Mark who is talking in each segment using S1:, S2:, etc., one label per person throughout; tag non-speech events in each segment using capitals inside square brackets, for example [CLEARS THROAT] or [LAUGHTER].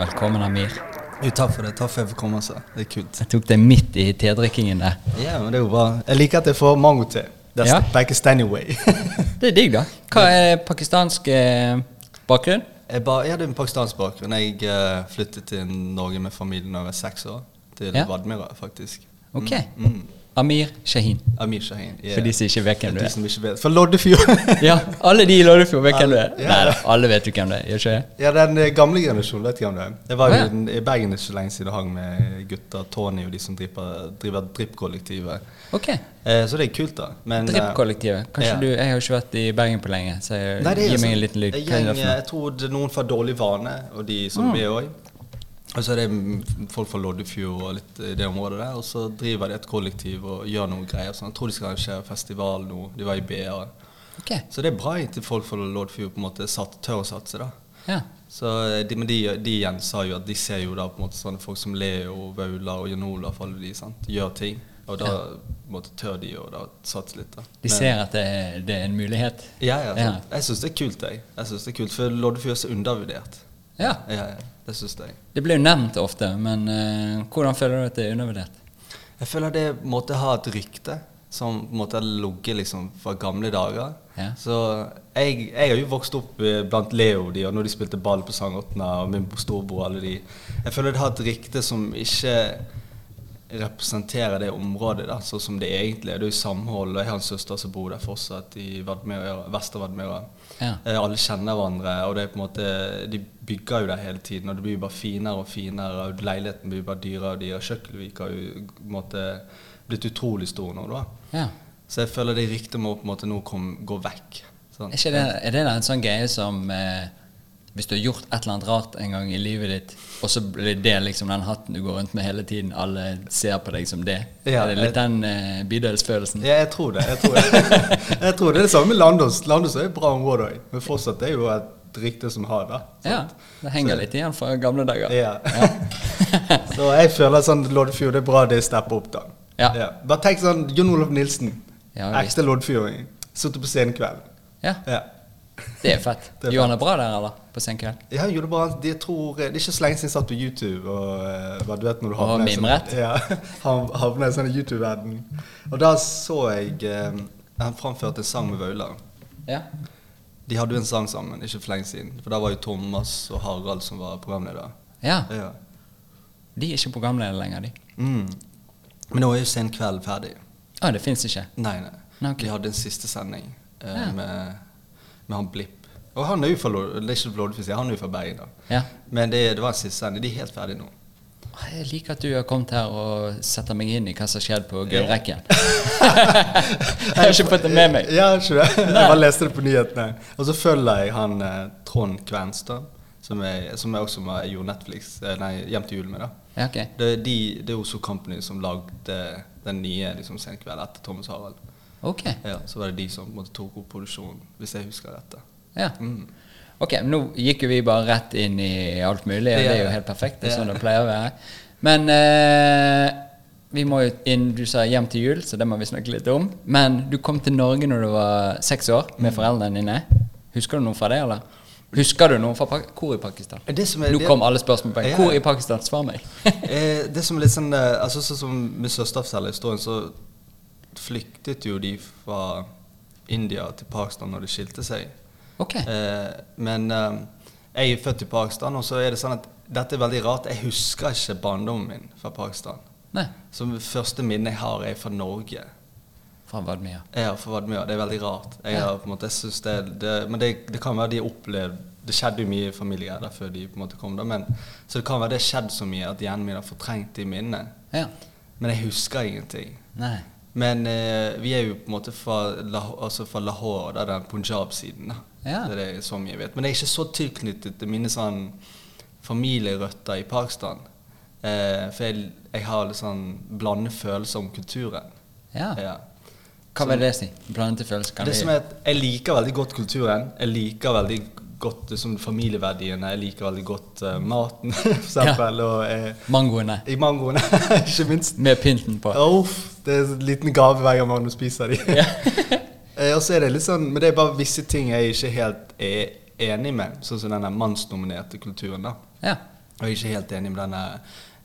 S1: Velkommen, Amir.
S2: Jo, takk for det. Takk for velkommelsen. Det er kult.
S1: Jeg tok deg midt i tedrikkingen der.
S2: Ja, men det er jo bra. Jeg liker at jeg får mangote. That's
S1: Ja.
S2: the Pakistani
S1: [LAUGHS]
S2: way.
S1: Det er digg, da. Hva er pakistansk eh, bakgrunn?
S2: jeg, ba, jeg hadde en pakistansk bakgrunn. Jeg eh, flyttet til Norge med familien da jeg var seks år. Til
S1: Ja.
S2: Vadmira, faktisk.
S1: Ok.
S2: Mm.
S1: Amir Shahin.
S2: Amir Shahin. yeah.
S1: For de som ikke vet hvem du
S2: De
S1: er.
S2: som ikke vet. For Loddefjord.
S1: [LAUGHS] Ja, alle de i Loddefjord vet hvem du er.
S2: Ja.
S1: Nei, da, alle vet jo hvem det er. Gjør ikke jeg?
S2: Ja, den eh, gamle generasjonen vet ikke om det. Jeg var
S1: Å,
S2: jo
S1: ja.
S2: i- i Bergen ikke så lenge siden og hang med gutta Tony og de som driver, driver Drippkollektivet.
S1: Ok.
S2: Eh, så det er kult, da. Men, eh,
S1: Trippkollektivet. Kanskje
S2: ja.
S1: du Jeg har jo ikke vært i Bergen på lenge, så
S2: Nei,
S1: jeg,
S2: det er
S1: Eh, gi
S2: altså
S1: meg en liten lyd.
S2: en
S1: Hva er det
S2: gjeng, eh,
S1: for noe?
S2: jeg tror det er noen fra dårlig vane, og de som vi er òg. Og så er det mm, folk fra Loddefjord og litt i det området der. Og så driver de et kollektiv og gjør noe greier. Sånn. Jeg tror de skal arrangere festival nå. De var i BA.
S1: Ok.
S2: Så det er bra til folk fra Loddefjord på en måte sat, tør å satse, da.
S1: Ja.
S2: Så eh, de, men de, de igjen sa jo at de ser jo da på en måte sånne folk som Leo, Vaula og Jan Olaf, alle de, sant. Gjør ting. Og da på en måte, tør de å da satse litt, da.
S1: De
S2: Men-
S1: ser at det, det er en mulighet.
S2: ja, ja,
S1: Ja.
S2: sant. Jeg syns det er kult, jeg. jeg synes det er kult, For Loddefjord er så undervurdert.
S1: Ja.
S2: Ja, ja, det syns jeg.
S1: Det blir jo nevnt ofte, men eh, hvordan føler du at det er undervurdert?
S2: Jeg føler det måtte ha et rykte som på en måte har ligget liksom fra gamle dager.
S1: Ja.
S2: Så jeg, jeg har jo vokst opp eh, blant Leo de, og når de spilte ball på Sangotna, og min storebror alle de. Jeg føler det har et rykte som ikke representerer det området da, sånn som det egentlig er. Det er jo samhold, og jeg har en søster som bor der fortsatt i Vadmøra, Vester-Vadmøra.
S1: Ja.
S2: Eh, Alle kjenner hverandre, og det er på en måte, de bygger jo der hele tiden. Og det blir jo bare finere og finere, og leiligheten blir bare dyrere og dyrere. Kjøkkelvik har jo på en måte blitt utrolig stor nå, da.
S1: Ja.
S2: Så jeg føler det ryktet må på en måte nå kom, gå vekk. sant?
S1: Er, ikke det, er det da en sånn greie som eh, Hvis du har gjort et eller annet rart en gang i livet ditt, og så blir det liksom den hatten du går rundt med hele tiden, alle ser på deg som det?
S2: Ja,
S1: er det litt den eh, bydelsfølelsen?
S2: Ja, jeg tror det. Jeg tror, jeg tror det [LAUGHS] er det samme med Landås. Landås er et bra område òg, men fortsatt det er jo et rykte som har det. sant?
S1: Ja. Det henger litt igjen fra gamle dager.
S2: Ja. [LAUGHS] så jeg føler sånn Loddefjord, det er bra det stepper opp, da.
S1: Ja.
S2: Bare tenk sånn Jon Olav Nilsen.
S1: Ja, visst.
S2: Ekte loddfjording. Sittet på scenen kveld.
S1: [LAUGHS] Ja,
S2: Ja.
S1: det er fett.
S2: Det er
S1: Gjorde han det bra der, eller? På sen kveld?
S2: Ja, han gjorde bra. De tror, det er ikke så lenge siden jeg satt på YouTube og eh, hva du vet når du
S1: Og
S2: havner i
S1: mimret.
S2: sånn, ja, [LAUGHS] han havner i sånn YouTube-verden. Og da så jeg eh, Han framførte en sang med Vaular.
S1: Ja.
S2: De hadde jo en sang sammen ikke for lenge siden. For da var jo Thomas og Harald som var programleder.
S1: ja.
S2: Ja.
S1: De er ikke programledere lenger, de.
S2: Mm. Men nå er jo Sen kveld ferdig.
S1: Å, det fins ikke.
S2: Nei,
S1: Nei,
S2: nei.
S1: ok.
S2: Vi hadde en siste sending eh,
S1: Ja.
S2: med, med han Blipp. Og han er jo fra Lod- det er ikke Loddefjord, jeg, han er jo fra Bergen. da.
S1: Ja.
S2: Men det, det var en siste sending. De er helt ferdige nå.
S1: Å, Jeg liker at du har kommet her og setter meg inn i hva som har skjedd på gullrekken. [LAUGHS] jeg har ikke fått det med
S2: [LAUGHS]
S1: meg.
S2: Ja, ikke det? Jeg bare leste det på nyhetene. Og så følger jeg han eh, Trond Kvenstad, som jeg, som jeg også var- gjorde Netflix, eh, nei, Hjem til jul med. da.
S1: Ja, ok.
S2: Det er, de, det er Oslo Company som lagde den nye liksom, Senkveld etter Thomas Harald.
S1: Ok,
S2: Ja, så var det de som på en måte, tok opp produksjonen, hvis jeg husker dette.
S1: ja.
S2: Mm.
S1: Ok, men nå gikk jo vi bare rett inn i alt mulig, og det er jo helt perfekt. Det er sånn det pleier å være. Men eh, vi må jo inn Du sa hjem til jul, så det må vi snakke litt om. Men du kom til Norge når du var seks år
S2: Mm.
S1: med foreldrene dine. Husker du noe fra det, eller? Husker du noe fra Pak Hvor i Pakistan?
S2: Det som er-
S1: Nå
S2: det-
S1: kom alle spørsmål på en.
S2: Ja.
S1: Hvor i Pakistan? Svar meg. [LAUGHS]
S2: Eh, det som er litt sånn eh, altså Sånn som min søster forteller historien, så flyktet jo de fra India til Pakistan når de skilte seg.
S1: Ok.
S2: Eh, men eh, jeg er født i Pakistan, og så er det sånn at dette er veldig rart. Jeg husker ikke barndommen min fra Pakistan.
S1: Nei.
S2: Så det første minnet jeg har, er fra Norge.
S1: Fra Vadmia.
S2: Jeg har fått mye, Det er veldig rart. Jeg har på en måte, jeg synes det, det, men det, det kan være de har opplevd Det skjedde jo mye familiegreier der før de på en måte kom, da, men, så det kan være det har skjedd så mye at hjernen min har fortrengt de minnene.
S1: Ja.
S2: Men jeg husker ingenting.
S1: Nei.
S2: Men eh, vi er jo på en måte fra, Lah- altså fra Lahore, da, den punjab-siden. da.
S1: Ja.
S2: Det er det som jeg vet. Men jeg er ikke så tilknyttet til mine sånn familierøtter i Pakistan. Eh, for jeg, jeg har litt sånn blandede følelser om kulturen.
S1: Ja.
S2: Ja.
S1: Hva vil det si? Blandede følelser kan
S2: Det
S1: vi
S2: som er at Jeg liker veldig godt kulturen. Jeg liker veldig godt liksom, familieverdiene. Jeg liker veldig godt eh, maten, [LAUGHS] for eksempel. Og eh,
S1: Mangoene
S2: i mangoene, [LAUGHS] ikke minst.
S1: med pynten på.
S2: Ja, Uff, det er en liten gave hver gang man spiser de. Eh, og så er det litt sånn, men det er bare visse ting jeg ikke helt er enig med, sånn som denne mannsdominerte kulturen. da.
S1: Ja.
S2: Og jeg er ikke helt enig med denne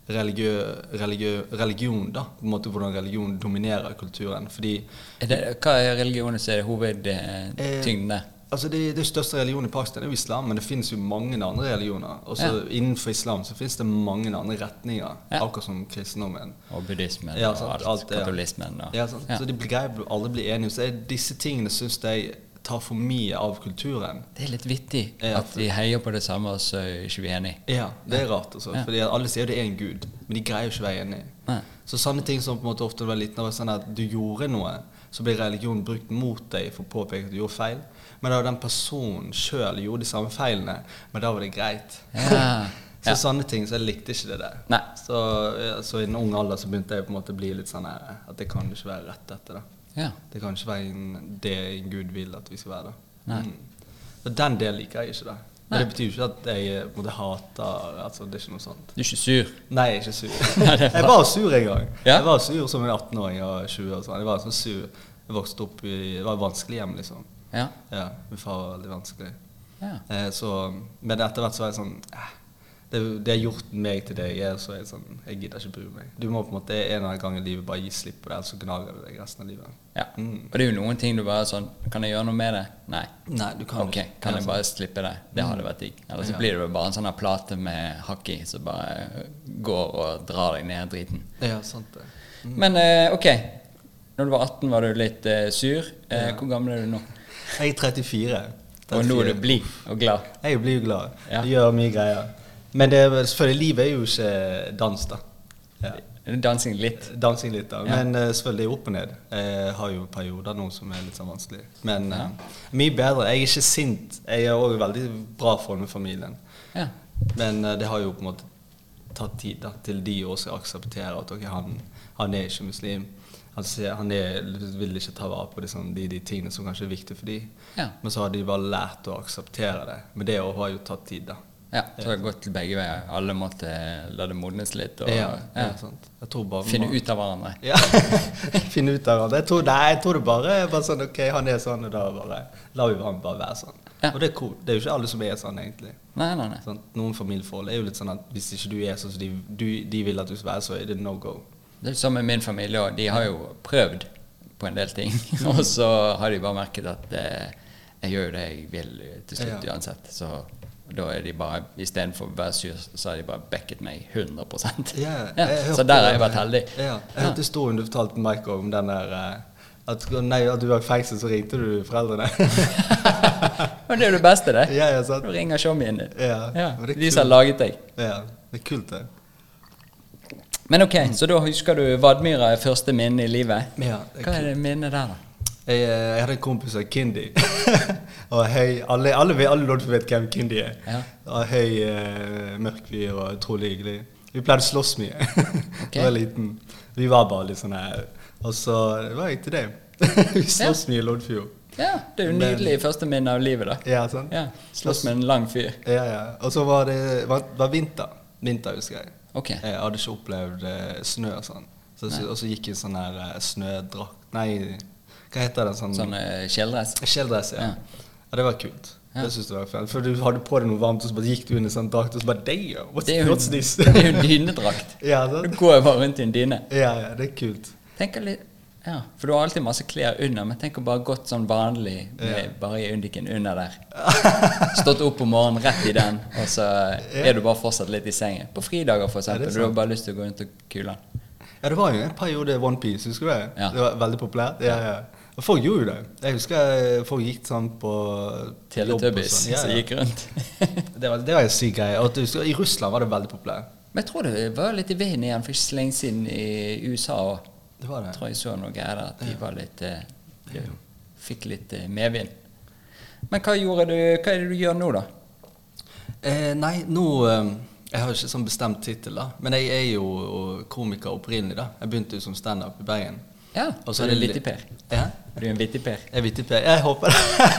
S2: religiø, religiø, religion, da. På en måte hvordan religion dominerer kulturen. Fordi
S1: Er det, hva er religionen som er hovedtyngden der?
S2: Altså det, det største religionen i Pakistan er jo islam, men det finnes jo mange andre religioner. Og så Innenfor islam så finnes det mange andre retninger,
S1: Ja.
S2: akkurat som kristendommen.
S1: Og buddhismen
S2: Ja,
S1: og
S2: sant,
S1: alt,
S2: alt det, ja.
S1: katolismen og
S2: Ja, sant?
S1: Ja.
S2: Så de greier å aldri bli enige. Så er, disse tingene syns jeg tar for mye av kulturen.
S1: Det er litt vittig
S2: Ja,
S1: at vi heier på det samme, og så er ikke vi enige.
S2: Ja, Det er rart. altså.
S1: Ja.
S2: Fordi Alle sier jo det er en gud, men de greier jo ikke å være enige.
S1: Nei.
S2: Så sånne ting som på en måte ofte når du var liten, var sånn at du gjorde noe, så ble religion brukt mot deg for å påpeke at du gjorde feil. Men da den personen sjøl gjorde de samme feilene, men da var det greit.
S1: Ja.
S2: [LAUGHS] Så sånne ting, så jeg likte ikke det der.
S1: Nei.
S2: Så, ja, så i en ung alder så begynte jeg på en måte å bli litt sånn her, at det kan ikke være rett dette. da.
S1: Ja.
S2: Det kan ikke være en, det en Gud vil at vi skal være. da.
S1: Nei.
S2: Mm. Så den delen liker jeg ikke. da. Men
S1: Nei.
S2: det betyr jo ikke at jeg eh, på en måte hater altså Det er ikke noe sånt.
S1: Du er ikke sur?
S2: Nei, jeg er ikke sur.
S1: [LAUGHS] Nei, det er bra.
S2: jeg var sur en gang.
S1: Ja?
S2: Jeg var sur som en 18-åring og 20 og sånn. Jeg var sånn sur. Jeg vokste opp i Det var et vanskelig hjem, liksom.
S1: Ja.
S2: Ja, Min far var veldig vanskelig.
S1: ja.
S2: Eh, så, men etter hvert så var jeg sånn eh, det, det har gjort meg til det jeg er, så er jeg sånn Jeg gidder ikke bry meg. Du må på en måte en eller annen gang i livet bare gi slipp på det, ellers så gnager det deg resten av livet.
S1: ja.
S2: Mm.
S1: Og det er jo noen ting du bare sånn Kan jeg gjøre noe med det? Nei.
S2: Nei, du kan
S1: Ok,
S2: ikke.
S1: kan
S2: Ja,
S1: jeg
S2: sant. Mm.
S1: bare slippe det? Det hadde vært digg. Eller så
S2: Ja.
S1: blir det jo bare en sånn her plate med hakk i som bare går og drar deg ned i driten.
S2: Ja, sant det.
S1: Men eh, ok, når du var 18 var du litt eh, sur. Eh,
S2: Ja.
S1: Hvor gammel er du nå?
S2: Jeg er 34.
S1: Og nå
S2: 34.
S1: er du blid og glad.
S2: Jeg blir jo glad.
S1: Ja.
S2: Jeg gjør mye greier. Men det er, vel- selvfølgelig, livet er jo ikke dans, da. Ja.
S1: Dansing litt.
S2: Dansing litt, da.
S1: Ja.
S2: Men eh, selvfølgelig det er opp og ned. Jeg har jo perioder nå som er litt sånn vanskelig. Men eh, mye bedre. Jeg er ikke sint. Jeg er òg veldig bra forhold med familien.
S1: Ja.
S2: Men eh, det har jo på en måte tatt tid da, til de også å akseptere at ok, han, han er ikke muslim. Han, ser, han er, vil ikke ta vare på liksom, de, de tingene som kanskje er viktige for de.
S1: Ja.
S2: Men så har de bare lært å akseptere det. Men det også har jo tatt tid, da.
S1: ja. Så det har gått begge veier. Alle måtte eh, la det modnes litt og
S2: ja, ja.
S1: ja,
S2: sant. Jeg tror bare vi
S1: finne
S2: må-
S1: ut av hverandre.
S2: Ja. [LAUGHS] Finne ut av hverandre. Jeg tror, nei, jeg tror det bare er bare sånn OK, han er sånn, og da bare lar vi han bare være sånn.
S1: Ja.
S2: Og det er cool. Det er jo ikke alle som er sånn, egentlig.
S1: Nei, nei, nei.
S2: Sant? noen familieforhold er jo litt sånn at hvis ikke du er sånn som de, du, de vil at du skal være, så er det no go.
S1: Det er sånn med min familie òg. De har jo prøvd på en del
S2: [LAUGHS]
S1: ting. Og så har de bare merket at eh, jeg gjør jo det jeg vil eh, til slutt
S2: Ja.
S1: uansett. Så da er de bare Istedenfor å være sur, så har de bare backet meg 100
S2: jeg
S1: ja.
S2: hørte
S1: Så der har jeg
S2: den-
S1: vært heldig.
S2: Ja, jeg hørte historien du fortalte Mike om den der eh, at, nei, at du var i fengsel, så ringte du [LAUGHS] foreldrene.
S1: Men det er jo det beste, det.
S2: ja, ja, sant?
S1: Nå ringer showmien din.
S2: Ja, men det er
S1: De som har
S2: kult.
S1: laget deg.
S2: Ja, det er kult, det.
S1: Men ok, så da husker du Vadmyra er første minne i livet.
S2: Ja, det er
S1: Hva er det minnet der, da?
S2: Jeg, eh, jeg hadde en kompis som het
S1: [LAUGHS]
S2: Kindy. og høy, alle, alle, vet- alle Lodford vet hvem Kindy er.
S1: Ja.
S2: Og høy, eh, mørk fyr og utrolig hyggelig. Vi pleide å slåss mye [LAUGHS] da
S1: Ok.
S2: jeg var liten. Vi var bare litt sånn her. Og så var jeg til det. [LAUGHS] vi slåss mye i Loddfjord.
S1: Ja, Det er jo
S2: Men-
S1: nydelig første minne av livet, da.
S2: Ja, sant?
S1: Ja, Slåss med en lang fyr.
S2: Ja, ja. Og så var det var, var vinter. Vinter, husker jeg. Eh,
S1: Ok.
S2: Jeg hadde ikke opplevd eh, snø og sånn. Så, så, og så gikk jeg i sånn her eh, snødrakt Nei, hva heter den? Sånn,
S1: Sånn eh, kjeledress.
S2: Kjeledress, ja.
S1: Ja.
S2: ja. det var kult.
S1: Ja.
S2: Det synes jeg var fett. For du hadde på deg noe varmt, og så bare gikk du inn i sånn drakt, og så bare Damn, what's,
S1: Det er jo,
S2: what's this?
S1: [LAUGHS] det er jo dynedrakt.
S2: [LAUGHS] ja,
S1: Du
S2: sant?
S1: går jo bare rundt i en dyne.
S2: ja, ja, det er kult. [LAUGHS]
S1: Tenk litt, ja, For du har alltid masse klær under, men tenk å bare gått sånn vanlig med bare i undiken under der. Stått opp om morgenen rett i den, og så
S2: [LAUGHS]
S1: er du bare fortsatt litt i sengen. På fridager, for
S2: Ja, det
S1: eksempel.
S2: er
S1: Du har
S2: sant.
S1: bare lyst til å gå rundt og kule den.
S2: Ja, det var jo en periode One Piece, husker du det?
S1: Ja.
S2: Det var veldig populært. Ja, ja. Og folk gjorde jo det. Jeg husker eh, folk gikk sånn på jobb og
S1: Teletubbies
S2: sånn. Ja,
S1: som
S2: ja.
S1: gikk rundt. [LAUGHS]
S2: Det var, det var en syk greie. Og at du husker, I Russland var det veldig populært.
S1: Men jeg tror det var litt i vinden igjen for ikke så lenge siden i USA òg.
S2: Det var det.
S1: tror jeg så noe greier der, at de var litt eh, de Fikk litt eh, medvind. Men hva gjorde du Hva er det du gjør nå, da?
S2: Eh, nei, nå eh, Jeg har jo ikke sånn bestemt tittel, da. Men jeg er jo eh, komiker opprinnelig, da. Jeg begynte jo som standup i Bergen.
S1: Ja,
S2: Og så
S1: så
S2: er
S1: er du en
S2: det
S1: vittig
S2: li-
S1: per.
S2: Ja?
S1: Er du en vittig per?
S2: Jeg er vittig, Per. Jeg håper det.
S1: [LAUGHS]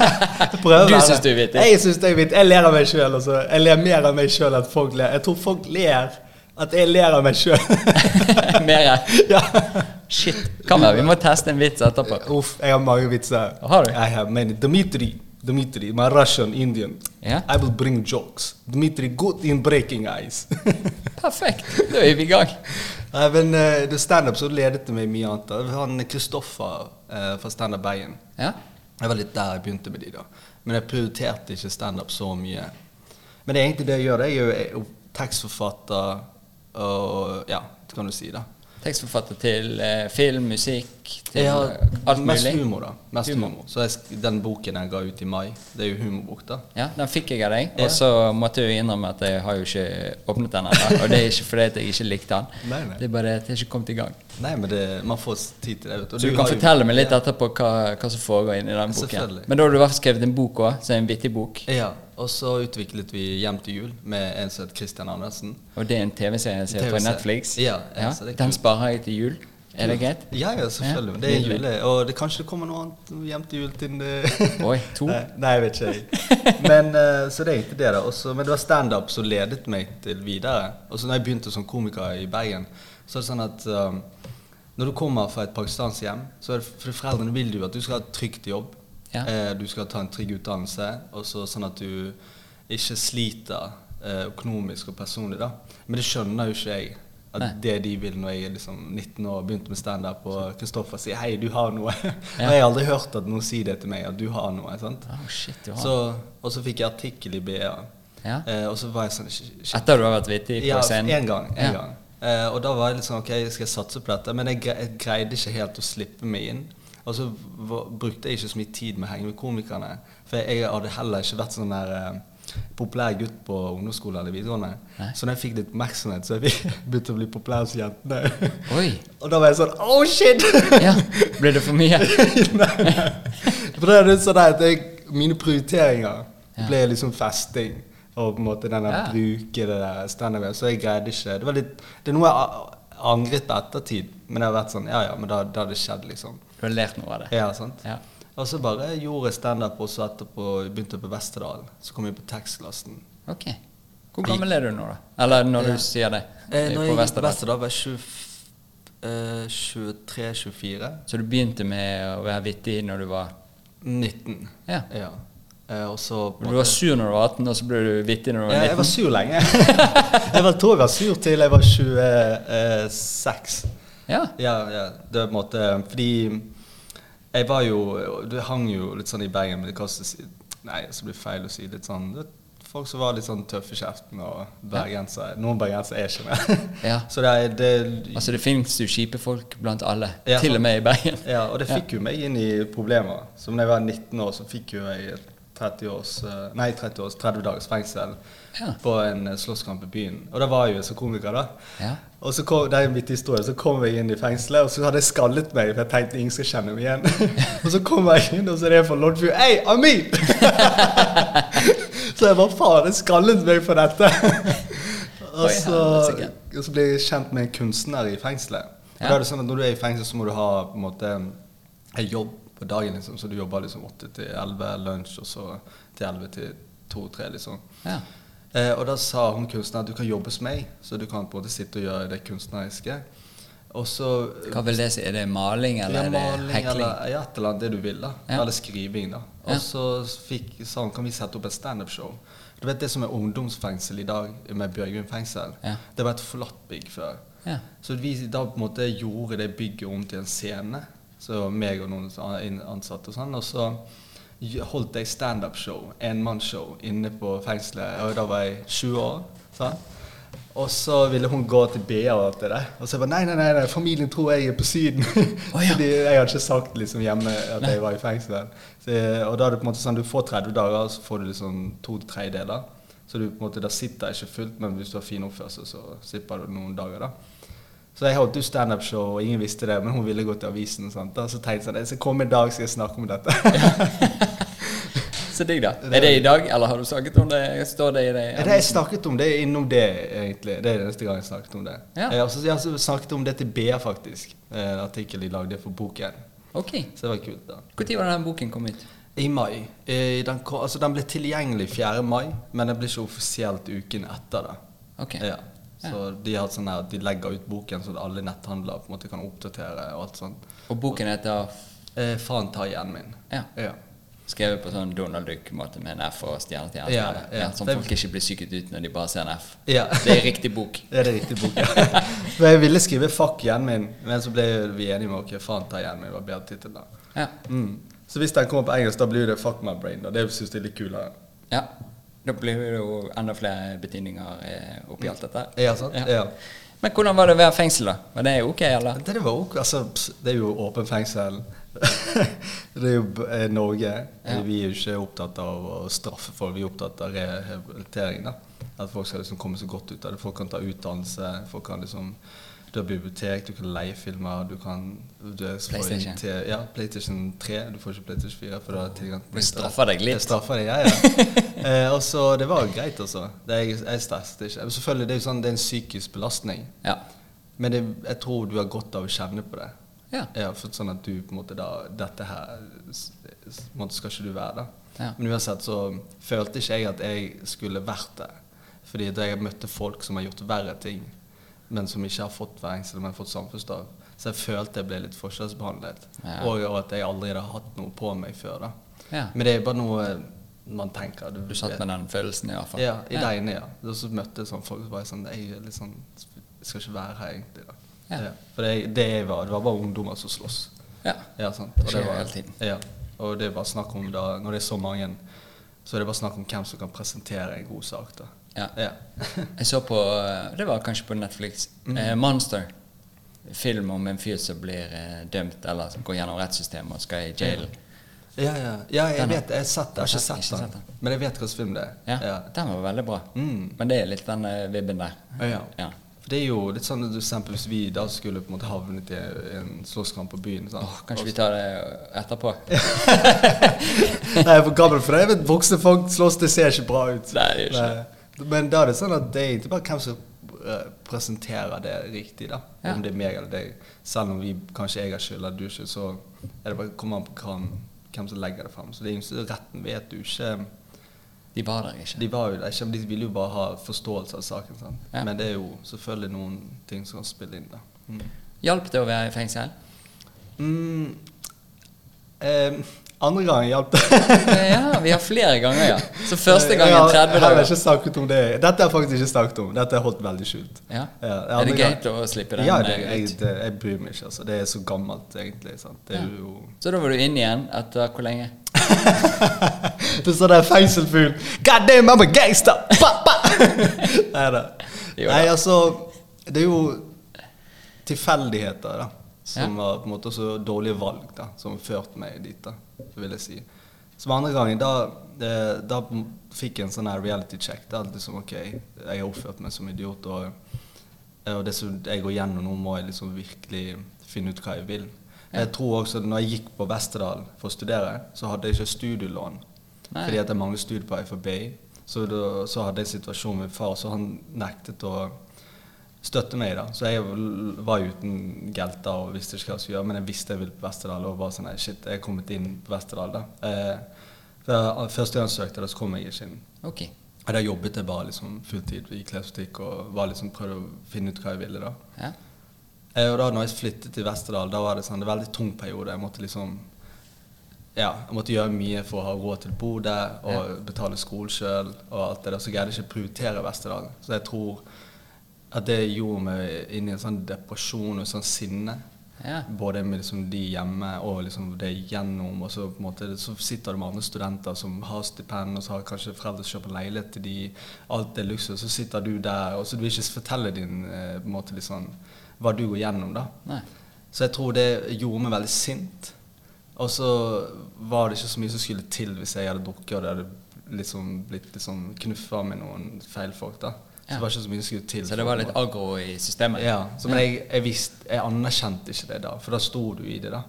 S2: Jeg prøver å
S1: Du
S2: være
S1: synes
S2: det.
S1: du er vittig.
S2: Jeg synes jeg er vittig. Jeg ler av meg sjøl. Jeg ler mer av meg sjøl enn folk ler. Jeg tror folk ler at jeg ler av meg sjøl.
S1: [LAUGHS] Mer
S2: [LAUGHS] ja.
S1: Shit. Kan være vi må teste en vits etterpå.
S2: Uff, jeg har mange vitser.
S1: Har du?
S2: Jeg har many. Dmitri. Dmitri, my Russian Indian.
S1: Ja.
S2: I will bring jokes. Dmitri good in breaking ice. [LAUGHS]
S1: Perfekt. Da er vi i gang.
S2: Nei, men eh, det standup så ledet det meg mye annet. da. Han Kristoffer eh, fra Standup Bergen.
S1: Ja.
S2: Det var litt der jeg begynte med de da. Men jeg prioriterte ikke standup så mye. Men det er egentlig det jeg gjør. det. Jeg er jo- er jo tekstforfatter og ja, det kan du si da.
S1: Tekstforfatter til eh, film, musikk, til
S2: Jeg har
S1: eh, alt mulig.
S2: mest humor da. Mest
S1: Humor.
S2: humor. Så jeg, sk- den boken jeg ga ut i mai, det er jo humorbok da.
S1: Ja, den fikk jeg av deg,
S2: Ja.
S1: og så måtte jeg jo innrømme at jeg har jo ikke åpnet den ennå. Og det er ikke fordi at jeg ikke likte den.
S2: Nei, nei.
S1: Det er bare det at jeg ikke kom i gang.
S2: Nei, men det, man får s- tid til det. Vet du. Og
S1: Så du
S2: har
S1: kan
S2: jo-
S1: fortelle meg litt
S2: ja.
S1: etterpå hva, hva som foregår inni den boken.
S2: Selvfølgelig.
S1: Men da har du i hvert fall skrevet en bok òg, som er en vittig bok.
S2: Ja, og så utviklet vi Hjem til jul med en som het Christian Andersen.
S1: Og det er en TV-serie jeg ser på
S2: TV-serie.
S1: Netflix.
S2: Ja, ja, så det er
S1: Den
S2: kult.
S1: sparer jeg til jul. Er det greit?
S2: Ja, ja, selvfølgelig.
S1: Ja,
S2: Det er
S1: nydelig.
S2: jule, og det, kanskje det kommer noe annet hjem til jul til eh,
S1: Oi,
S2: [LAUGHS]
S1: to?
S2: Nei, nei, jeg vet ikke. jeg. Men, eh, så det er egentlig det, da. Også, men det var standup som ledet meg til videre. Og så når jeg begynte som komiker i Bergen, så er det sånn at um, når du kommer fra et pakistansk hjem, så er det for foreldrene vil jo at du skal ha et trygt jobb.
S1: Ja.
S2: Eh, du skal ta en trygg utdannelse, og så sånn at du ikke sliter eh, økonomisk og personlig, da. Men det skjønner jo ikke jeg. At
S1: Nei.
S2: det de vil når jeg er liksom 19 år og begynte med standup, og Kristoffer sier 'hei, du har noe'. [LAUGHS]
S1: Ja.
S2: og jeg har aldri hørt at noen sier det til meg, at du har noe. sant?
S1: Oh, shit, du har
S2: Så, og så fikk jeg artikkel i BA.
S1: Ja.
S2: Eh, og så var jeg sånn "Shit, shit."
S1: Etter du har vært vittig på
S2: Ja, altså,
S1: scenen?
S2: en gang. En
S1: Ja.
S2: gang. Eh, og da var jeg litt sånn OK, skal jeg satse på dette? Men jeg, gre jeg greide ikke helt å slippe meg inn. Og så v- brukte jeg ikke så mye tid med å henge med komikerne. For jeg hadde heller ikke vært sånn der eh, populær gutt på ungdomsskole eller videregående.
S1: Nei.
S2: Så når jeg fikk litt oppmerksomhet, så jeg [LAUGHS] fikk- begynte å bli populær hos jentene. [LAUGHS]
S1: Oi!
S2: og da var jeg sånn Oh, shit!
S1: Ja, ble det for
S2: [LAUGHS]
S1: mye?
S2: nei, nei. For det er litt sånn at jeg, mine prioriteringer ble liksom festing. Og på en måte den der
S1: Ja.
S2: bruke det der standup. Så jeg greide ikke Det var litt, det er noe jeg a- angret på ettertid. Men jeg har vært sånn Ja ja, men da, da hadde det skjedd, liksom.
S1: Du har lært noe av det?
S2: Ja, sant?
S1: Ja.
S2: Og så bare gjorde jeg standup, og så etterpå begynte jeg på Vesterdalen. Så kom jeg på tekstklassen.
S1: Ok. Hvor gammel er du nå, da? Eller når
S2: Ja.
S1: du sier det?
S2: Eh,
S1: eh,
S2: når
S1: på
S2: jeg gikk på
S1: Vesterdal.
S2: Vesterdal, var jeg eh, 23-24.
S1: Så du begynte med å være vittig når du var
S2: 19.
S1: Ja.
S2: ja. Eh, og så på en
S1: Du
S2: måte-
S1: var sur når du var 18, og så ble du vittig når du
S2: Ja,
S1: var
S2: jeg var
S1: 19?
S2: sur lenge. [LAUGHS] jeg var, tror jeg var sur til jeg var 26.
S1: Ja.
S2: Ja, ja. Det var på en måte Fordi jeg var jo Du hang jo litt sånn i Bergen, men det kastet si- Nei, så blir det feil å si litt sånn det, Folk som var litt sånn tøffe i kjeften, og bergensere Noen bergensere er ikke det.
S1: Ja.
S2: [LAUGHS] Så det, er- det
S1: Altså, det fins jo kjipe folk blant alle,
S2: Ja,
S1: til
S2: sant.
S1: og med i Bergen.
S2: Ja, og det fikk jo meg inn i problemer. Så da jeg var 19 år, så fikk jo jeg et 30 års, eh, nei, 30 års, 30 dagers fengsel
S1: Ja.
S2: på en eh, slåsskamp i byen. Og da var jeg jo som komiker, da.
S1: Ja.
S2: Og så kom, det er en vittig historie, så kom jeg inn i fengselet, og så hadde jeg skallet meg, for jeg tenkte ingen skal kjenne meg
S1: [LAUGHS]
S2: igjen. og så kommer jeg inn, og så er det en fra Loddfjord. Hei,
S1: [LAUGHS]
S2: Amin! så jeg bare faen, jeg skallet meg for dette. og,
S1: Oi,
S2: så,
S1: helsike.
S2: og så ble jeg kjent med en kunstner i fengselet. Og
S1: Ja.
S2: da er det sånn at Når du er i fengsel, så må du ha på en måte en jobb på dagen, liksom. Så du jobber liksom åtte til elleve, lunsj, og så til elleve til to-tre, liksom.
S1: Ja.
S2: Eh, og da sa hun kunstneren at du kan jobbe hos meg, så du kan både sitte og gjøre det kunstneriske. Og så
S1: Hva vil det si? Er det maling, eller
S2: ja,
S1: er
S2: maling
S1: det hekling?
S2: eller ja, et eller annet det du vil. da
S1: Ja.
S2: Eller skriving. da Og
S1: Ja.
S2: så fikk, sa hun kan vi sette opp et standup-show. Du vet det som er ungdomsfengsel i dag, med Bjørgvin fengsel?
S1: Ja.
S2: Det var et forlatt bygg før.
S1: Ja.
S2: Så vi da på en måte gjorde det bygget om til en scene. Så meg og noen an- inn- ansatte og sånn. Og så gj- holdt jeg standup-show, enmannsshow, inne på fengselet. Og da var jeg 20 år. sant? Og så ville hun gå til BA og alt det der. Og så jeg bare nei, nei, nei, nei familien tror jeg er på Syden.
S1: Å,
S2: [LAUGHS]
S1: ja.
S2: Fordi jeg hadde ikke sagt liksom hjemme at jeg var i fengsel. Så, og da er det på en måte sånn du får 30 dager, og så får du liksom to tredjedeler. Så du på en måte, da sitter jeg ikke fullt, men hvis du har fin oppførsel, så slipper du noen dager, da. Så jeg holdt jo standup-show, og ingen visste det, men hun ville gå til avisen. Sant? Da, så tenkte jeg sånn, jeg skal komme en dag, skal jeg snakke om dette.
S1: Så digg, da. Er det i dag, eller har du snakket om det? Står det i det?
S2: Ja, [LAUGHS] det jeg snakket om, det er innom det, egentlig. Det er den eneste gang jeg snakket om det.
S1: Ja.
S2: Jeg har også, jeg har også snakket om det til BA, faktisk. Eh, En artikkel de lagde for boken.
S1: Ok.
S2: Så det var kult, da.
S1: Når var den boken kom ut?
S2: I mai. Eh, Den, ko- altså, den ble tilgjengelig 4. mai, men den ble ikke offisielt uken etter det.
S1: Ok.
S2: Ja. Så de, har sånn her, de legger ut boken så alle netthandlere på en måte kan oppdatere og alt sånt.
S1: Og boken heter
S2: Eh, faen ta igjen min.
S1: Ja.
S2: Ja.
S1: Skrevet på sånn Donald Duck-måte med en F og stjerne til
S2: Ja,
S1: stjerne.
S2: ja.
S1: Ja, sånn folk ikke blir psyket ut når de bare ser en F.
S2: Ja.
S1: Det er riktig bok.
S2: [LAUGHS] Ja, det er riktig bok,
S1: [LAUGHS]
S2: ja. For jeg ville skrive 'fuck hjernen min', men så ble vi enige om ok, faen ta hjernen min. var bedre tittel da.
S1: Ja.
S2: Mm. Så hvis den kommer på engelsk, da blir det 'fuck my brain'. da. Det syns jeg er litt kulere.
S1: ja. Da blir det jo enda flere betydninger eh, oppi alt dette.
S2: Ja, sant? Ja.
S1: Men hvordan var det å være i fengsel, da? Var det ok, eller?
S2: Det, det, var ok, altså, ps, det er jo åpen fengsel. [LAUGHS] det er jo b- eh, Norge.
S1: Ja.
S2: Vi er jo ikke opptatt av å straffe folk, vi er opptatt av rehabilitering. da. At folk skal liksom komme så godt ut av det. Folk kan ta utdannelse. folk kan liksom, Du har bibliotek, du kan leie filmer, du kan du er- får
S1: PlayStation.
S2: en T- ja, PlayStation 3. Du får ikke PlayStation 4. for du har tilgang til
S1: Du straffer deg litt.
S2: Jeg straffer deg, ja,
S1: [LAUGHS]
S2: ja. eh, og så, Det var greit, altså. Det er, jeg stresset ikke. Men Selvfølgelig, det er jo sånn, det er en psykisk belastning.
S1: Ja.
S2: Men det, jeg tror du har godt av å kjenne på det.
S1: Ja.
S2: Ja, for sånn at du på en måte da Dette her s- s- på en måte skal ikke du være, da.
S1: Ja.
S2: Men uansett så følte ikke jeg at jeg skulle vært det. Fordi da jeg møtte folk som har gjort verre ting, men som ikke har fått fengsel, men har fått samfunnsstraff. Så jeg følte jeg ble litt forskjellsbehandlet.
S1: Ja.
S2: Og, og at jeg aldri hadde hatt noe på meg før. da.
S1: Ja.
S2: Men det er bare noe man tenker.
S1: Du satt med den følelsen, i hvert fall.
S2: Ja, i degene, ja. Og så møtte jeg sånn folk som bare sånn Jeg er litt sånn jeg skal ikke være her, egentlig. da.
S1: Ja.
S2: For det, det jeg var, det var bare ungdommer som sloss.
S1: Ja.
S2: Ja, sant.
S1: Det skjer hele tiden.
S2: Ja. Og det er bare snakk om da, når det er så mange, så er det bare snakk om hvem som kan presentere en god sak, da.
S1: Ja.
S2: Ja. [LAUGHS]
S1: Jeg så på eh, Det var kanskje på Netflix.
S2: Mm.
S1: Eh, Monster. Film om en fyr som blir eh, dømt, eller som går gjennom rettssystemet og skal i jailen.
S2: ja, ja. ja jeg
S1: Den, ja.
S2: vet Jeg har sett det. Jeg har ikke
S1: Ikke sett
S2: sett
S1: den.
S2: den. Men jeg vet hvilken film det er.
S1: Ja, Den var veldig bra.
S2: Mm.
S1: Men det er litt den eh, vibben der.
S2: Ja, ja.
S1: Ja.
S2: For det er jo litt sånn at du- eksempel hvis vi da skulle på en måte havnet i en slåsskamp på byen sant?
S1: Åh, kanskje vi tar det etterpå?
S2: Nei, jeg er for gammel for det. Jeg vet, voksne folk slåss, det ser ikke bra ut.
S1: Nei, det gjør ikke det.
S2: Nei. Men da er det sånn at det er egentlig bare hvem som eh, presenterer det riktig, da.
S1: Ja.
S2: Om det er meg eller deg. Selv om vi kanskje jeg har skyld eller du ikke, så er det bare kommer an på hvem, hvem som legger det frem. Så det er jo retten vet jo ikke
S1: De var der ikke.
S2: De var jo der ikke, men de ville jo bare ha forståelse av saken. Sant?
S1: Ja.
S2: Men det er jo selvfølgelig noen ting som kan spille inn, da. Mm.
S1: Hjalp det å være i fengsel?
S2: Mm. Eh, andre gangen hjalp det.
S1: Ja, vi har flere ganger, ja. Så første gangen
S2: Ja,
S1: 30
S2: Jeg har
S1: dager.
S2: ikke snakket om det. Dette har jeg faktisk ikke snakket om. Dette har jeg holdt veldig skjult.
S1: Ja.
S2: Ja,
S1: Er
S2: andre
S1: det
S2: gang-
S1: greit å slippe den
S2: Ja, det,
S1: eh,
S2: jeg,
S1: ut?
S2: det, jeg bryr meg ikke. Altså. Det er så gammelt, egentlig. Sant? Det er jo [LAUGHS]
S1: Så da var du inne igjen etter hvor lenge?
S2: Det er sånn der fengselsfugl. God damn, I'm a gangster! Ba, ba! [LAUGHS] Nei da.
S1: Jo da.
S2: Nei, altså Det er jo tilfeldigheter, da. Som var på en måte også dårlige valg da, som førte meg dit, da, vil jeg si. Som andre gangen, da, eh, da fikk jeg en sånn her reality check. Da, liksom, ok, Jeg har oppført meg som idiot, og, eh, og det som jeg går gjennom nå, må jeg liksom virkelig finne ut hva jeg vil. Jeg tror også at når jeg gikk på Vesterdal for å studere, så hadde jeg ikke studielån.
S1: Nei.
S2: Fordi at jeg manglet studier på FABI. Så, da, så hadde jeg en situasjon med far, så han nektet å støtte meg. da. Så jeg l- var uten gelter og visste ikke hva jeg skulle gjøre, men jeg visste jeg ville på Vesterdal. Og bare sånn, nei, shit, jeg er kommet inn på Vesterdal da. Eh, for første gang jeg søkte, da, så kom jeg ikke inn.
S1: Ok.
S2: Og da jobbet jeg bare liksom fulltid i klesbutikk og var liksom prøvde å finne ut hva jeg ville. da.
S1: Ja.
S2: Eh, Og da når jeg flyttet til Vesterdal, da var det sånn, det var en veldig tung periode. Jeg måtte liksom ja, jeg måtte gjøre mye for å ha råd til å bo der og betale skolen sjøl. Og alt det der, så greide jeg ikke å prioritere Vesterdal. Så jeg tror at det gjorde meg inn i en sånn depresjon og en sånn sinne.
S1: Ja.
S2: Både med liksom de hjemme og liksom det gjennom. Og så, på en måte, så sitter du med andre studenter som har stipend, og så har kanskje foreldre som kjøper leilighet til de, alt er luksus, så sitter du der, og så du vil ikke fortelle din eh, på en måte liksom, hva du går gjennom, da.
S1: Nei.
S2: Så jeg tror det gjorde meg veldig sint. Og så var det ikke så mye som skulle til hvis jeg hadde drukket og det hadde liksom blitt liksom knuffa med noen feil folk. da. Så
S1: Ja.
S2: det var ikke så mye som skulle til.
S1: Så det var litt aggro i systemet?
S2: Ja, så, Men jeg, jeg, visste, jeg anerkjente ikke det da, for da sto du i det. da.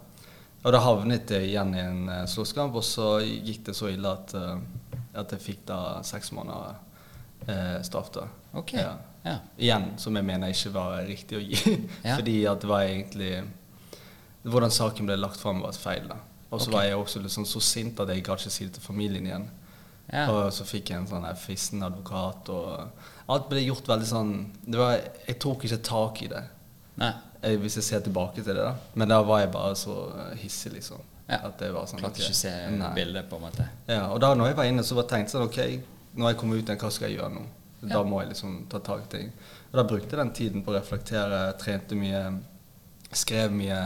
S2: Og da havnet jeg igjen i en eh, slåsskamp, og så gikk det så ille at, eh, at jeg fikk da seks måneder eh, straff. da.
S1: Ok.
S2: Ja.
S1: Ja.
S2: Igjen, som jeg mener ikke var riktig å gi. [LAUGHS]
S1: Ja.
S2: Fordi at det var egentlig Hvordan saken ble lagt fram, var feil. da. Og så
S1: Ok.
S2: var jeg også liksom så sint at jeg gadd ikke si det til familien igjen.
S1: Ja.
S2: Og så fikk jeg en sånn her fristende advokat, og alt ble gjort veldig sånn det var, Jeg tok ikke tak i det,
S1: Nei.
S2: eh, hvis jeg ser tilbake til det, da. Men da var jeg bare så eh, hissig, liksom.
S1: Ja.
S2: At det var sånn,
S1: Klarte ikke å se
S2: ok, nei.
S1: bildet, på en måte.
S2: Ja, og da når jeg var inne, så var jeg tenkt sånn Ok, når jeg kommer ut igjen, hva skal jeg gjøre nå? Da
S1: Ja.
S2: må jeg liksom ta tak i ting. Og da brukte jeg den tiden på å reflektere, trente mye, skrev mye.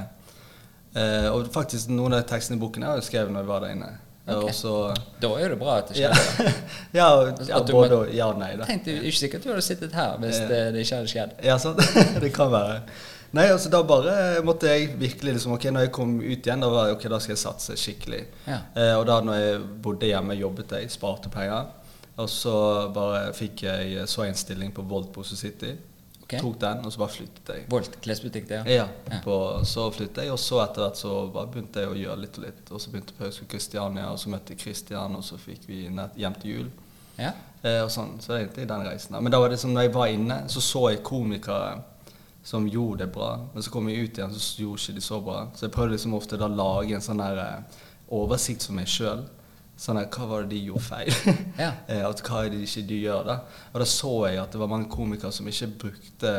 S2: Eh, og faktisk noen av tekstene i boken er jo skrevet når jeg var der inne. Eh,
S1: Ok.
S2: Og så
S1: Da er jo det bra at det
S2: ja,
S1: skjer.
S2: [LAUGHS] ja, og- ja,
S1: At du må-
S2: både og ja og nei, da.
S1: Jeg tenkte jo ikke sikkert du hadde sittet her hvis
S2: Ja.
S1: det, det ikke hadde skjedd.
S2: Ja, sant? [LAUGHS] det kan være. Nei, altså da bare måtte jeg virkelig liksom, ok, når jeg kom ut igjen, da var jeg, ok, da skal jeg satse skikkelig.
S1: Ja.
S2: Eh, og da når jeg bodde hjemme, jobbet jeg, sparte penger. Og så bare fikk jeg eh, så en stilling på Volt Bosse City.
S1: Ok.
S2: Tok den, og så bare flyttet jeg.
S1: Volt klesbutikk, det,
S2: Ja,
S1: Ja.
S2: på, så flyttet jeg, og så etter hvert så bare begynte jeg å gjøre litt og litt. Og så begynte jeg på Høgskolen Kristiania, og så møtte jeg Kristian, og så fikk vi nett hjem til jul.
S1: ja.
S2: Eh, og sånn, så det er egentlig den reisen. da. Men da var det som når jeg var inne, så så jeg komikere som gjorde det bra. Men så kom jeg ut igjen, så gjorde ikke de så bra. Så jeg prøvde liksom ofte da å lage en sånn her eh, oversikt for meg sjøl. Sånn her, Hva var det de gjorde feil?
S1: Ja.
S2: Eh, at hva er det ikke de gjør da? Og da så jeg at det var mange komikere som ikke brukte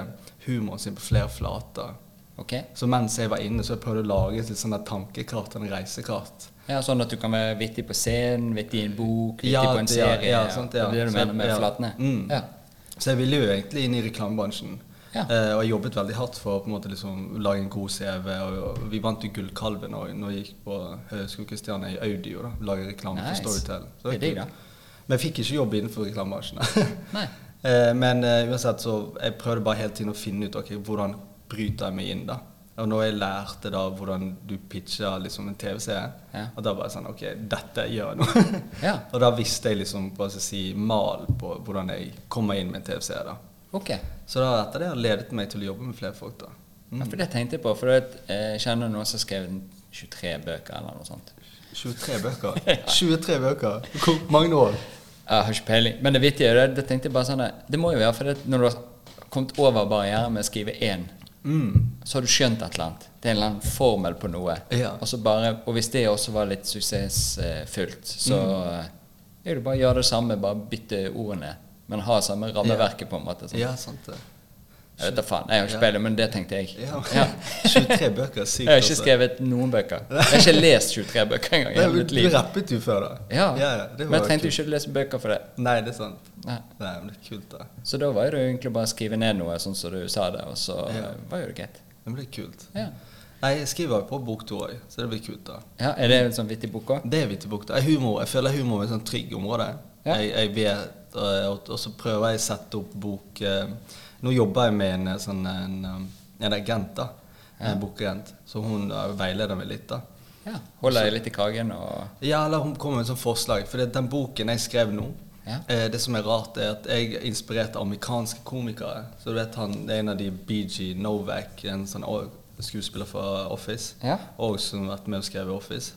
S2: humoren sin på flere flater.
S1: Ok.
S2: Så mens jeg var inne, så prøvde jeg å lage et litt sånn der tankekart, en reisekart.
S1: Ja, sånn at du kan være vittig på scenen, vittig i en bok, vittig
S2: Ja,
S1: på en
S2: det- ja,
S1: serie.
S2: ja, sant, ja.
S1: Det er det du
S2: Så-
S1: mener med
S2: ja.
S1: flatene.
S2: Mm.
S1: Ja.
S2: Så jeg ville jo egentlig inn i reklamebransjen.
S1: Ja.
S2: Eh, og jeg jobbet veldig hardt for å på en måte liksom lage en god CV. Og, og vi vant jo Gullkalven og når jeg gikk på Høgskolen Kristiania i Audio. da, Lage reklame
S1: Nice.
S2: for Storytel. Så
S1: Det er
S2: kult.
S1: digg, da.
S2: Men jeg fikk ikke jobb innenfor reklamebransjen. [LAUGHS]
S1: Nei.
S2: Eh, men eh, uansett så jeg prøvde bare hele tiden å finne ut ok, hvordan bryter jeg meg inn. da. Og når jeg lærte da hvordan du pitcher liksom en TV-serie,
S1: Ja.
S2: og da bare sånn OK, dette gjør jeg nå. [LAUGHS]
S1: Ja.
S2: og da visste jeg liksom hva skal jeg si, mal på hvordan jeg kommer inn med en TV-serie. da.
S1: Ok.
S2: Så da etter det har ledet meg til å jobbe med flere folk, da.
S1: Ja,
S2: Mm.
S1: for det tenkte jeg på. For det, jeg kjenner noen som har skrevet 23 bøker eller noe sånt.
S2: 23
S1: [LAUGHS]
S2: bøker. 23 bøker! Hvor mange år?
S1: Jeg har ikke peiling. Men det vittige er det, det tenkte jeg bare sånn Det må jo være fordi at når du har kommet over barrieren med å skrive én,
S2: Mm.
S1: så har du skjønt et eller annet. Det er en eller annen formel på noe.
S2: Ja.
S1: Og, så bare, og hvis det også var litt suksessfullt, så
S2: Mm.
S1: eh, er det bare å gjøre det samme, bare bytte ordene. Men ha samme rammeverket, på en måte. Sånn.
S2: Ja, sant det.
S1: Jeg vet da faen. Jeg har ikke
S2: Ja.
S1: peiling, men det tenkte jeg.
S2: Ja. [LAUGHS]
S1: Ja.
S2: 23 bøker er sykt.
S1: Jeg har ikke
S2: altså.
S1: skrevet noen bøker. Jeg har ikke lest 23 bøker engang. i
S2: Nei,
S1: hele
S2: men
S1: mitt
S2: Du
S1: liv.
S2: rappet jo før, da.
S1: Ja.
S2: det
S1: men jeg
S2: var
S1: trengte jo
S2: kult.
S1: ikke å lese bøker for det.
S2: Nei, det er sant.
S1: Nei.
S2: Nei, men det er kult, da.
S1: Så da var det jo egentlig bare å skrive ned noe, sånn som du sa det, og så
S2: Ja.
S1: eh, var jo det greit.
S2: Men det er kult.
S1: Ja.
S2: Nei, jeg skriver på bok to òg, så det blir kult, da.
S1: ja, Er det en sånn vittig bok òg?
S2: Det er vittig bok. da. Jeg, humor, jeg føler humor er et sånt trygg område.
S1: Ja.
S2: Jeg, jeg vet, og, og- og så prøver jeg å sette opp bok eh, Nå jobber jeg med en, eh, sånn, en, um, en agent, da. En bokagent. Så hun eh, veileder meg litt, da.
S1: Ja. Holder jeg litt i kragen og
S2: Ja, eller hun kommer med et sånt forslag. For det, den boken jeg skrev nå
S1: Ja.
S2: eh, Det som er rart, er at jeg er inspirert av amerikanske komikere. Så du vet han, det er en av de BG Novak, en sånn å- skuespiller fra Office,
S1: Ja.
S2: og som har vært med og skrevet Office.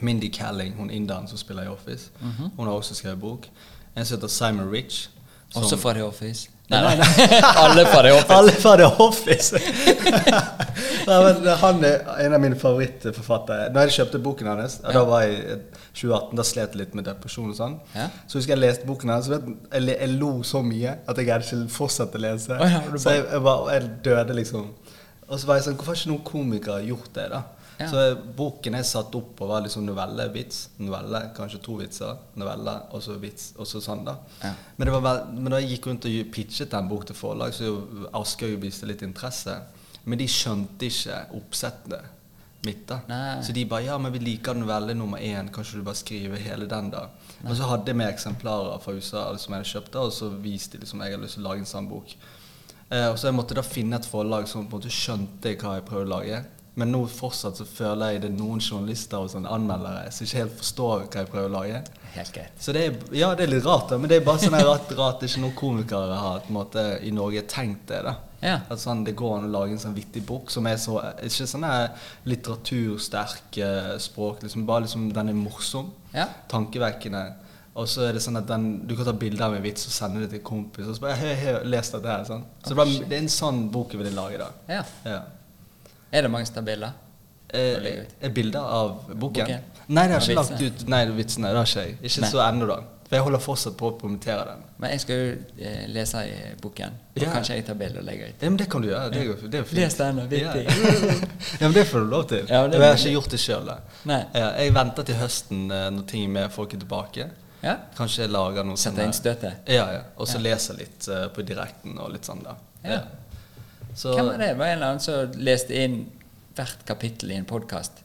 S2: Mindy Calling, hun inderen som spiller i Office.
S1: Mhm.
S2: Hun har også skrevet bok. En som heter Simon Rich. som-
S1: Også fra The Office? Nei, nei. [LAUGHS] Alle fra The Office.
S2: alle fra The Office.
S1: [LAUGHS]
S2: Nei, men han er en av mine favorittforfattere. Når jeg kjøpte boken hans, og da var jeg i 2018, da slet jeg litt med depresjon og sånn.
S1: Ja.
S2: Så husker jeg leste boken hans, vet, du, jeg, le- jeg lo så mye at jeg gadd ikke fortsette å lese.
S1: Å ja, du
S2: så jeg, jeg, bare, jeg døde liksom. Og så var jeg sånn, hvorfor har ikke noen komikere gjort det da?
S1: Ja.
S2: Så boken jeg satt opp på var liksom novellevits, novelle, kanskje to vitser, novelle, og så vits, og så sånn da.
S1: Ja.
S2: Men, det var vel, men da jeg gikk rundt og pitchet den bok til forlag, så jo Aschehoug viste litt interesse. Men de skjønte ikke oppsettet mitt. da.
S1: Nei.
S2: Så de bare 'ja, men vi liker novelle nummer én, kanskje du bare skriver hele den', da. Og så hadde jeg med eksemplarer fra USA alle som jeg hadde kjøpt, da, og så viste de liksom jeg hadde lyst til å lage en sånn bok. Eh, og så jeg måtte da finne et forlag som på en måte skjønte hva jeg prøvde å lage. Men nå fortsatt så føler jeg det er noen journalister og sånn anmeldere som ikke helt forstår hva jeg prøver å lage.
S1: Helt greit.
S2: Så det er, ja, det er litt rart, da, men det er bare sånn her rart, rart ikke noen komikere har på en måte, i Norge tenkt det. da.
S1: Ja.
S2: At sånn, Det går an å lage en sånn vittig bok som er så Ikke sånn her litteratursterk eh, språk, liksom, bare liksom den er morsom.
S1: Ja.
S2: Tankevekkende. Og så er det sånn at den, du kan ta bilder med vits og sende det til en kompis. Og så bare, hei, hei, les dette her, sånn. Så det, bare, det er en sånn bok jeg ville lage, da.
S1: Ja.
S2: Ja.
S1: Er det mange som tar bilder?
S2: Eh,
S1: legger ut.
S2: eh, bilder av boken?
S1: Boken.
S2: Nei, det har
S1: Av
S2: jeg ikke lagt
S1: vitsene.
S2: ut Nei, vitsene. Det har ikke jeg. Ikke
S1: Nei.
S2: så ennå, da. For For jeg holder fortsatt på å promotere den.
S1: Men jeg skal jo eh, lese i boken. Og
S2: Ja.
S1: Kanskje jeg tar bilde og legger ut.
S2: Ja, men det kan du gjøre. Det er jo det er jo fint.
S1: Les den, og
S2: Ja.
S1: viktig.
S2: [LAUGHS] ja, men det får du lov til.
S1: Ja, men det-
S2: jeg har ikke gjort det sjøl.
S1: Nei.
S2: Jeg venter til høsten eh, når ting med folk er tilbake.
S1: Ja.
S2: Kanskje jeg lager noe
S1: Setter inn
S2: sånn
S1: støtet.
S2: Ja, ja. Og så leser litt eh, på direkten og litt sånn der.
S1: Ja.
S2: Så
S1: Hvem var det? Var en eller annen som leste inn hvert kapittel i en podkast?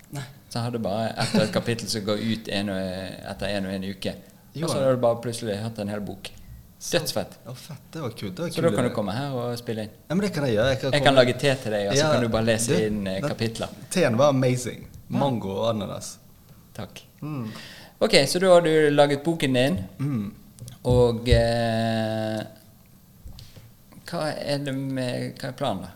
S1: Så hadde bare etter et kapittel som går ut en og, etter en og en uke. Og
S2: Jo, ja.
S1: så hadde du bare plutselig hørt en hel bok. Dødsfett.
S2: Å, fett. Det var kult. Det var
S1: Så da
S2: kul
S1: kan du
S2: idé.
S1: komme her og spille inn.
S2: Ja, men det kan jeg gjøre. Jeg kan,
S1: Jeg
S2: komme-
S1: kan lage te til deg, og så
S2: Ja,
S1: kan du bare lese
S2: det-
S1: inn eh,
S2: den-
S1: kapitler.
S2: Teen var amazing. Mango og ananas. Mm.
S1: Takk. Ok, så da har du laget boken din, og eh, hva, er det med, hva er planen, da?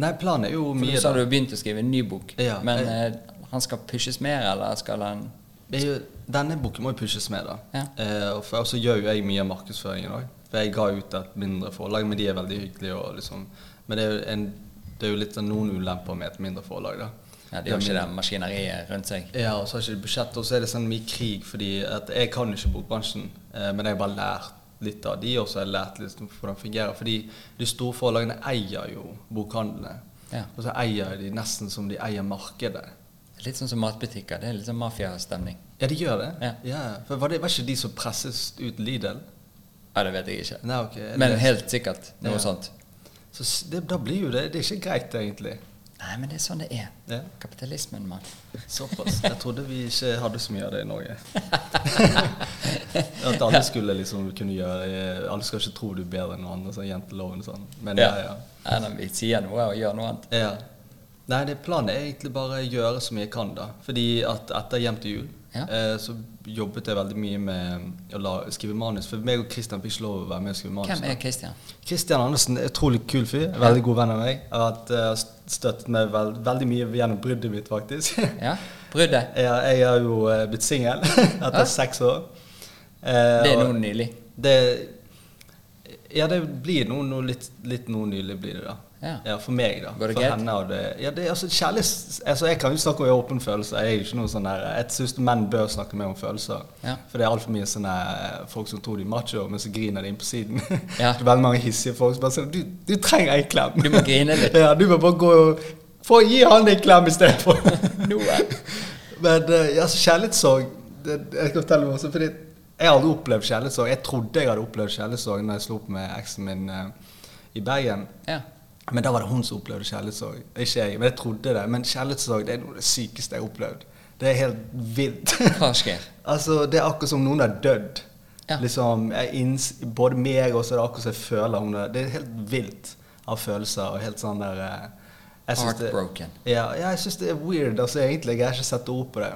S2: Nei, planen er jo
S1: For
S2: mye
S1: Du sa du begynte å skrive en ny bok,
S2: Ja,
S1: men
S2: jeg-
S1: eh, han skal pushes mer, eller skal han
S2: Det er jo, denne boken må jo pushes med, da.
S1: Ja.
S2: Eh, og for, og så gjør jo jeg mye av markedsføringen òg. For jeg ga ut et mindre forlag, men de er veldig hyggelige. Og liksom, men det er, jo en, det er jo litt sånn noen ulemper med et mindre forlag, da.
S1: Ja, de har ikke det maskineriet rundt seg.
S2: Ja, og så har ikke de budsjett, og så er det sånn mye krig, fordi at jeg kan ikke bokbransjen, eh, men jeg har bare lært litt av de, og så har jeg lært litt om hvordan det fungerer. Fordi de store forlagene eier jo bokhandlene,
S1: Ja.
S2: og så eier de nesten som de eier markedet.
S1: Litt sånn som matbutikker. Det er litt sånn mafiastemning.
S2: Ja, de gjør det.
S1: Ja.
S2: for var, det, var ikke de som presses ut Lidl?
S1: Ja, det vet jeg ikke.
S2: Nei, ok. er det
S1: Men
S2: det?
S1: helt sikkert noe
S2: Ja.
S1: sånt.
S2: Så s- det, da blir jo det Det er ikke greit, egentlig.
S1: Nei, men det er sånn det er.
S2: Ja.
S1: Kapitalismen, mann.
S2: Såpass. Jeg trodde vi ikke hadde så mye av det i
S1: [LAUGHS]
S2: Norge. At alle skulle liksom kunne gjøre Alle skal ikke tro du er bedre enn noen andre, sånn jenteloven og sånn. Men ja, ja.
S1: Eller vi sier noe og gjør noe annet.
S2: ja. Nei, det planen er egentlig bare å gjøre så mye jeg kan, da. Fordi at etter Hjem til jul
S1: Ja.
S2: eh, så jobbet jeg veldig mye med å la, skrive manus. For meg og Christian fikk ikke lov å være med og skrive manus.
S1: Hvem er Christian?
S2: Kristian Andersen er en utrolig kul fyr. Veldig god venn av meg. Jeg har hatt, eh, støttet meg vel- veldig mye gjennom bruddet mitt, faktisk.
S1: Ja, Bruddet?
S2: Jeg, jeg har jo eh, blitt singel [LAUGHS] etter
S1: Hæ?
S2: seks år. Eh,
S1: Det er
S2: og
S1: noe nylig.
S2: det- Ja, det blir noe, noe litt, litt noe nylig, blir det da.
S1: Ja.
S2: For meg, da.
S1: Går det
S2: for
S1: greit?
S2: henne og det Ja, det er altså kjærlighets... Altså, jeg kan jo snakke om jeg har åpne følelser. Jeg er jo ikke noe sånn der Jeg syns menn bør snakke mer om følelser.
S1: Ja.
S2: For det er altfor mye sånne eh, folk som tror de er macho, men så griner de inn på siden.
S1: Ja.
S2: [LAUGHS] Det er veldig mange hissige folk som bare sier du, du trenger en klem.
S1: Du må grine
S2: [LAUGHS]
S1: litt.
S2: Ja, du må bare gå og få gi han en klem istedenfor.
S1: Noe.
S2: Men eh, altså, kjærlighetssorg det, Jeg skal fortelle meg også, fordi jeg har aldri opplevd kjærlighetssorg. Jeg trodde jeg hadde opplevd kjærlighetssorg når jeg slo opp med eksen min eh, i Bergen.
S1: Ja.
S2: Men da var det hun som opplevde kjærlighetssorg, ikke jeg. Men jeg trodde det. Men kjærlighetssorg det er noe av det sykeste jeg har opplevd. Det er helt vilt. [LAUGHS]
S1: Hva skjer?
S2: altså, det er akkurat som noen har dødd.
S1: Ja.
S2: Liksom, jeg inns, både meg og så er det akkurat som jeg føler hun er Det er helt vilt av følelser og helt sånn der eh, jeg syns det-
S1: Heartbroken.
S2: ja, ja, jeg syns det er weird. Altså, egentlig, Jeg har ikke sett ord på det.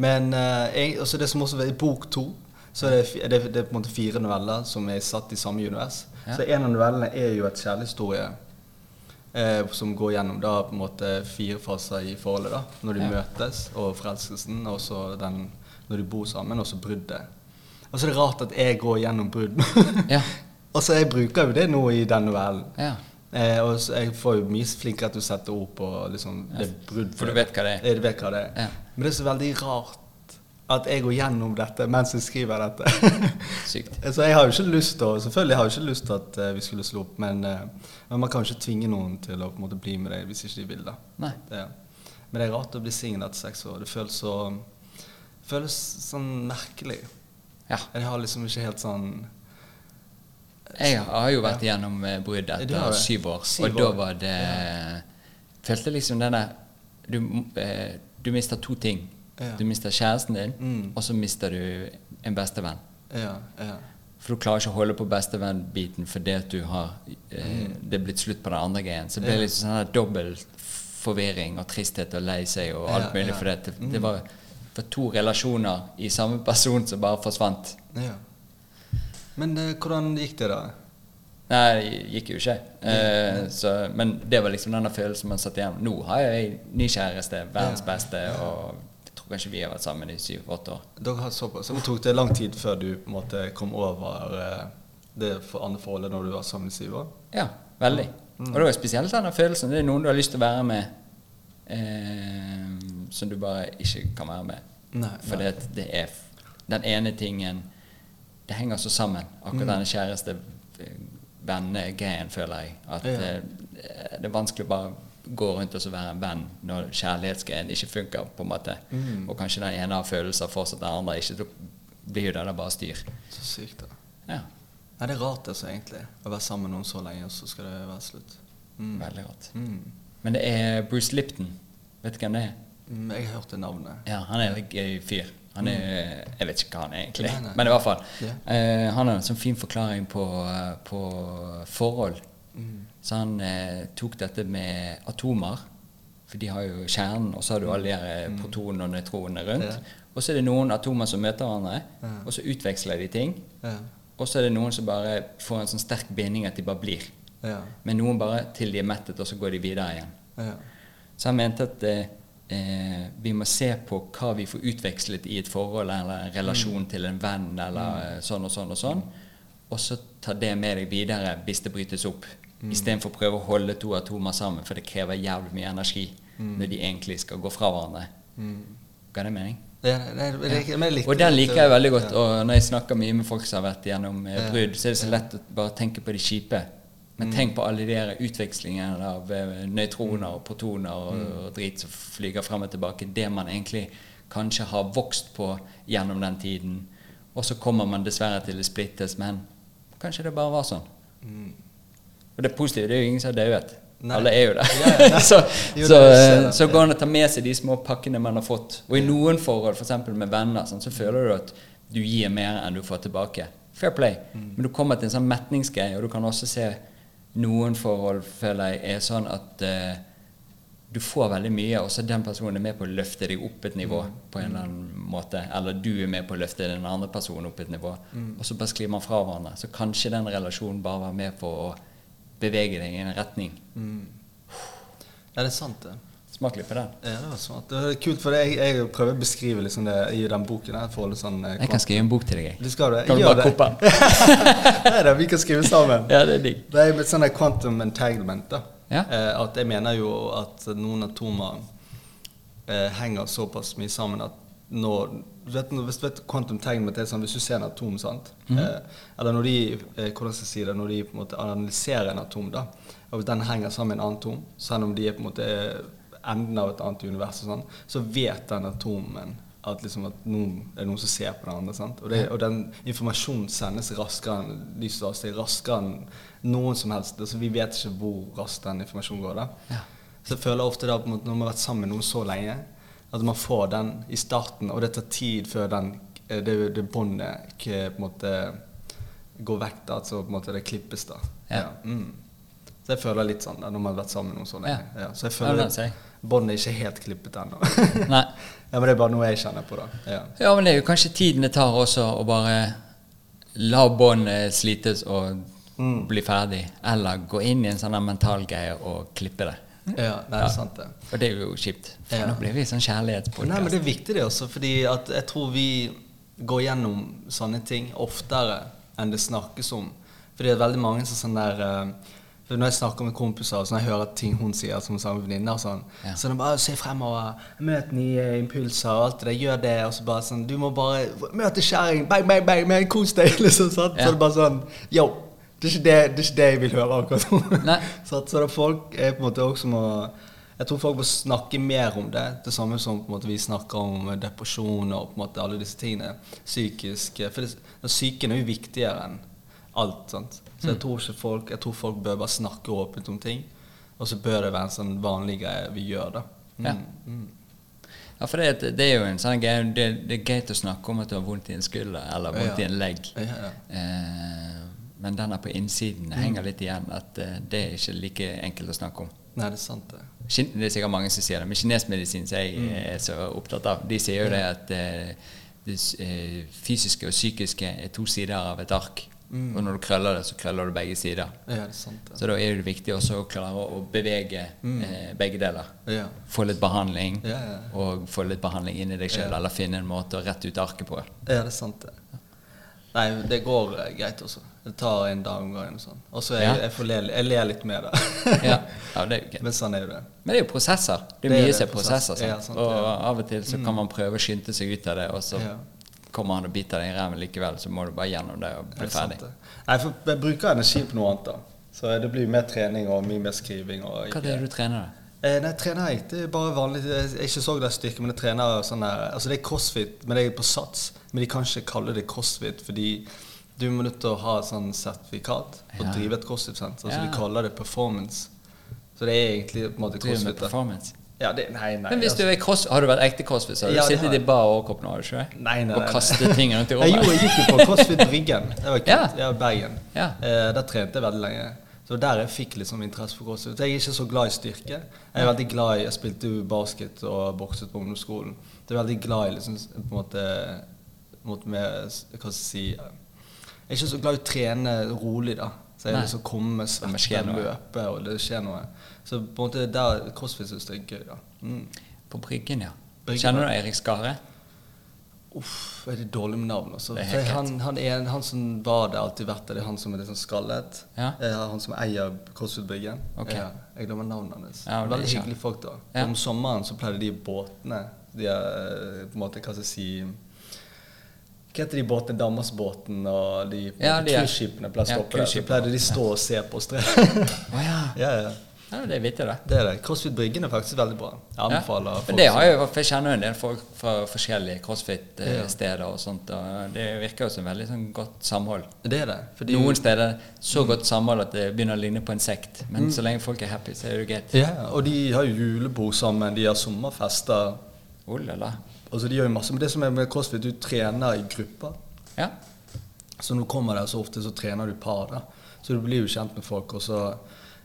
S2: Men eh, jeg, også det som også er i bok to, så er det, fi- det, det er på en måte fire noveller som er satt i samme univers.
S1: Ja.
S2: Så en av novellene er jo et kjærlighetshistorie eh, som går gjennom da på en måte fire faser i forholdet. da Når de
S1: Ja.
S2: møtes, og forelskelsen, og så den når de bor sammen, og så bruddet. Og så er det rart at jeg går gjennom brudd.
S1: Ja.
S2: [LAUGHS] og så jeg bruker jo det nå i den novellen.
S1: Ja.
S2: Eh, og så jeg får jo mye flinkere til å sette ord på liksom, det brudd.
S1: For du vet hva det er.
S2: Ja, du vet hva det er.
S1: Ja.
S2: Men det er så veldig rart at jeg går gjennom dette mens jeg skriver dette.
S1: [LAUGHS] Sykt.
S2: [LAUGHS] så jeg har jo ikke lyst til å- Selvfølgelig har jeg ikke lyst til at eh, vi skulle slå opp, men, eh, men man kan jo ikke tvinge noen til å på en måte bli med deg hvis ikke de vil. da.
S1: Nei.
S2: Det, men det er rart å bli singel etter seks år. Det føles så føles sånn merkelig.
S1: Ja.
S2: Jeg har liksom ikke helt sånn
S1: Jeg har jo vært gjennom brudd
S2: Du har
S1: etter
S2: det.
S1: syv år,
S2: Syv
S1: og da
S2: år.
S1: var det Følte liksom den der du, m- eh, du mister to ting.
S2: Ja.
S1: Du mister kjæresten din,
S2: Mm.
S1: og så mister du en bestevenn.
S2: Ja, ja.
S1: For du klarer ikke å holde på bestevennbiten fordi at du har eh, Det er blitt slutt på den andre greien. Så det blir
S2: Mm. Ja.
S1: liksom sånn her dobbel forvirring og tristhet og lei seg og alt
S2: Ja,
S1: mulig.
S2: ja. Mm.
S1: For det, det var, var to relasjoner i samme person som bare forsvant.
S2: ja. Men eh, hvordan gikk det, da?
S1: Nei, det gikk jo ikke. Eh, så, men det var liksom denne følelsen man satt igjen Nå har jeg ny kjæreste, verdens
S2: Ja.
S1: beste, og jeg tror kanskje vi har vært sammen i syv-åtte år.
S2: Dere har såpass. Så det tok det lang tid før du på en måte kom over eh, det for andre forholdet når du var sammen i syv år?
S1: Ja, veldig.
S2: Mm.
S1: Og det var spesielt denne følelsen. Det er noen du har lyst til å være med, eh, som du bare ikke kan være med.
S2: Nei,
S1: For det, det er f- den ene tingen det henger så sammen. Akkurat
S2: Mm.
S1: denne kjæreste-venne-greien, føler jeg. At
S2: Ja.
S1: eh, det er vanskelig å bare gå rundt og så være en venn når kjærlighetsgreien ikke funker. på en måte.
S2: Mm.
S1: Og kanskje den ene har følelser fortsatt, den andre ikke. Da blir jo det der bare styr.
S2: Så sykt, da.
S1: Ja,
S2: Nei, det er rart, altså, egentlig. Å være sammen med noen så lenge, og så skal det være slutt. Mm.
S1: Veldig rart.
S2: Mm.
S1: Men det er Bruce Lipton. Vet du hvem det er?
S2: Mm, Jeg har hørt det navnet.
S1: Ja, han er en gøy fyr. Han er, Jeg vet ikke hva han er egentlig,
S2: Mm. Nei, nei.
S1: men i hvert fall.
S2: Ja.
S1: Eh, han har en sånn fin forklaring på, eh, på forhold.
S2: Mm.
S1: Så han eh, tok dette med atomer, for de har jo kjernen, og så har du alle de her, eh, protonene og nøytronene rundt.
S2: Mm. Ja.
S1: Og så er det noen atomer som møter hverandre,
S2: Ja.
S1: og så utveksler de ting.
S2: Ja.
S1: Og så er det noen som bare får en sånn sterk binding at de bare blir.
S2: Ja.
S1: Men noen bare til de er mettet, og så går de videre igjen.
S2: ja.
S1: Så han mente at eh, eh, vi må se på hva vi får utvekslet i et forhold eller en relasjon til en venn eller eh, sånn og sånn og sånn, og så ta det med deg videre hvis det brytes opp. Istedenfor å prøve å holde to atomer sammen, for det krever jævlig mye energi når de egentlig skal gå fra hverandre.
S2: Mm.
S1: Ga det mening?
S2: Ja, nei, det- det- men jeg likte
S1: Og den
S2: det.
S1: liker jeg veldig godt. Og når jeg snakker mye med folk som har vært gjennom eh,
S2: Ja. Mm.
S1: brudd, så er det så lett å bare tenke på de kjipe. Men tenk på alle de der utvekslingene av eh, nøytroner og
S2: Mm.
S1: protoner og, og drit som flyger frem og tilbake. Det man egentlig kanskje har vokst på gjennom den tiden. Og så kommer man dessverre til det splittes, men kanskje det bare var sånn.
S2: Mm.
S1: Og det positive det er jo ingen som har dauet.
S2: Nei.
S1: Alle er jo det.
S2: Ja, ja, nei.
S1: [LAUGHS] så,
S2: Jo,
S1: så, eh,
S2: det ser jeg.
S1: så går an å ta med seg de små pakkene man har fått. Og i noen forhold, f.eks. med venner, sånn, så føler du at du gir mer enn du får tilbake. Fair play.
S2: Mm.
S1: Men du kommer til en sånn metningsgreie, og du kan også se noen forhold, føler jeg, er sånn at eh, du får veldig mye, og så er den personen med på å løfte deg opp et nivå
S2: Mm.
S1: på en eller annen måte. Eller du er med på å løfte den andre personen opp et nivå.
S2: Mm.
S1: Og så bare sklir man fra hverandre. Så kanskje den relasjonen bare var med på å bevege deg i en retning.
S2: Mm. Ja, det er sant, det.
S1: Smak litt på den.
S2: Ja, det var smart. Det var kult, for jeg, jeg prøver å beskrive liksom det i den boken. her, for å holde sånn... eh,
S1: Jeg kan skrive en bok til deg,
S2: Du
S1: jeg.
S2: skal det?
S1: Kan du
S2: Gjør
S1: bare
S2: det.
S1: koppe
S2: [LAUGHS]
S1: den?
S2: Nei da, vi kan skrive sammen.
S1: Ja, det er digg.
S2: Det er med sånn der quantum entanglement. da.
S1: Ja.
S2: Eh, at jeg mener jo at noen atomer eh, henger såpass mye sammen at når du vet, når- hvis du vet quantum entanglement er sånn, Hvis du ser en atom, sant?
S1: Mhm.
S2: eh, eller når de eh, hvordan skal jeg si det, når de på en måte analyserer en atom, da, og hvis den henger sammen med en annen atom, selv om de er på en måte eh, enden av et annet univers, og sånn, så vet den atomen at, liksom at noen, det er noen som ser på den andre. Sant? Og, det, og den informasjonen sendes raskere enn lys og avstand, raskere enn noen som helst. Altså, vi vet ikke hvor raskt den informasjonen går. Da.
S1: Ja.
S2: Så jeg føler ofte da, på en måte, når man har vært sammen med noen så lenge, at man får den i starten, og det tar tid før den, eh, det, det båndet k- på en måte går vekk. Da, altså på en måte det klippes. da.
S1: Ja.
S2: Mm. Så jeg føler litt sånn da, når man har vært sammen med noen så lenge.
S1: Ja.
S2: Ja. Så jeg
S1: Ja,
S2: føler
S1: den ser jeg.
S2: båndet er ikke helt klippet ennå.
S1: Nei.
S2: ja, men det er bare noe jeg kjenner på, da. Ja.
S1: Ja, men det er jo kanskje tiden det tar også å bare la båndet slites og
S2: Mm.
S1: bli ferdig. Eller gå inn i en sånn her mental greie og klippe det.
S2: Ja, nei, det er sant det.
S1: Og det er jo kjipt. For
S2: Ja.
S1: Nå blir vi sånn
S2: Nei, men
S1: kjærlighetspodkast.
S2: det er viktig det også, fordi at jeg tror vi går gjennom sånne ting oftere enn det snakkes om. Fordi det er veldig mange som sånn der eh, for Når jeg snakker med kompiser og sånn, jeg hører ting hun sier som sammen med venninner og sånn,
S1: Ja.
S2: så de bare 'Se fremover. Møt nye impulser og alt det der. Gjør det.' Og så bare sånn 'Du må bare møte kjerring. Bang, bang, bang. Men kos deg.' [LAUGHS] Liksom, sant?
S1: Ja.
S2: Så det er bare sånn Yo. Det er, ikke det, det er ikke det jeg vil høre akkurat nå. [LAUGHS]
S1: Nei.
S2: Så, at, så da folk er på en måte også må Jeg tror folk må snakke mer om det. Det samme som på en måte vi snakker om depresjon og på en måte alle disse tingene. Psykisk eh, For det, den psyken er jo viktigere enn alt. sant? Så
S1: Mm.
S2: jeg tror ikke folk Jeg tror folk bør bare snakke åpent om ting. Og så bør det være en sånn vanlig greie vi gjør, da. Mm.
S1: Ja. Ja, for det, det er jo en sånn greie det, det er greit å snakke om at du har vondt i en skulder eller vondt
S2: Ja.
S1: i en legg.
S2: Ja, ja. Mm.
S1: Eh, men den er på innsiden. Det henger litt igjen at eh, det er ikke like enkelt å snakke om.
S2: Nei, det er sant, det.
S1: Kin- Det er sikkert mange som sier det, men kinesmedisin som
S2: Mm.
S1: jeg eh, er så opptatt av, de sier jo det at eh, det s- eh, fysiske og psykiske er to sider av et ark.
S2: Mm.
S1: Og når du krøller det, så krøller du begge sider.
S2: Ja, det er sant, det.
S1: Så da er det viktig også å klare å bevege eh, begge deler.
S2: Ja.
S1: Få litt behandling,
S2: Mm. Ja, ja.
S1: og få litt behandling inn i deg sjøl,
S2: Ja.
S1: eller finne en måte å rette ut
S2: [LAUGHS]
S1: arket på.
S2: Ja, det er sant det. Nei, det går eh, greit også. Det tar en dag om gangen og sånn. Og så er
S1: Ja.
S2: jeg, jeg, får le, jeg ler litt med det.
S1: [LAUGHS] Ja, ja det er jo gøy.
S2: [LAUGHS] Men sånn er jo det.
S1: Men det er jo prosesser. Det
S2: Det
S1: er
S2: er
S1: mye
S2: det,
S1: som er prosesser.
S2: prosess. Ja,
S1: sant?
S2: sant,
S1: og
S2: ja.
S1: av og til så kan man prøve å skynde seg ut av det, og så
S2: Ja.
S1: kommer han og biter deg i ræven likevel, så må du bare gjennom det og bli
S2: Er det sant,
S1: ferdig.
S2: det? Nei, for jeg bruker energi på noe annet, da. Så det blir mer trening og mye mer skriving. Og
S1: Hva er det du trener, da?
S2: Eh, nei, trener jeg. Det er bare vanlig Jeg er ikke så glad i styrke, men jeg trener sånn der Altså, det er crossfit, men det er på sats. Men de kan ikke kalle det crossfit fordi du må nødt til å ha et sånn sertifikat og
S1: Ja.
S2: drive et crossfit-senter. Så
S1: Ja.
S2: de kaller det performance. Så det er egentlig på en måte
S1: Driver med
S2: crossfit. da.
S1: performance?
S2: Ja, det, nei, nei,
S1: Men hvis du
S2: altså.
S1: er cross, Har du vært ekte crossfit? så Har du
S2: Ja, det har
S1: sittet i
S2: jeg.
S1: bar overkropp nå? har du ikke? det?
S2: Nei, nei, nei,
S1: Og
S2: nei.
S1: kastet ting rundt i
S2: Jeg, gjorde,
S1: rommet?
S2: jeg gikk jo på CrossFit Bryggen. Det var kult.
S1: Ja.
S2: Ja. Bergen.
S1: Ja.
S2: Eh, der trente jeg veldig lenge. Så der jeg fikk litt sånn interesse for CrossFit. Jeg er ikke så glad i styrke. Jeg er veldig glad i Jeg spilte jo basket og bokset på ungdomsskolen. Så jeg er veldig glad i liksom på en måte mot med, Hva skal jeg si Jeg er ikke så glad i å trene rolig, da. Så jeg
S1: Nei.
S2: vil liksom komme,
S1: Det må skje
S2: svette,
S1: noe.
S2: løpe, og det skjer noe. Så på en måte der CrossFit synes jeg er gøy, da. Mm.
S1: På Bryggen, ja.
S2: Bryggen,
S1: Kjenner du Eirik Skare?
S2: Uff, er det dårlig med navn, altså.
S1: Det er
S2: For
S1: helt
S2: han, han, er, en- han som var der, alltid vært der, det er han som er litt sånn skallet.
S1: Ja.
S2: Eh, Han som eier Korsfjordbryggen.
S1: Ok.
S2: Ja, jeg glemmer navnet hans.
S1: Ja, det er
S2: Veldig
S1: ikke han.
S2: hyggelige folk, da.
S1: Ja.
S2: Om sommeren så pleide de båtene De er eh, på en måte, hva skal jeg si Hva heter de båtene? Danmarksbåten og de på en
S1: Ja,
S2: måte
S1: de er-
S2: cruiseskipene pleide å
S1: Ja,
S2: stoppe der. Så
S1: cruiseskipene.
S2: pleide de stå og se på oss tre.
S1: [LAUGHS] Å ja.
S2: ja, ja.
S1: ja. Det er vittig, det.
S2: Det er det. Korsfjordbryggen er faktisk veldig bra. Jeg
S1: Ja.
S2: anbefaler
S1: Men det har jeg, jo- for jeg kjenner jo en del folk fra forskjellige
S2: Ja.
S1: crossfit-steder og sånt, og det virker jo som veldig sånn godt samhold.
S2: Det er det. Fordi
S1: Noen steder så godt samhold at det begynner å ligne på en sekt, men så lenge folk er happy, så er det jo greit.
S2: Mm. Ja, og de har jo julebord sammen, de har sommerfester.
S1: Oh la la.
S2: Altså de gjør jo masse, men det som er med crossfit, du trener i grupper.
S1: Ja.
S2: Så når du kommer der så ofte, så trener du par. da. Så du blir jo kjent med folk, og så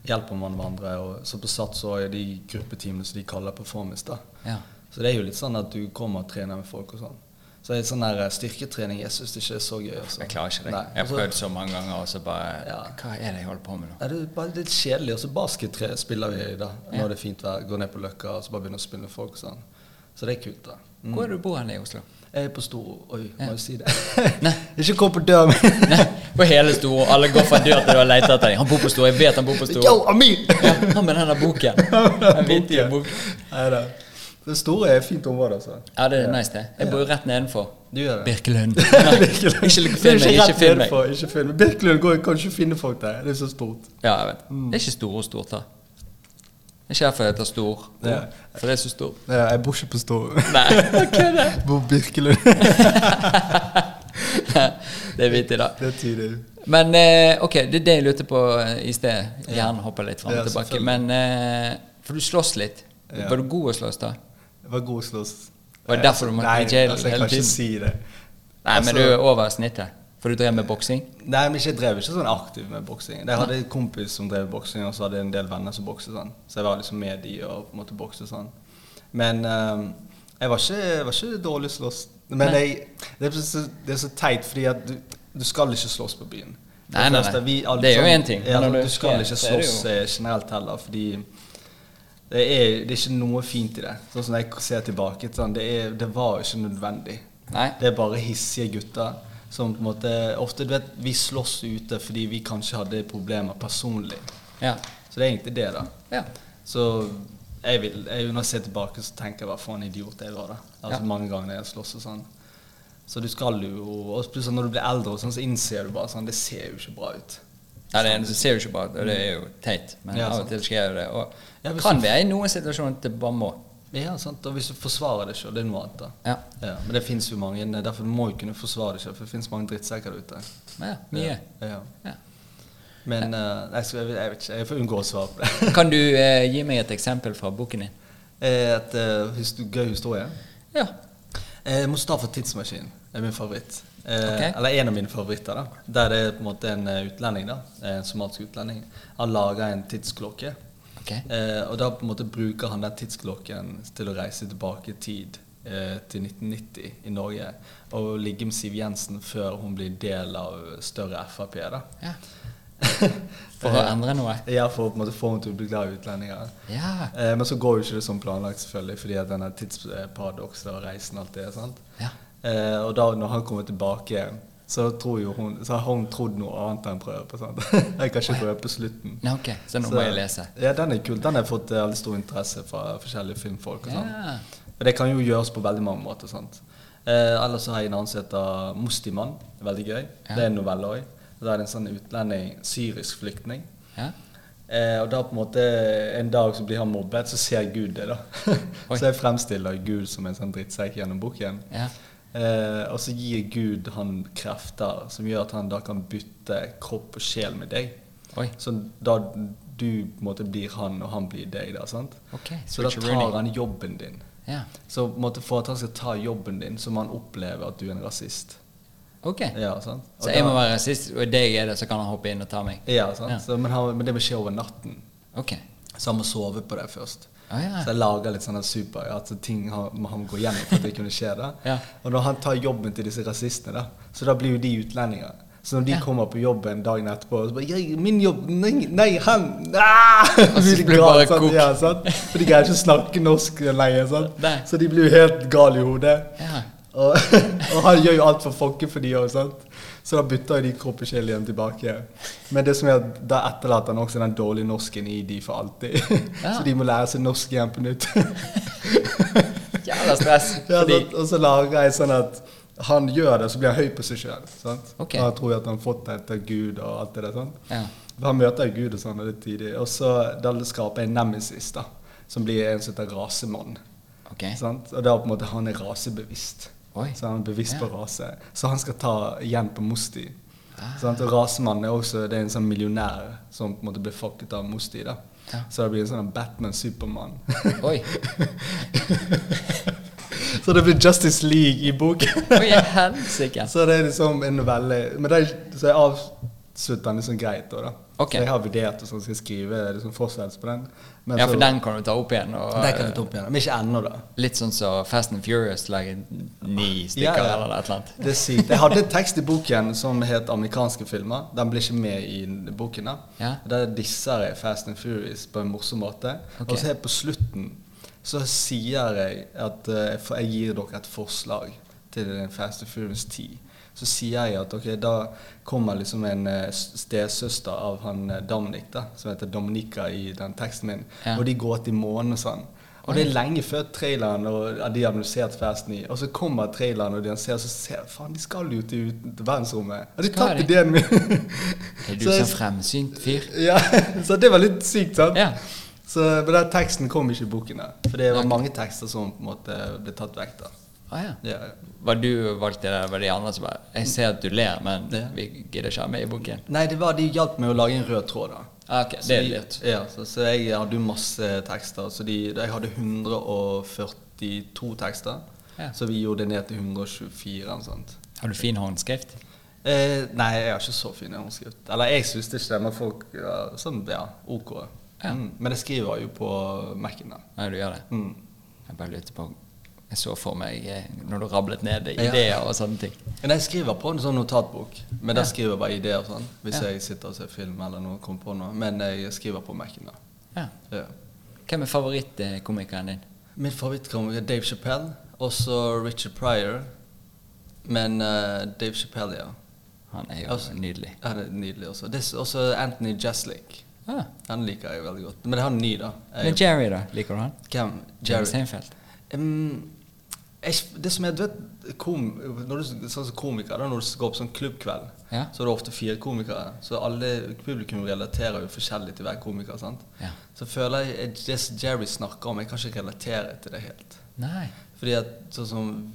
S2: hjelper man hverandre. Og så på Sats så er de gruppetimene som de kaller performance. da.
S1: Ja.
S2: Så det er jo litt sånn at du kommer og trener med folk og sånn. Så det er sånn der eh, styrketrening jeg syns ikke er så gøy. Altså.
S1: Jeg klarer ikke det.
S2: Nei.
S1: Jeg har
S2: Altså,
S1: prøvd så mange ganger, og så
S2: Ja.
S1: bare Hva er det jeg holder på med nå?
S2: Nei, det er bare litt kjedelig. Og så basket tre- spiller vi i da.
S1: Ja.
S2: Når det er fint vær, går ned på Løkka og så bare begynner å spille med folk. og sånn. Så det er kult, da. Mm.
S1: Hvor er det du bor hen i Oslo? [LAUGHS]
S2: Jeg er på stor Oi, må
S1: Ja.
S2: jeg si det?
S1: [LAUGHS] Nei.
S2: [LAUGHS] Ikke kom på døren min!
S1: Nei, På hele [LAUGHS] Storo. Alle går fra dør til dør og leter etter deg. Han bor på Storo, jeg vet han bor på Storo.
S2: Yo, Amir!
S1: Ja, han med den der
S2: [LAUGHS]
S1: boken. Den vittige
S2: Boken.
S1: boken.
S2: Neida. Det store er et fint område, altså.
S1: Ja, det er nice, det. Jeg bor jo rett nedenfor.
S2: Du gjør det. [LAUGHS]
S1: Birkelund.
S2: Birkelund.
S1: Ikke lykke
S2: Det er
S1: til meg, ikke
S2: rett
S1: film meg.
S2: nedenfor, Ikke film meg. Birkelund går, kan ikke finne folk der. Det er så stort.
S1: Ja, jeg vet.
S2: Mm.
S1: Det er ikke stor og stort, da. Det er ikke derfor jeg heter Stor.
S2: Ja.
S1: For det er så stort.
S2: Nei, jeg bor ikke på [LAUGHS] Stord.
S1: Nei, kødder!
S2: Jeg bor på Birkelund.
S1: det er vittig, da.
S2: Det er tidlig.
S1: Men eh, ok, det er det jeg lurte på eh, i sted. Hjernen hopper litt fram
S2: Ja,
S1: og tilbake.
S2: selvfølgelig.
S1: Men eh, For du slåss litt.
S2: Ja.
S1: Var du god å slåss, da?
S2: Jeg var god å slåss.
S1: Var det derfor du måtte i jail
S2: altså, jeg
S1: hele
S2: kan ikke
S1: tiden?
S2: si det.
S1: Nei,
S2: Altså-
S1: men du er over snittet. For du drev med boksing?
S2: Nei, men ikke- jeg drev ikke sånn aktiv med boksing. Jeg hadde en kompis som drev boksing, og så hadde jeg en del venner som bokset sånn. Så jeg var liksom med de og på en måte bokset sånn. Men ehm, jeg, var ikke, jeg var ikke dårlig slåss. Men
S1: Nei.
S2: jeg, det, er så, det er så teit, fordi at du, du skal ikke slåss på byen. For
S1: Nei, nei,
S2: første,
S1: nei.
S2: vi alle
S1: Det er jo
S2: sammen-
S1: en ting,
S2: Ja,
S1: men når
S2: du,
S1: du
S2: skal
S1: er-
S2: ikke
S1: så er det
S2: slåss
S1: jo-
S2: eh, generelt heller, fordi det er, det er ikke noe fint i det. Sånn som jeg ser tilbake, sånn, det, er, det var jo ikke nødvendig.
S1: Nei.
S2: Det er bare hissige gutter som på en måte Ofte, du vet, vi slåss ute fordi vi kanskje hadde problemer personlig.
S1: Ja.
S2: Så det er egentlig det, da.
S1: ja.
S2: Så jeg vil, jeg, når jeg ser tilbake, så tenker jeg hva for en idiot jeg var, da. Altså
S1: Ja.
S2: mange ganger når jeg slåss og sånn. Så du skal jo Og plutselig når du blir eldre, og sånn, så innser du bare sånn Det ser jo ikke bra ut.
S1: Ja, det, er- det ser jo ikke bra ut, og det er jo teit, men
S2: Ja,
S1: av og
S2: sant.
S1: til skjer jo det.
S2: Ja,
S1: Og
S2: hvis
S1: kan
S2: du-
S1: være i noen situasjoner at det bare må.
S2: Ja, sant? Og hvis du forsvarer det sjøl, det er noe annet, da.
S1: Ja.
S2: Ja, men det fins jo mange Derfor må du kunne forsvare det sjøl, for det fins mange drittsekker der ute.
S1: Ja, mye.
S2: Ja. Ja.
S1: Ja.
S2: Men eh, nei, så jeg, jeg vet ikke, jeg får unngå å svare på det. [LAUGHS]
S1: Kan du eh, gi meg et eksempel fra boken din?
S2: Eh, Et eh, hist gøy historie.
S1: Ja.
S2: Eh, Mustafa Tidsmaskin er min favoritt. Eh,
S1: Ok.
S2: Eller en av mine favoritter. da. Der det er på en måte en eh, utlending, da, en somalisk utlending. Han lager en tidsklokke.
S1: Ok.
S2: Eh, og da på en måte bruker han den tidsklokken til å reise tilbake i tid eh, til 1990 i Norge. Og ligge med Siv Jensen før hun blir del av større Frp. da. Eh,
S1: Ja. For å endre noe?
S2: Ja, for å på en måte få henne til å bli glad i utlendinger.
S1: Ja.
S2: Eh, men så går jo ikke det som planlagt, selvfølgelig, fordi at denne tidsparadokset og reisen og alt det. sant?
S1: Ja.
S2: Eh, og da når han kommer tilbake, så tror jo hun Så har hun trodd noe annet enn prøve. sant? [LAUGHS] jeg kan ikke røpe slutten.
S1: Nei, ok, så nå må jeg lese.
S2: Ja, den er kul. Den har jeg fått eh, veldig stor interesse fra forskjellige filmfolk. og sånn.
S1: Ja.
S2: Og det kan jo gjøres på veldig mange måter. sant? Eh, ellers så har jeg en annen som heter Mostimann. Veldig gøy.
S1: Ja.
S2: Det er en novelle òg. Der er det en sånn utlending, syrisk flyktning.
S1: Ja.
S2: Eh, og da på en måte en dag så blir han mobbet, så ser Gud det, da. [LAUGHS]
S1: Oi.
S2: så jeg fremstiller Gud som en sånn drittsekk gjennom boken.
S1: Ja.
S2: Eh, og så gir Gud han krefter som gjør at han da kan bytte kropp og sjel med deg.
S1: Oi.
S2: Så da du på en måte blir han, og han blir deg, da. sant?
S1: Ok,
S2: Så da
S1: switcheroo.
S2: tar han jobben din.
S1: Ja.
S2: Så på en måte for at han skal ta jobben din, så må han oppleve at du er en rasist.
S1: Ok.
S2: Ja, sant? Og
S1: Så jeg må
S2: da-
S1: være rasist, og deg er det, så kan han hoppe inn og ta meg?
S2: Ja, sant?
S1: Ja.
S2: Så, men, han, men det må skje over natten.
S1: Ok.
S2: Så han må sove på det først.
S1: Å, Ah, ja.
S2: Så jeg lager litt sånne super at ting han, må han gå gjennom for at det kunne skje. da.
S1: [LAUGHS] Ja.
S2: Og når han tar jobben til disse rasistene, da, så da blir jo de utlendinger. Så når de
S1: Ja.
S2: kommer på jobben dagen etterpå så bare, «Jeg- 'Min jobb! Nei, nei han!' Ah!
S1: Og
S2: [LAUGHS]
S1: så
S2: Blir
S1: blir det
S2: gal,
S1: bare
S2: sant?
S1: kok.
S2: Ja, sant?
S1: [LAUGHS]
S2: For de greier ikke å snakke norsk lenger. Sant?
S1: Nei.
S2: Så de blir jo helt gale i hodet. [LAUGHS]
S1: Ja.
S2: Og, og han gjør jo alt for folket for de òg, sant. Så da bytter jo de kropp og sjel igjen tilbake. Men det som er at da etterlater han også den dårlige norsken i de for alltid. [LAUGHS]
S1: Ja.
S2: Så de må lære seg norsk igjen på nytt.
S1: Jævla [LAUGHS] stress.
S2: Ja,
S1: Fordi
S2: sant? og så lager jeg sånn at han gjør det, så blir han høy på seg sjøl.
S1: Ok.
S2: Han tror jo at han har fått det etter Gud og alt det der. sant?
S1: Ja.
S2: For Han møter jo Gud og sånn og litt tidlig. Og så da skaper jeg en nemesis, da. Som blir en som heter rasemann.
S1: Ok.
S2: Sant? Og da på en måte han er rasebevisst.
S1: Oi.
S2: Så han er bevisst
S1: Ja.
S2: på rase. Så han skal ta igjen på Mosti.
S1: Ah.
S2: Sant? Og rasemannen er også det er en sånn millionær som på en måte ble fucket av Mosti. da.
S1: Ja.
S2: Så det blir en sånn Batman-Supermann. [LAUGHS]
S1: Oi.
S2: så det blir Justice League i
S1: [LAUGHS]
S2: boken.
S1: Oi, i helsike.
S2: så det er liksom en novelle. Men det er, så jeg avslutter den liksom greit. da, da.
S1: Ok.
S2: Så jeg har vurdert å sånn, skal jeg skrive liksom fortsettelse på den. Men
S1: Ja, for
S2: så-
S1: den kan du ta opp igjen. Og,
S2: Den kan jeg ta opp igjen. Men ikke ennå, da.
S1: Litt sånn som Fast and Furious lager ni stykker
S2: Ja, ja.
S1: eller et eller annet.
S2: Det er sykt. Jeg hadde en tekst i boken som het 'Amerikanske filmer'. Den ble ikke med i boken. da.
S1: Ja.
S2: Der disser jeg Fast and Furious på en morsom måte.
S1: Ok.
S2: Og så helt på slutten så sier jeg at eh, for jeg gir dere et forslag til en Fast and Furious 10. Så sier jeg at ok, da kommer liksom en eh, s- stesøster av han eh, Dominic, da, som heter Dominica i den teksten min,
S1: Ja.
S2: og de går til månen og sånn. Og det er lenge før traileren og ja, de har annonsert festen i. Og så kommer traileren, og de ser, og så ser jeg, faen, de skal jo til ut- verdensrommet. Har de
S1: Skal
S2: tatt
S1: de?
S2: ideen min?
S1: Er du
S2: Så jeg-
S1: så fremsynt fyr?
S2: ja, så det var litt sykt, sant?
S1: Ja.
S2: Så, men den teksten kom ikke i boken. da. For det var
S1: Nei.
S2: mange tekster som på en måte ble tatt vekk. da.
S1: Ah, ja.
S2: Ja.
S1: Var du valgt det, eller var det de andre som bare Jeg ser at du ler, men
S2: Ja.
S1: vi gidder ikke ha med i boken.
S2: Nei, det var, de hjalp meg å lage en rød tråd. da.
S1: Ah, ok,
S2: Så
S1: det er
S2: de-
S1: lurt.
S2: Ja, så, så jeg hadde jo masse tekster. Så de, da jeg hadde 142 tekster.
S1: Ja.
S2: Så vi gjorde det ned til 124. eller sånt.
S1: Har du fin håndskrift?
S2: Eh, nei, jeg har ikke så fin håndskrift. Eller jeg syns det ikke, det, men folk ja, Sånn, ja. OK.
S1: Ja.
S2: Mm. Men jeg skriver jo på Mac-en, da.
S1: Ja, du gjør det.
S2: Mm.
S1: Jeg bare lurte på Jeg så for meg eh, når du rablet ned
S2: Ja.
S1: ideer og sånne ting.
S2: Men jeg skriver på en sånn notatbok, men der
S1: Ja.
S2: skriver jeg bare ideer og sånn. Hvis
S1: Ja.
S2: jeg sitter og ser film eller noe, kommer på noe. Men jeg skriver på Mac-en, da.
S1: Ja.
S2: Ja.
S1: Hvem er favorittkomikeren din?
S2: Min favorittkomiker er Dave Chappelle, også Richard Pryor. Men eh, Dave Chappelle, ja.
S1: Han er jo
S2: Altså-
S1: nydelig.
S2: Ja, det er nydelig også. Det er s- også Anthony Jeslick.
S1: Ah.
S2: Han liker jeg veldig godt. Men det er han ny, da.
S1: Men
S2: Jeg,
S1: Jerry, da? Liker du han?
S2: hvem?
S1: Jerry
S2: Jerry.
S1: Seinfeld.
S2: Mm, jeg, det som er, du vet, kom, når du, sånn som komiker, da, når du skal opp sånn klubbkveld,
S1: Ja.
S2: så er det ofte fire komikere. Så alle publikum relaterer jo forskjellig til hver komiker. sant?
S1: Ja.
S2: Så føler jeg at det som Jerry snakker om, jeg kan ikke relatere til det helt.
S1: Nei.
S2: Fordi at sånn som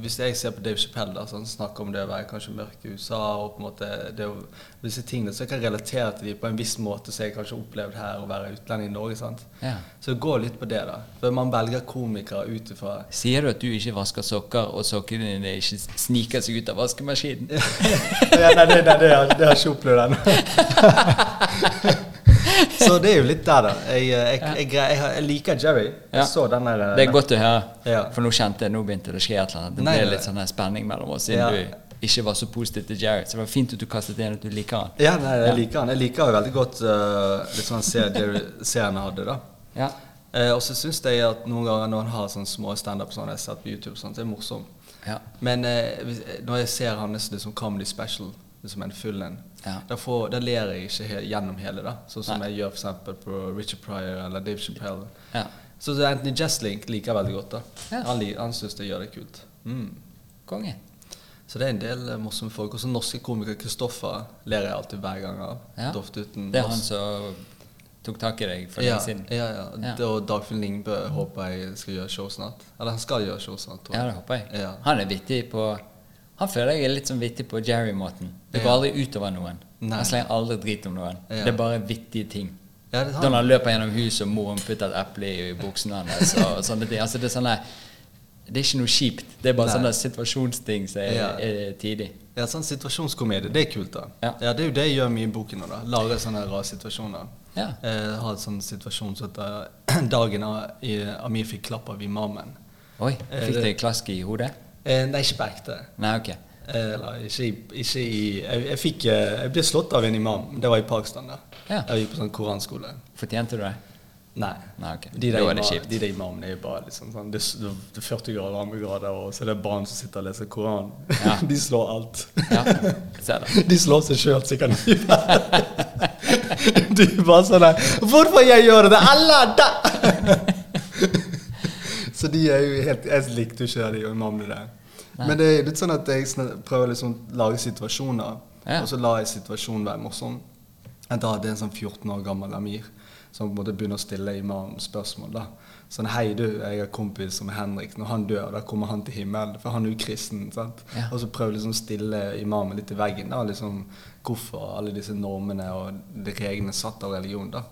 S2: Hvis jeg ser på Dave Chappelle, da, så han snakker om det å være kanskje mørk i USA og på en måte det å, disse tingene, så jeg kan relatere til dem på en viss måte som jeg kanskje har opplevd her å være utlending i Norge. sant?
S1: Ja.
S2: Så det går litt på det, da. For man velger komikere ut ifra
S1: Sier du at du ikke vasker sokker, og sokkene dine ikke sniker seg ut av vaskemaskinen?
S2: [LAUGHS] ja, nei, det, det, det, har- det har jeg ikke opplevd ennå. [LAUGHS] så det er jo litt der, da. Jeg, eh, jeg, jeg, grei- jeg, har- jeg liker Jerry. Jeg
S1: Ja.
S2: så den der eh,
S1: Det er godt å høre.
S2: Ja.
S1: For nå kjente jeg, nå begynte det å skje et eller annet. Det
S2: Nei,
S1: ble
S2: nei.
S1: litt sånn her spenning mellom oss siden
S2: Ja.
S1: du ikke var så positiv til Jared. Så det var fint at du kastet inn at du liker han.
S2: Ja, nei, jeg liker han. Jeg liker jo veldig godt eh, litt sånn ser- Jerry serien han hadde, da.
S1: Ja.
S2: Eh, og så syns jeg at noen ganger når han har sånne små standup sånn jeg har sett på YouTube, sånn, så er det morsom.
S1: Ja.
S2: Men eh, hvis, når jeg ser hans liksom, comedy special, liksom en full en,
S1: Ja.
S2: da, får- da ler jeg ikke he gjennom hele, da. Sånn som
S1: Nei.
S2: jeg gjør for eksempel på Richard Pryor eller Dave Chappelle.
S1: Ja.
S2: Så så Anthony Jeslink liker jeg veldig godt, da.
S1: Ja.
S2: Han, li- han syns jeg gjør det kult. Mm.
S1: Konge.
S2: Så det er en del eh, morsomme folk. Også norske komiker Kristoffer ler jeg alltid hver gang av.
S1: Ja.
S2: Doft uten
S1: Det er han
S2: masse-
S1: som tok tak i deg for
S2: ja,
S1: lenge siden.
S2: ja, ja.
S1: Ja.
S2: Det Og Dagfinn Lingbø håper jeg skal gjøre show snart. Eller han skal gjøre show snart, tror
S1: Ja,
S2: jeg.
S1: det håper jeg.
S2: Ja.
S1: Han er vittig på Han føler jeg er litt sånn vittig på Jerry-måten. Det går
S2: Ja.
S1: aldri utover noen.
S2: Nei.
S1: Han slenger aldri drit om noen.
S2: Ja.
S1: Det er bare vittige ting.
S2: Ja, det er
S1: Da
S2: han.
S1: han løper gjennom huset, og moren putter et eple i buksen hans og
S2: [LAUGHS]
S1: og sånne ting. Altså, det er sånne Det er ikke noe kjipt. Det er bare
S2: Nei.
S1: sånne situasjonsting som er,
S2: Ja.
S1: er tidig.
S2: Ja, sånn Situasjonskomedie, det er kult, da.
S1: Ja.
S2: Det er jo det jeg gjør mye i boken nå. da Lager sånne rare situasjoner.
S1: Ja.
S2: Jeg har en sånn situasjon som heter [CLEARS THROAT] Dagen av- i- Amir fikk klapp av imamen.
S1: Oi,
S2: Eh,
S1: fikk
S2: det-
S1: du klask i hodet?
S2: Eh, Nei, ikke på ekte.
S1: Nei, ok.
S2: Eh, Eller ikke, i- ikke i jeg, jeg, fikk, eh, jeg ble slått av en imam. Det var i Pakistan. da
S1: Ja.
S2: Jeg gikk på sånn koranskole.
S1: Fortjente du det?
S2: Nei.
S1: Nei, ok.
S2: de, der
S1: Da er det
S2: ima-
S1: kjipt.
S2: de der imamene er jo bare liksom sånn Det er s- det er 40 grader, varmegrader, og så er det barn som sitter og leser Koran.
S1: Ja.
S2: [LAUGHS] De slår alt. [LAUGHS]
S1: Ja. Ser det.
S2: De slår seg sjøl, så kan de [LAUGHS] De er bare sånn der Hvorfor jeg gjør det? Allah da! [LAUGHS] så de er jo helt Jeg likte jo ikke de imamene der. Men det er litt sånn at jeg sn- prøver liksom å lage situasjoner,
S1: Ja.
S2: og så lar jeg situasjonen være morsom. Jeg da hadde en sånn 14 år gammel Amir som måtte begynne å stille imam spørsmål. da. Sånn Hei, du, jeg har kompis som er Henrik. Når han dør, da kommer han til himmelen. For han er jo kristen. sant?
S1: Ja.
S2: Og så prøver liksom å stille imamen litt i veggen. da, liksom Hvorfor alle disse normene og de reglene satt av religion. da.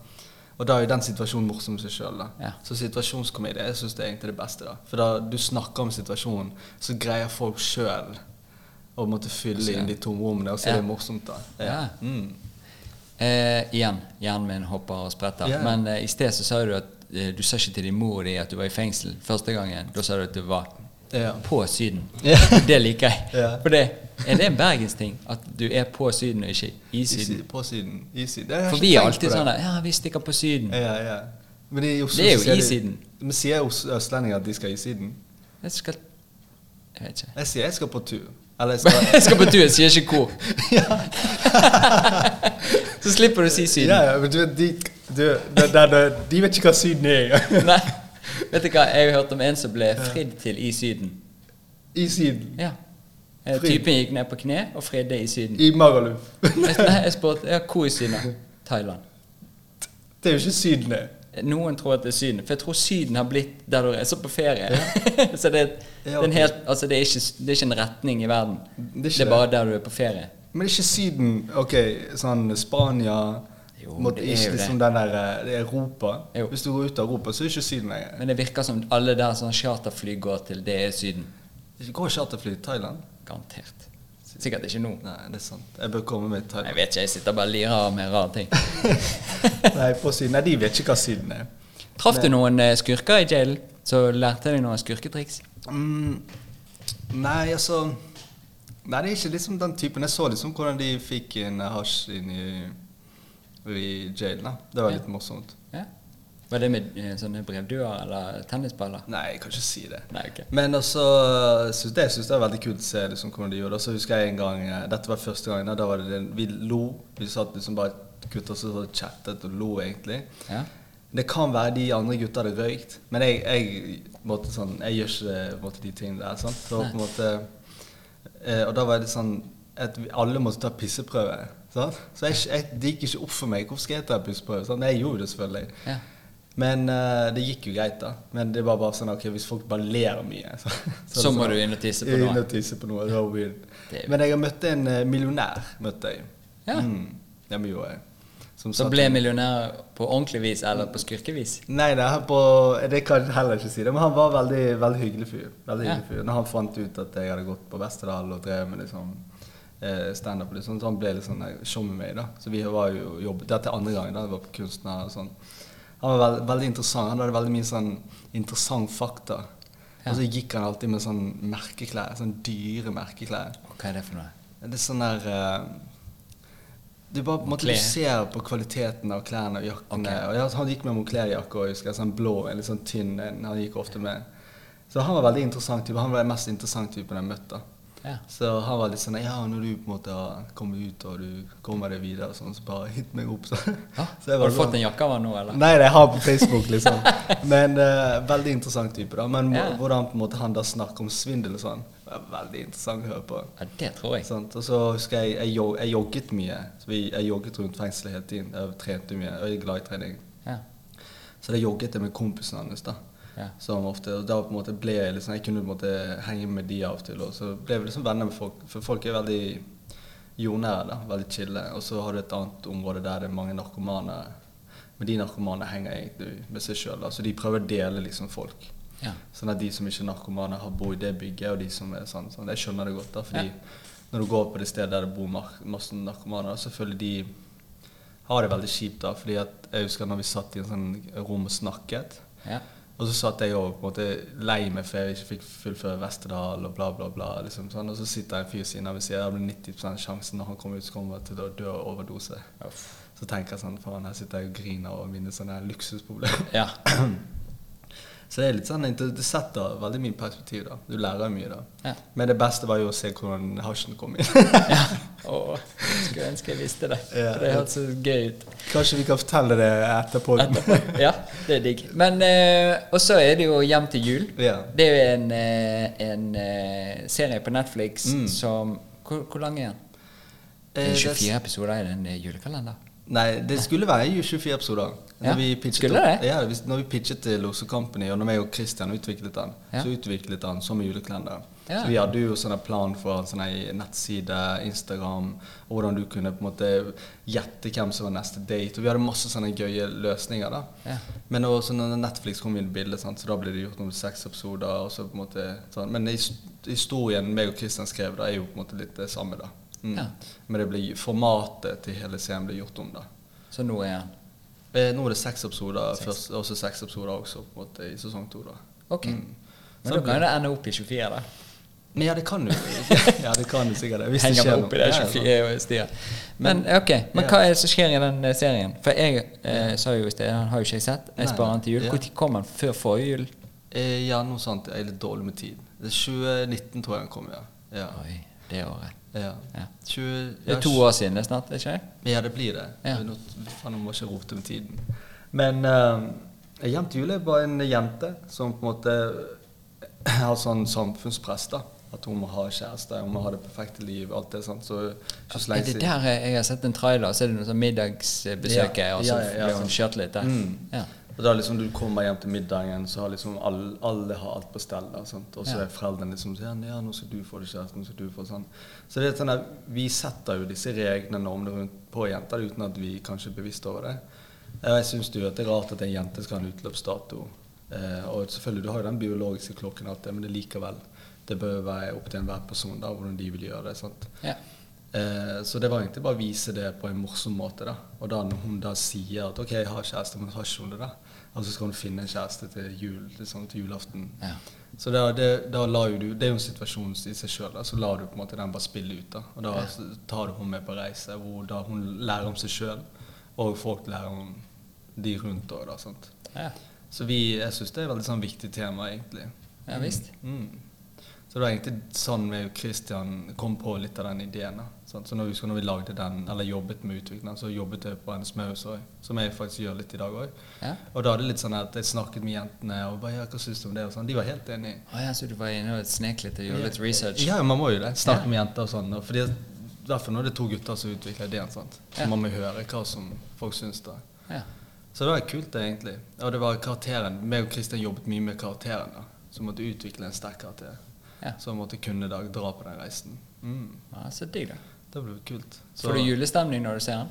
S2: Og da er jo den situasjonen morsom i seg sjøl.
S1: Ja.
S2: Så situasjonskomedie jeg synes det er egentlig det beste. da. For da du snakker om situasjonen, så greier folk sjøl å måtte fylle inn de tomme rommene, og så er det
S1: Ja.
S2: morsomt, da.
S1: Ja.
S2: Mm.
S1: Eh, igjen, hjernen min hopper og spretter.
S2: Ja.
S1: Men eh, i sted så sa du at eh, du sa ikke til din mor di at du var i fengsel første gangen. Da sa du at du var
S2: Ja.
S1: på Syden.
S2: [LAUGHS] Ja.
S1: Det liker jeg.
S2: Ja.
S1: For det, er det en bergensting at du er på Syden og ikke i
S2: I
S1: Syden?
S2: sy- På Syden. I Syden. Jeg har
S1: For
S2: ikke
S1: vi er
S2: tenkt
S1: alltid
S2: på det.
S1: sånn der, Ja, vi stikker på Syden.
S2: Ja, ja. Men i Oslo
S1: Det er jo
S2: så sier
S1: i
S2: de-
S1: Syden.
S2: Men sier os- østlendinger at de skal i Syden?
S1: Jeg skal Jeg vet ikke. [LAUGHS]
S2: Jeg sier jeg skal på tur. Eller jeg
S1: Jeg skal
S2: skal
S1: på tur, jeg sier ikke hvor. [LAUGHS] så slipper du å si Syden.
S2: Ja, ja, men du vet, de, du, de, de, de, de vet ikke hva Syden er. [LAUGHS]
S1: Nei. Vet du hva, jeg har hørt om en som ble fridd til i Syden.
S2: I Syden.
S1: Ja. Eh,
S2: Fridd.
S1: Typen gikk ned på kne og fridde i Syden.
S2: I Magaluf.
S1: [LAUGHS]
S2: [LAUGHS]
S1: Jeg, nei, jeg spurte ja, hvor i Syden? da? Thailand. Eh,
S2: Det er jo ikke Syden, det.
S1: Noen tror at det er Syden, for jeg tror Syden har blitt der du reiser på ferie. [LAUGHS] Så det, det,
S2: Ja,
S1: er en
S2: ok.
S1: helt, altså det, er ikke, det er ikke en retning i verden.
S2: Det er
S1: Det
S2: ikke
S1: er, bare der du er på ferie.
S2: Men ikke Syden. Ok, sånn Spania
S1: Jo,
S2: måtte
S1: det er jo
S2: Ikke
S1: det.
S2: liksom den der eh, det er Europa.
S1: Jo.
S2: Hvis du går ut av Europa, så er det ikke Syden lenger.
S1: Men det virker som alle der som charterfly går til, det er Syden.
S2: Det Går charterfly til Thailand?
S1: Garantert. Sikkert ikke nå.
S2: Nei, det er sant. Jeg bør komme med til
S1: Jeg
S2: Thailand.
S1: vet ikke, jeg sitter bare og lirer av med rare
S2: [LAUGHS]
S1: ting.
S2: Nei, på Syden. Nei, de vet ikke hva Syden er.
S1: Traff du noen eh, skurker i jailen? Så lærte jeg deg noen skurketriks?
S2: Mm, nei, altså Nei, det er ikke liksom den typen. Jeg så liksom hvordan de fikk en hasj inn i, i jailen. da. Det var
S1: Ja.
S2: litt morsomt.
S1: Ja. Var det med eh, sånne brevduer eller tennisballer?
S2: Nei, jeg kan ikke si det.
S1: Nei, ok.
S2: Men også, synes det, jeg synes det er veldig kult å se liksom, hvordan de gjorde det. Og så husker jeg en gang, eh, dette var første gangen, da, da var det den, vi lo. Vi satt liksom bare gutter som satt og chattet og lo, egentlig.
S1: Ja.
S2: Det kan være de andre gutta hadde røykt, men jeg, jeg, på en måte, sånn, jeg gjør ikke på en måte, de tingene der. Sant? Så, på en måte, eh, og da var det sånn at vi alle måtte ta pisseprøve. Sant? Så jeg, jeg, det gikk ikke opp for meg. Hvorfor skal jeg ta pisseprøve? Sant? Men Jeg gjorde det selvfølgelig.
S1: Ja.
S2: Men eh, det gikk jo greit, da. Men det var bare sånn ok, hvis folk bare ler mye [LAUGHS] Så, sånn,
S1: Så må du inn og tisse på noe.
S2: Inn og tisse på noe. Det var weird.
S1: Det er-
S2: Men jeg har møtt en eh, millionær. møtte jeg.
S1: Ja.
S2: Mm, det gjorde jeg. Som
S1: Så
S2: satt-
S1: ble millionær på ordentlig vis eller på skurkevis?
S2: Nei, nei han på, det kan jeg heller ikke si. det, Men han var veldig, veldig hyggelig fyr. Veldig
S1: Ja.
S2: hyggelig fyr. Når han fant ut at jeg hadde gått på Vesterdal og drev med liksom, eh, standup, liksom, så han ble litt sånn eh, show med meg. da. Så vi var jo jobb, Dette er andre gangen da jeg var på kunstner. og sånn. Han var veld, veldig interessant. Han hadde veldig mye sånn interessant fakta.
S1: Ja.
S2: Og så gikk han alltid med sånn merkeklær, sånn dyre merkeklær.
S1: Og Hva er det for noe?
S2: Det er sånn der eh, Du bare på en måte du
S1: Moncler.
S2: ser på kvaliteten av klærne og jakkene.
S1: Ok.
S2: Og ja, han gikk med Moncler-jakke og husker jeg, sånn blå, en litt sånn tynn en han gikk ofte med. Så han var veldig interessant type. Han var den mest interessante typen jeg møtte. da.
S1: Ja.
S2: Så han var litt sånn Ja, når du på en måte har kommet ut og du kommer deg videre, sånn, så bare hit meg opp. Så.
S1: Ja.
S2: [LAUGHS] Så jeg
S1: Har
S2: var
S1: du fått
S2: sånn-
S1: en jakke av han nå, eller?
S2: Nei, det har jeg på Facebook, liksom.
S1: [LAUGHS]
S2: Men eh, veldig interessant type, da. Men
S1: Ja.
S2: hvordan på en måte han da snakker om svindel og sånn, det er veldig interessant å høre på.
S1: Ja, det tror jeg.
S2: Sant? Og så husker jeg jeg, jog, jeg jogget mye. Så vi, jeg jogget rundt fengselet hele tiden. Jeg trente mye. Jeg er glad i trening.
S1: Ja.
S2: Så det jogget jeg med kompisen hans. da.
S1: Ja.
S2: Som ofte, og da på en måte ble Jeg liksom, jeg kunne på en måte henge med de av og til. Og så ble vi liksom venner med folk. For folk er veldig jordnære. da, Veldig chille. Og så har du et annet område der det er mange narkomane. Men de narkomane henger egentlig med seg sjøl. Så de prøver å dele liksom folk.
S1: Ja.
S2: Sånn at de som ikke er narkomane, har bodd i det bygget, og de som er sånn. sånn. Jeg skjønner det godt, da, fordi når du går på det stedet der det bor mar- masse narkomane, så føler de har det veldig kjipt, da. fordi at jeg husker når vi satt i en sånn rom og snakket,
S1: Ja.
S2: og så satt jeg og på en måte lei meg for jeg ikke fikk fullføre Vesterdal og bla, bla, bla. liksom sånn. Og så sitter en fyr siden av og sier at det blir 90 sjansen når han kommer ut, så kommer han til å dø av overdose.
S1: Uff.
S2: Så tenker jeg sånn Faen, her sitter jeg og griner over mine sånne luksusproblemer.
S1: Ja.
S2: Så det er litt sånn, det det setter veldig mye perspektiv. da. Du lærer mye da.
S1: Ja.
S2: Men det beste var jo å se hvordan hasjen kom
S1: [LAUGHS]
S2: inn.
S1: ja. Å, skulle ønske jeg visste det.
S2: Ja.
S1: For det hørtes så gøy ut.
S2: Kanskje vi kan fortelle det etterpå. [LAUGHS] Eh,
S1: Etterpå. Ja, det er digg. Men eh, Og så er det jo Hjem til jul.
S2: Ja.
S1: Det er jo en, eh, en eh, serie på Netflix
S2: Mm.
S1: som hvor, hvor lang er den? Det
S2: Eh,
S1: er
S2: det-
S1: 24 episoder i den eh, julekalenderen.
S2: Nei, det skulle være i 24 episoder.
S1: Ja,
S2: vi pitchet
S1: skulle det?
S2: opp- Ja, hvis- når vi pitchet til Lose Company, og når jeg og Christian utviklet den,
S1: Ja.
S2: så utviklet den som julekalender.
S1: Ja.
S2: Så vi hadde jo sånne plan for sånne nettside, Instagram, og hvordan du kunne på en måte gjette hvem som var neste date. Og vi hadde masse sånne gøye løsninger. da.
S1: Ja.
S2: Men også når Netflix kom inn i bildet, sant, så da ble det gjort om til seks episoder. og så på en måte sånn. Men his- historien meg og Christian skrev, da, er jo på en måte litt det samme. da. Mm.
S1: Ja.
S2: Men det ble, formatet til hele serien ble gjort om. da.
S1: Så nå er den
S2: Eh, nå er det seks episoder,
S1: Seks.
S2: først, og så seks episoder også på en måte, i sesong to. da.
S1: Ok.
S2: Mm.
S1: Men da kan jo det ende opp i 24, da.
S2: Men ja, det kan jo [LAUGHS] ja, det kan jo sikkert det. Hvis det
S1: Henger
S2: skjer
S1: meg opp i det
S2: noe. Ja, ja, sant.
S1: 24-styret. Men ok, men
S2: Ja.
S1: hva er det som skjer i den eh, serien? For jeg eh, sa jo i sted, han har jo ikke jeg sett. Jeg
S2: Nei,
S1: sparer han til jul.
S2: ja.
S1: Når kom han? Før forrige jul?
S2: Eh, ja, noe sånt. Jeg er litt dårlig med tid. Det er 2019 tror jeg den kom, ja. Ja.
S1: Oi, det året.
S2: ja.
S1: Ja.
S2: 20,
S1: Det er to år siden det er snart, er ikke det?
S2: Ja, det blir det.
S1: Ja.
S2: Nå, faen, nå må jeg ikke rote med tiden. Men uh, Hjem til jul er bare en jente som på en måte har sånn samfunnspress. da. At hun må ha kjæreste, hun må ha det perfekte liv, alt det sånn. Så ikke så
S1: Er
S2: lenge
S1: det
S2: siden-
S1: der jeg jeg har sett en trailer, så er det noe sånn middagsbesøk,
S2: Ja,
S1: og så
S2: ja, ja, ja,
S1: blir hun
S2: sant.
S1: kjørt litt der.
S2: Mm.
S1: Ja.
S2: Og da liksom Du kommer hjem til middagen, så har liksom alle, alle har alt på stell. da, sant? Og så
S1: Ja.
S2: er foreldrene liksom sånn Ja, nå skal du få det, kjæresten. Nå skal du få det, sånn. Så det er sånn at vi setter jo disse reglene og normene rundt på jenter uten at vi kanskje er bevisst over det. Eh, Jeg syns jo at det er rart at en jente skal ha en utløpsdato. Eh, og selvfølgelig, du har jo den biologiske klokken og alt det, men det er likevel Det bør være opp til enhver person da, hvordan de vil gjøre det. sant?
S1: Ja.
S2: Eh, Så det var egentlig bare å vise det på en morsom måte. da. Og da når hun da sier at OK, jeg har kjæreste, men har ikke hun det, da? Og så skal hun finne en kjæreste til jul, liksom, til julaften.
S1: Ja.
S2: Så da, det, da la jo du, det er jo en situasjon i seg sjøl, så lar du på en måte den bare spille ut. da. Og da
S1: Ja.
S2: s- tar du hun med på reise, hvor da hun lærer om seg sjøl, og folk lærer om de rundt òg, da. sant?
S1: Ja.
S2: Så vi, jeg syns det er et veldig sånn viktig tema, egentlig.
S1: ja visst.
S2: Mm. Så det var egentlig sånn vi og Christian kom på litt av den ideen. da. Sant? Så når, vi, når vi lagde den, eller jobbet med utviklingen, så jobbet jeg på Hennes Maus òg, som jeg faktisk gjør litt i dag òg.
S1: Ja.
S2: Og da er det litt sånn at jeg snakket med jentene og bare, ja, hva syns du om det? Og sånn. De var helt enige.
S1: Å ja, så du var inne og snek litt og gjorde litt research?
S2: Ja, man må jo det. Snakke med jenter og sånn. og Fordi at- I hvert fall når det er to gutter som utvikler ideen. Sant? Så
S1: Ja.
S2: man må høre hva som folk syns. da.
S1: Ja.
S2: Så det var kult, det, egentlig. Og det var karakteren. Meg og Christian jobbet mye med karakteren. da. Så måtte utvikle en sterk karakter.
S1: Ja.
S2: Så måtte kunne da dra på den reisen. Mm.
S1: ja så digg, da.
S2: Det ble kult. Så-
S1: Får du julestemning når du ser den?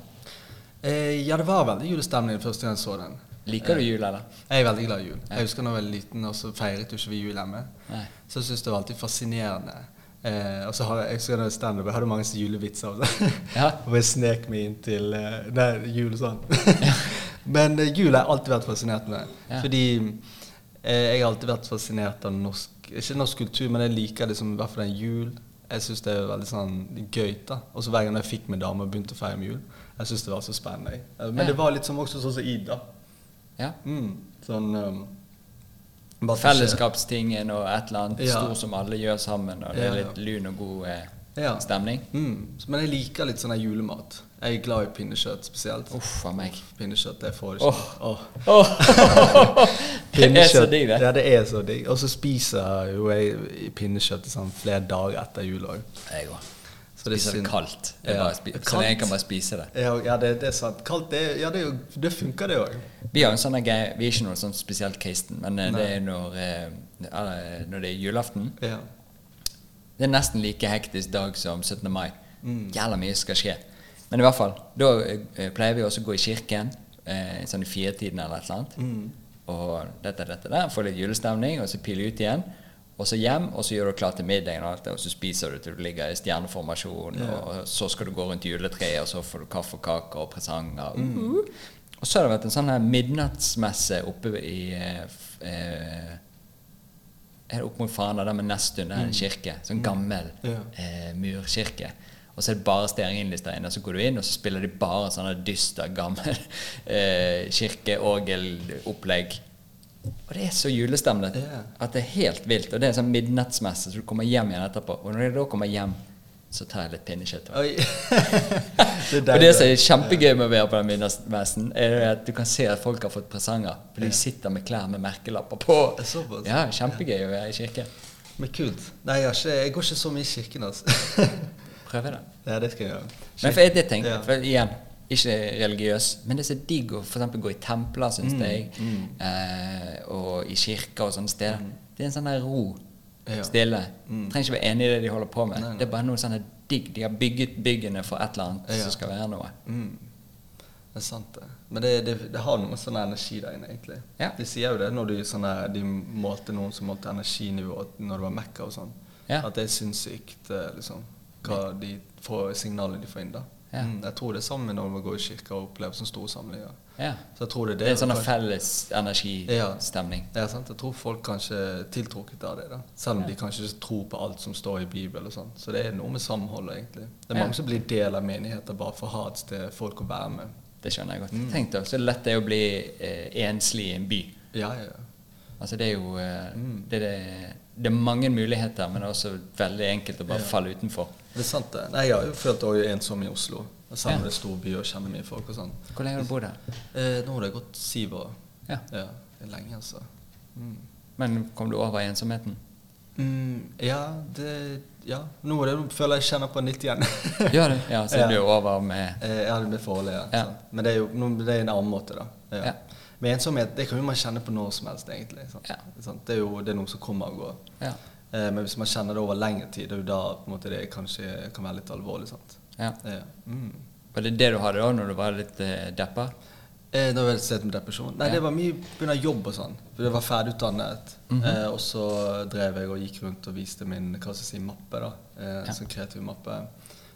S2: eh, ja, det var veldig julestemning første gang jeg så den. Eh,
S1: Liker du jul, eller?
S2: Jeg er veldig glad i jul. Jeg husker da jeg var liten, og så feiret jo ikke vi jul hjemme.
S1: Nei.
S2: Så jeg synes det var alltid fascinerende. Eh, og så har jeg, jeg husker da jeg stand-up, jeg hadde mange sånne julevitser. og sånn.
S1: [LAUGHS] Ja.
S2: Og jeg snek meg inn til eh, nei, jul og sånn. [LAUGHS] Men eh, jul har jeg alltid vært fascinert med.
S1: Ja.
S2: Fordi eh, jeg har alltid vært fascinert av norsk Ikke norsk kultur, men jeg liker liksom i hvert fall en jul. Jeg syns det er veldig sånn gøy. da. Og så hver gang jeg fikk meg dame og begynte å feire med jul, jeg syns det var så spennende. Eh, Men
S1: Ja. Mm.
S2: det var litt som også sånn som Id, da.
S1: Ja.
S2: Mm, sånn um, Bare for å se.
S1: Fellesskapstingen og et eller annet
S2: Ja.
S1: stort som alle gjør sammen, og det er
S2: Ja, ja.
S1: litt lun og god eh,
S2: Ja.
S1: stemning.
S2: Mm. Men jeg liker litt sånn her julemat. Jeg er glad i pinnekjøtt spesielt.
S1: Uff a
S2: [LAUGHS]
S1: meg.
S2: Pinnekjøtt, det får du ikke. Åh.
S1: [LAUGHS]
S2: [LAUGHS]
S1: det er så
S2: Pinnekjøtt,
S1: digg, det.
S2: Ja, det er så digg. Og så spiser jo jeg pinnekjøtt sånn, flere dager etter jul òg.
S1: Jeg òg.
S2: Så det er
S1: Spiser det
S2: synd.
S1: kaldt. Det er
S2: Ja.
S1: bare spi
S2: Kaldt?
S1: så jeg kan bare spise det.
S2: Ja, ja, det, det er sant. Kaldt, det, ja, det, er jo- det funker, det òg.
S1: Vi har en sånn greie, vi er ikke noe sånn spesielt kristen, men eh, det er når, eh, eh, når det er julaften.
S2: Ja.
S1: Det er nesten like hektisk dag som 17. mai. Jævla mye skal skje. Men i hvert fall, da eh, pleier vi også å gå i kirken eh, sånn i firetiden eller et eller annet. Og dette, dette, der. Få litt julestemning, og så pile ut igjen. Og så hjem, og så gjør du klar til middagen, og alt det, og så spiser du til du ligger i stjerneformasjon. Og så skal du gå rundt juletreet, og så får du kaffe og kaker og presanger. Mm. Og så har det vært en sånn her midnattsmesse oppe i eh, f- eh, er det opp mot Fana, der med Nesttun, der er en kirke. Sånn gammel
S2: Mm. Ja.
S1: eh, murkirke. Og så er det bare stearinlys der inne. og Så går du inn, og så spiller de bare sånne dyster, gammel [LAUGHS] eh, kirkeorgelopplegg. Og det er så julestemning
S2: Ja.
S1: at det er helt vilt. Og det er sånn midnattsmesse, så du kommer hjem igjen etterpå. Og når jeg da kommer hjem, så tar jeg litt pinnekjøtt.
S2: Oi. [LAUGHS]
S1: Og det som er kjempegøy med å være på den midnattsmessen, er det at du kan se at folk har fått presanger. For de sitter med klær med merkelapper på.
S2: Det er såpass.
S1: Ja, kjempegøy å være i kirken.
S2: Men kult. Nei, jeg, har ikke, jeg går ikke så mye i kirken, altså. [LAUGHS]
S1: Prøve det.
S2: ja, det skal jeg gjøre.
S1: Men for jeg, det tenker,
S2: Ja.
S1: for igjen, ikke religiøs, men det er så digg å for eksempel gå i templer, syns
S2: Mm,
S1: jeg, eh, og i kirker og sånne steder. Det er en sånn der ro.
S2: Mm. Ja. Mm.
S1: Stille. Trenger ikke være enig i det de holder på med.
S2: Nei, nei.
S1: Det er bare noe sånn her digg. De har bygget byggene for et eller annet
S2: Ja.
S1: som skal være noe.
S2: Mm. Det er sant, det. Men det, det, det har noe sånn energi der inne, egentlig.
S1: Ja.
S2: De sier jo det når de, sånn her- de målte noen som målte energinivået når det var Mekka og sånn.
S1: Ja.
S2: At det er sinnssykt, eh, liksom. Hva de får, signalene de får inn, da.
S1: Ja.
S2: Mm, jeg tror det er sammen når man går i kirka og opplever sånne store samlinger.
S1: Ja.
S2: Så jeg tror det er
S1: Det
S2: det.
S1: er en sånn
S2: kanskje-
S1: felles
S2: Ja.
S1: energistemning.
S2: ja, sant? Jeg tror folk kanskje er tiltrukket av det, da. selv om de kanskje ikke tror på alt som står i Bibelen. og sånt. Så det er noe med samholdet, egentlig. Det er
S1: Ja.
S2: mange som blir del av menigheter bare for å ha et sted folk å være med.
S1: Det skjønner jeg godt. Tenk deg så lett det er å bli eh, enslig i en by.
S2: Ja, ja, ja.
S1: Altså det er jo eh, det, er det, det er mange muligheter, men det er også veldig enkelt å bare falle utenfor.
S2: Det er sant, det. Nei, jeg har jo følt meg ensom i Oslo. Og Sammen
S1: Ja.
S2: med store byer og kjenner mye folk og sånn.
S1: Hvor lenge har du bodd her?
S2: Eh, nå har det gått syv år.
S1: Ja.
S2: Det er lenge, altså. Mm.
S1: Men kom du over ensomheten?
S2: Mm, ja, det Ja. Nå er det, nå føler jeg jeg kjenner på den litt igjen.
S1: [LAUGHS] [LAUGHS] Gjør det? Ja, så
S2: Ja.
S1: er du over med
S2: Eh, jeg hadde med forholdet, ja.
S1: Ja.
S2: sant. Men det er jo nå, det er en annen måte, da.
S1: Ja.
S2: Men ensomhet det kan jo man kjenne på når som helst, egentlig. Sant?
S1: Ja.
S2: Sant? Det er jo det er noe som kommer og går.
S1: Ja.
S2: Eh, men hvis man kjenner det over lengre tid, det er jo da på en måte, det kanskje kan være litt alvorlig. sant?
S1: ja.
S2: Ja. Mm.
S1: Var det det du hadde da når du var litt eh, deppa?
S2: Eh, da var det slet med depresjon. Nei,
S1: Ja.
S2: det var mye pga. jobb og sånn. For jeg var ferdigutdannet.
S1: Mhm.
S2: eh, og så drev jeg og gikk rundt og viste min hva skal jeg si, mappe, da. Eh,
S1: Ja.
S2: Sånn kreativ mappe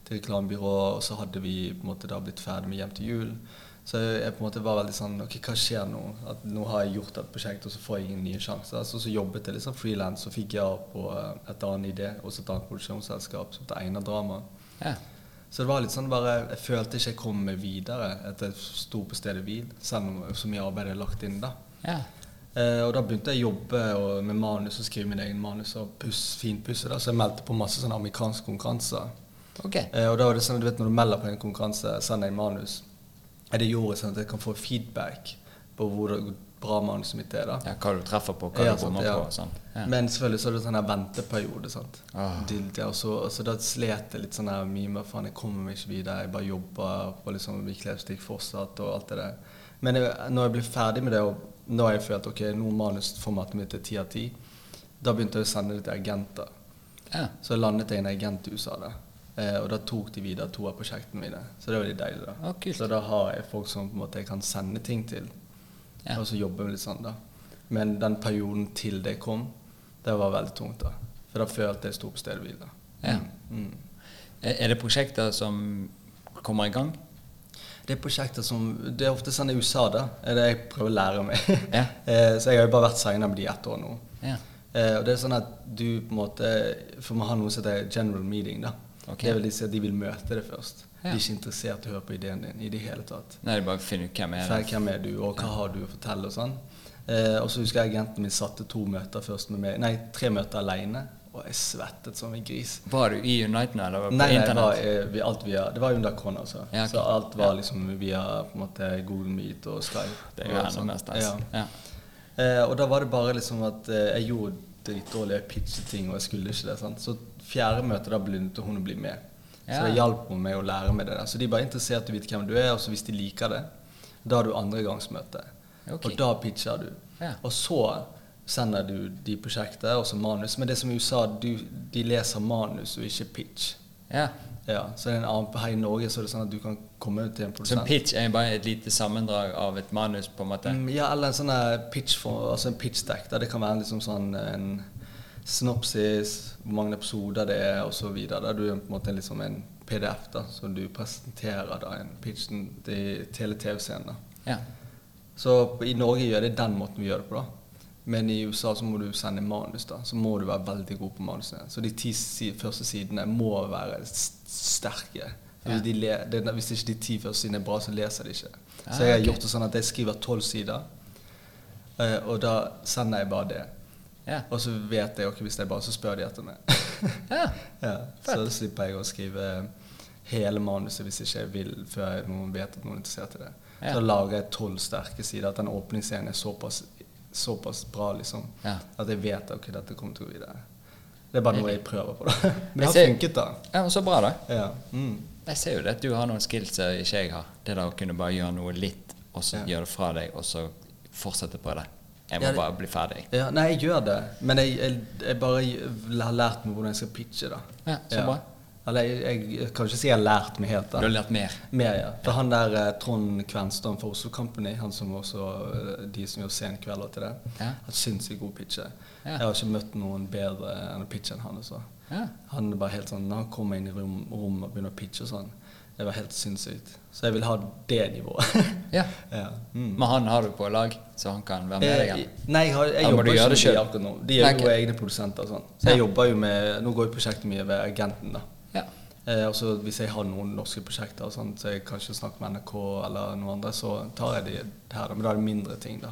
S2: til reklamebyrået. Og så hadde vi på en måte da blitt ferdig med Hjem til jul. Så jeg på en måte var veldig sånn Ok, hva skjer nå? At nå har jeg gjort et prosjekt, og så får jeg ingen nye sjanser. Så, så jobbet jeg litt sånn frilans, og fikk ja på eh, et annet idé hos et annet produksjonsselskap som heter Einar Drama.
S1: Ja.
S2: Så det var litt sånn bare Jeg følte ikke jeg kom meg videre etter jeg sto på stedet hvil, selv om så mye arbeid jeg hadde lagt inn da.
S1: ja.
S2: Eh, og da begynte jeg å jobbe og, med manus og skrive min egen manus og puss, finpusse. da, Så jeg meldte på masse sånne amerikanske konkurranser.
S1: Ok.
S2: Eh, og da var det sånn, du vet når du melder på en konkurranse, sender jeg manus. Er det gjorde sånn at jeg kan få feedback på hvor bra manuset mitt er, da.
S1: Ja, hva du treffer på, hva
S2: Ja,
S1: du
S2: sant,
S1: bommer
S2: ja.
S1: på og sånn. Ja.
S2: Men selvfølgelig så er det sånn her venteperiode. sant?
S1: Ah.
S2: Til- til- og så, og så da slet jeg litt sånn her mye med faen, jeg kommer meg ikke videre. Jeg bare jobber og liksom virkelighetstikk fortsatt og alt det der. Men jeg, når jeg ble ferdig med det, og nå har jeg følt ok, nå manusformatet mitt er ti av ti, da begynte jeg å sende det til agenter.
S1: Ja.
S2: Så landet jeg i en agent i USA, da. Eh, og da tok de videre to av prosjektene mine. Så det var litt deilig, da.
S1: Ah, kult.
S2: så da har jeg folk som på en måte jeg kan sende ting til.
S1: Ja.
S2: Og så jobber vi litt sånn, da. Men den perioden til det kom, det var veldig tungt, da. For da følte jeg sto på stedet hvil, da.
S1: Ja.
S2: Mm.
S1: Er er det prosjekter som kommer i gang?
S2: Det er prosjekter som Det er ofte sånn i USA, da. Er det jeg prøver å lære meg.
S1: [LAUGHS] Ja.
S2: [LAUGHS] eh, så jeg har jo bare vært segna med de i ett år nå.
S1: Ja.
S2: Eh, og det er sånn at du på en måte For man har noe som heter general meeting, da.
S1: Ok.
S2: Det vil de si at de vil møte det først.
S1: Ja.
S2: De er ikke interessert i å høre på ideen din i det hele tatt.
S1: Nei, det er bare å finne ut hvem er
S2: Fær,
S1: det.
S2: hvem er du, og hva har du å fortelle, og sånn. Eh, og så husker jeg agenten min satte to møter først med meg, nei, tre møter alene, og jeg svettet som en gris.
S1: Var du i Unite nå, eller var du på
S2: Nei, nei det, var,
S1: internett?
S2: eh, vi, alt via, det var jo under korona, altså.
S1: Ja, ok.
S2: Så alt var
S1: Ja.
S2: liksom via på en måte, Google Meet og Skype.
S1: Det er jo
S2: og
S1: enda altså.
S2: sånn.
S1: mer stas.
S2: Ja.
S1: Ja.
S2: Eh, og da var det bare liksom at eh, jeg gjorde dritdårlig, jeg pitchet ting, og jeg skulle ikke det. sant? Så fjerde møte, da begynte hun å bli med.
S1: Ja.
S2: Så det hjalp hun med å lære meg det der. Så de er bare interessert i å vite hvem du er, og så hvis de liker det, da har du andregangsmøte.
S1: Ok.
S2: Og da pitcher du.
S1: Ja.
S2: Og så sender du de prosjektet, og så manus. Men det som i USA, du, de leser manus og ikke pitch.
S1: ja.
S2: Ja, så det er en annen, Her i Norge så er det sånn at du kan komme til en
S1: Så
S2: produsent.
S1: en pitch er bare et lite sammendrag av et manus, på en måte?
S2: Mm, Ja, eller en sånn her pitch for, altså en pitch deck. Der det kan være liksom sånn en synopsis, hvor mange episoder det er, osv. Der du er på en måte liksom en PDF da, som du presenterer da, en pitchen til hele TV-scenen. da.
S1: Ja.
S2: Så på- i Norge gjør det den måten vi gjør det på. da. Men i USA så må du sende manus, da. Så må du være veldig god på manusene. Så de ti si første sidene må være s- sterke. For
S1: Ja.
S2: de le det, hvis ikke de ti første sidene er bra, så leser de ikke.
S1: Ah,
S2: Så jeg har
S1: ok.
S2: gjort det sånn at jeg skriver tolv sider, eh, og da sender jeg bare det.
S1: Ja.
S2: Og så vet jeg jo ikke hvis det er bra, så spør de etter meg.
S1: ja.
S2: [LAUGHS] ja, så da slipper jeg å skrive hele manuset hvis ikke jeg vil, før jeg noen vet at noen er interessert i det.
S1: Ja.
S2: Så lager jeg tolv sterke sider. At den åpningsscenen er såpass, såpass bra liksom,
S1: Ja.
S2: at jeg vet at dette kommer til å gå videre. Det er bare noe jeg prøver [LAUGHS] på, da. Men det
S1: Jeg
S2: har
S1: ser-
S2: funket, da.
S1: ja men så bra, da.
S2: Ja. Mm.
S1: Jeg ser jo det at du har noen skills som ikke jeg har. Det der å kunne bare gjøre noe litt, og så
S2: Ja.
S1: gjøre det fra deg, og så fortsette på det. Jeg må
S2: Ja, det-
S1: bare bli ferdig.
S2: ja. Nei, jeg gjør det. Men jeg, jeg, jeg bare gj- har lært meg hvordan jeg skal pitche, da.
S1: Ja, så bra.
S2: Eller jeg, jeg kan ikke si jeg har lært meg helt,
S1: Du
S2: da.
S1: har lært mer.
S2: Mer, ja. For han der eh, Trond Kvenstad fra Oslo Company, han som også eh, de som gjør Sen kveld og til det,
S1: Ja.
S2: har sinnssykt god pitcher.
S1: Ja.
S2: Jeg har ikke møtt noen bedre enn å pitche enn han. Også.
S1: Ja.
S2: Han er bare helt sånn, Når han kommer inn i rom, rom og begynner å pitche og sånn, det var helt sinnssykt. Så jeg vil ha det nivået.
S1: Ja.
S2: [LAUGHS] ja. Mm.
S1: Men han har du på lag, så han kan være med deg
S2: Eh,
S1: igjen.
S2: Nei, jeg, har, jeg
S1: Ja, må
S2: jobber
S1: du
S2: ikke
S1: gjøre
S2: med
S1: det
S2: de
S1: selv?
S2: akkurat nå. De er
S1: Nei,
S2: jo egne produsenter og sånn. Så jeg jobber jo med Nå går jo prosjektet mye ved agenten, da.
S1: Ja.
S2: Eh, og så Hvis jeg har noen norske prosjekter og sånn, så jeg kanskje snakker med NRK eller noen andre, så tar jeg de her. da. Men da er det mindre ting, da.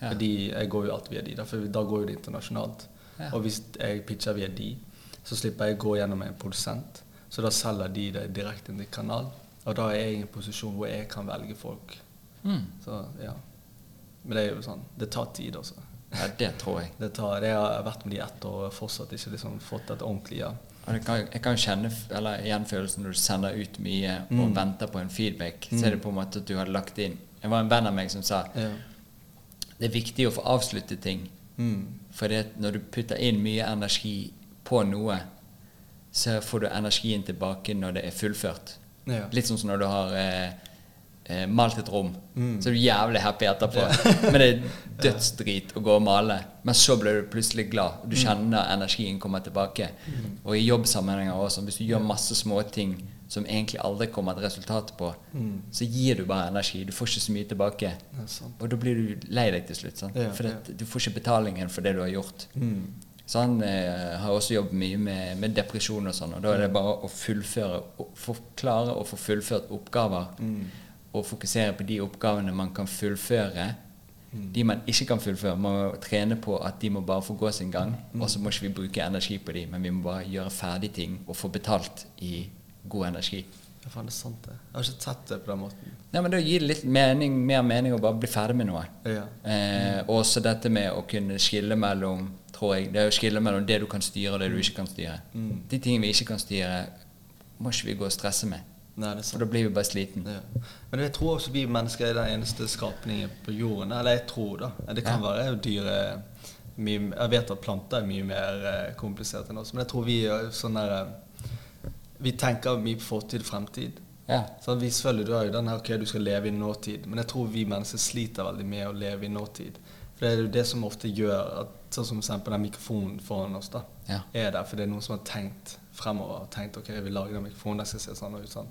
S1: Ja.
S2: Fordi jeg går jo alt via de, da, for da går jo det internasjonalt.
S1: Ja.
S2: Og hvis jeg pitcher via de, så slipper jeg gå gjennom en produsent. Så da selger de det direkte til kanal. Og da er jeg i en posisjon hvor jeg kan velge folk.
S1: Mm.
S2: Så ja. Men det er jo sånn. Det tar tid, altså.
S1: ja, det tror jeg.
S2: Det tar, jeg har vært med de ett år og fortsatt ikke liksom fått et ordentlig ja.
S1: Og det kan, jeg kan jo kjenne f- eller igjen følelsen når du sender ut mye og venter på en feedback. Så er det på en måte at du har lagt inn Det var en venn av meg som sa
S2: ja.
S1: det er viktig å få avslutte ting.
S2: Mm.
S1: For det, at når du putter inn mye energi på noe, så får du energien tilbake når det er fullført.
S2: Ja.
S1: Litt sånn som når du har eh, eh, malt et rom.
S2: Mm.
S1: Så er du jævlig happy etterpå. [LAUGHS] Men det er dødsdrit å gå og male. Men så blir du plutselig glad.
S2: Mm.
S1: Du kjenner energien kommer tilbake. Og i jobbsammenhenger også. Hvis du gjør masse småting som egentlig aldri kommer et resultat på,
S2: Mm.
S1: så gir du bare energi. Du får ikke så mye tilbake.
S2: Det er sant.
S1: Og da blir du lei deg til slutt. Sant?
S2: Ja, Mm.
S1: for at du får ikke betalingen for det du har gjort. Så han eh, har også jobbet mye med, med depresjon og sånn, og da er det bare å fullføre, å forklare og få fullført oppgaver. Og fokusere på de oppgavene man kan fullføre. De man ikke kan fullføre, må trene på at de må bare få gå sin gang. Og så må ikke vi bruke energi på de, men vi må bare gjøre ferdig ting og få betalt i god energi.
S2: Ja, faen, det er sant det. Jeg har ikke sett det på den måten.
S1: Nei, men Da gir det litt mening, mer mening å bare bli ferdig med noe.
S2: Ja.
S1: Eh, og også dette med å kunne skille mellom tror jeg, det er å skille mellom det du kan styre og det du ikke kan styre.
S2: Mm.
S1: De tingene vi ikke kan styre, må ikke vi gå og stresse med.
S2: Nei, det er
S1: For da
S2: sant.
S1: blir vi bare sliten.
S2: Ja. Men jeg tror også vi mennesker er den eneste skapningen på jorden. Eller jeg tror, da. Det kan være dyr eh, mye, Jeg vet at planter er mye mer eh, komplisert enn oss, men jeg tror vi er sånn der eh, Vi tenker mye på fortid og fremtid.
S1: Ja.
S2: Sånn, vi selvfølgelig du har jo den her, ok, du skal leve i nåtid, men jeg tror vi mennesker sliter veldig med å leve i nåtid. For det er jo det som ofte gjør at sånn som for eksempel den mikrofonen foran oss da,
S1: Ja.
S2: er der, for det er noen som har tenkt fremover, og tenkt ok, jeg vil lage den mikrofonen, den skal se sånn og ut sånn.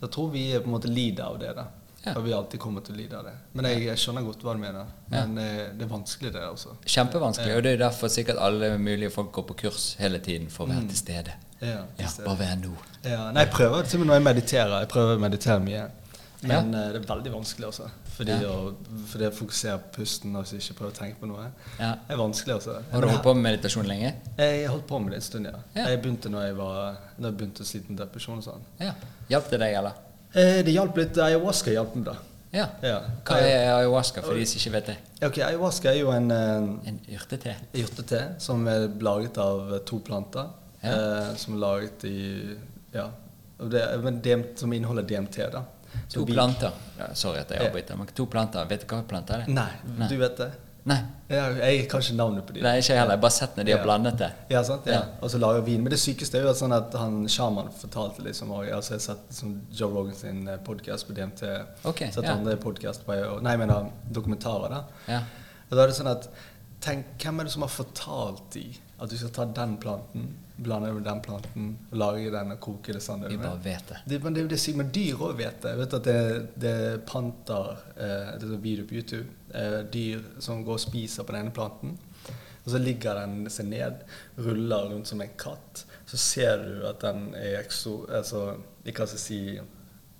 S2: Så jeg tror vi på en måte lider av det da.
S1: Ja.
S2: Og vi har alltid kommet til å lide av det. Men jeg, jeg skjønner godt hva du mener. Men eh, det er vanskelig, det altså. også.
S1: Kjempevanskelig, og det er derfor sikkert alle mulige folk går på kurs hele tiden for å
S2: Mm.
S1: være til stede.
S2: Ja,
S1: Ja,
S2: hvis det-
S1: bare vær nå.
S2: Ja, nei, jeg prøver til og med når jeg mediterer. Jeg prøver å meditere mye. Men eh, det er veldig vanskelig, altså. Fordi å fordi å fokusere på pusten og så ikke prøve å tenke på noe,
S1: Ja.
S2: det er vanskelig, altså.
S1: Har du holdt på med meditasjon lenge?
S2: Jeg holdt på med det en stund, ja.
S1: Ja.
S2: Jeg begynte når jeg var Når jeg begynte å slite med depresjon og sånn.
S1: Ja. Hjalp det deg, eller?
S2: Eh, det hjalp litt. Ayahuasca hjalp meg, da.
S1: Ja.
S2: Ja.
S1: Hva er ayahuasca, for de som ikke vet det?
S2: Ok, Ayahuasca er jo en eh,
S1: En urtete.
S2: hjortete som er laget av eh, to planter.
S1: Ja.
S2: Eh, som er laget i Ja. Og det, men DMT, som inneholder DMT, da. Så
S1: To
S2: vi-
S1: planter. Ja, sorry at jeg
S2: Ja.
S1: avbryter, men to planter. Vet du hva planter er?
S2: Nei,
S1: Nei.
S2: du vet det.
S1: Nei.
S2: Ja, jeg kan ikke navnet på de.
S1: Nei, ikke jeg heller. Jeg har bare sett når de har
S2: Ja.
S1: blandet det.
S2: Ja, sant? Ja.
S1: Ja.
S2: Og så lager vin. Men det sykeste er jo at sånn at han sjaman fortalte liksom og jeg har sett liksom, Joe Rogan sin podkast på DMT.
S1: Ok,
S2: sett
S1: ja.
S2: andre podcast på Nei, jeg mener dokumentarer, da.
S1: Ja.
S2: Og da er det sånn at Tenk, hvem er det som har fortalt de at du skal ta den planten, blande det med den planten, lage den og koke det sånn?
S1: Vi bare vet det.
S2: Det, men det er jo det sykt, men dyr òg vet det. Jeg vet at det, det er panter eh, Det er sånn video på YouTube. Eh, dyr som går og spiser på den ene planten. Og så ligger den seg ned, ruller rundt som en katt. Så ser du at den er ekso... Altså, jeg kan ikke si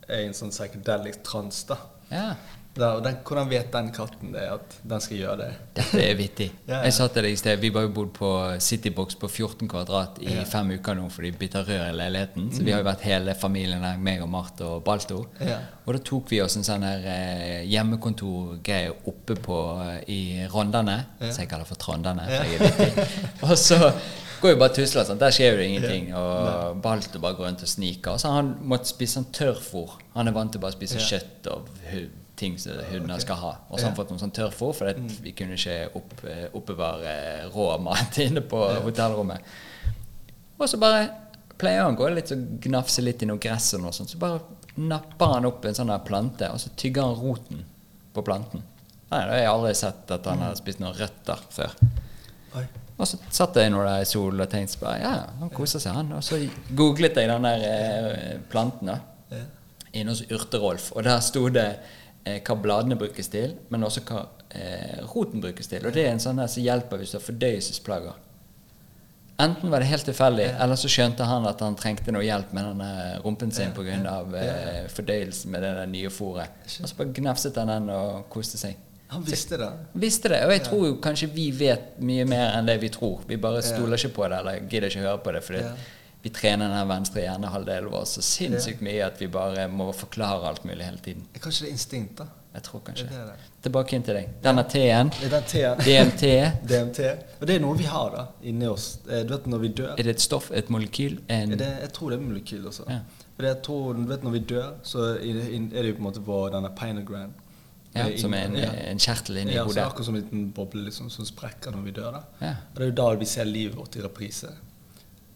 S2: er i en sånn psychedelic trans, da.
S1: Ja.
S2: Da, og den, hvordan vet den katten det, at den skal gjøre det?
S1: Dette er vittig.
S2: Ja, ja.
S1: Jeg sa til deg i sted, vi har jo bodd på Citybox på 14 kvadrat i fem uker nå fordi vi tar rør i leiligheten. Så vi har jo vært hele familien her, meg og Marte og Balto.
S2: Mm. Ja.
S1: Og da tok vi oss en sånn her eh, hjemmekontorgreie oppe på eh, i Rondane, som jeg kaller for Trondane. for jeg er
S2: [LAUGHS]
S1: vittig. og så går vi bare og tusler sånn. Der skjer jo det ingenting. Og Balto bare går rundt og sniker. Og så har han måtte spise sånn tørrfôr. Han er vant til bare å spise kjøtt og hu- ting som hunder skal ha. Og så har han fått noe sånn tørrfôr, for det, vi kunne ikke opp, eh, oppbevare rå mat [LAUGHS] inne på hotellrommet. Og så bare pleier han å gå litt og gnafse litt i noe gress og noe sånt. Så bare napper han opp en sånn der plante, og så tygger han roten på planten. Nei, da har jeg aldri sett at han har spist noen røtter før.
S2: Oi.
S1: Og så satt jeg nå der i solen og tenkte så bare, ja, ja, han koser seg, han. Og så googlet jeg den der eh, planten, da
S2: Ja.
S1: inne hos Urterolf, og der sto det eh, hva bladene brukes til, men også hva eh, roten brukes til. Og det er en sånn her som hjelper hvis du har fordøyelsesplager. Enten var det helt tilfeldig, eller så skjønte han at han trengte noe hjelp med denne rumpen sin pga. Eh, fordøyelsen med det der nye fôret. Og så bare gnafset han den og koste seg.
S2: Han visste det.
S1: Visste det, og jeg tror jo kanskje vi vet mye mer enn det vi tror. Vi bare stoler ikke på det, eller gidder ikke høre på det, fordi
S2: Ja.
S1: vi trener den venstre hjernehalvdelen vår så sinnssykt mye at vi bare må forklare alt mulig hele tiden.
S2: Er Kanskje det er instinkt, da.
S1: Jeg tror kanskje
S2: Det er det.
S1: Tilbake inn til deg. Denne T-en,
S2: Det er den T-en.
S1: DMT,
S2: DMT. Og det er noe vi har da, inni oss. Eh, Du vet når vi dør
S1: er det et stoff, et molekyl, en
S2: er det, Jeg tror det er molekyl også.
S1: Ja.
S2: For jeg tror, du vet når vi dør, så er det inn- er det jo på en måte på denne pinogram. eh,
S1: ja, som er en,
S2: ja.
S1: en kjertel inni
S2: Ja, så
S1: hodet?
S2: akkurat som en liten boble liksom, som sprekker når vi dør. da.
S1: Ja.
S2: Og Det er jo da vi ser livet vårt i reprise.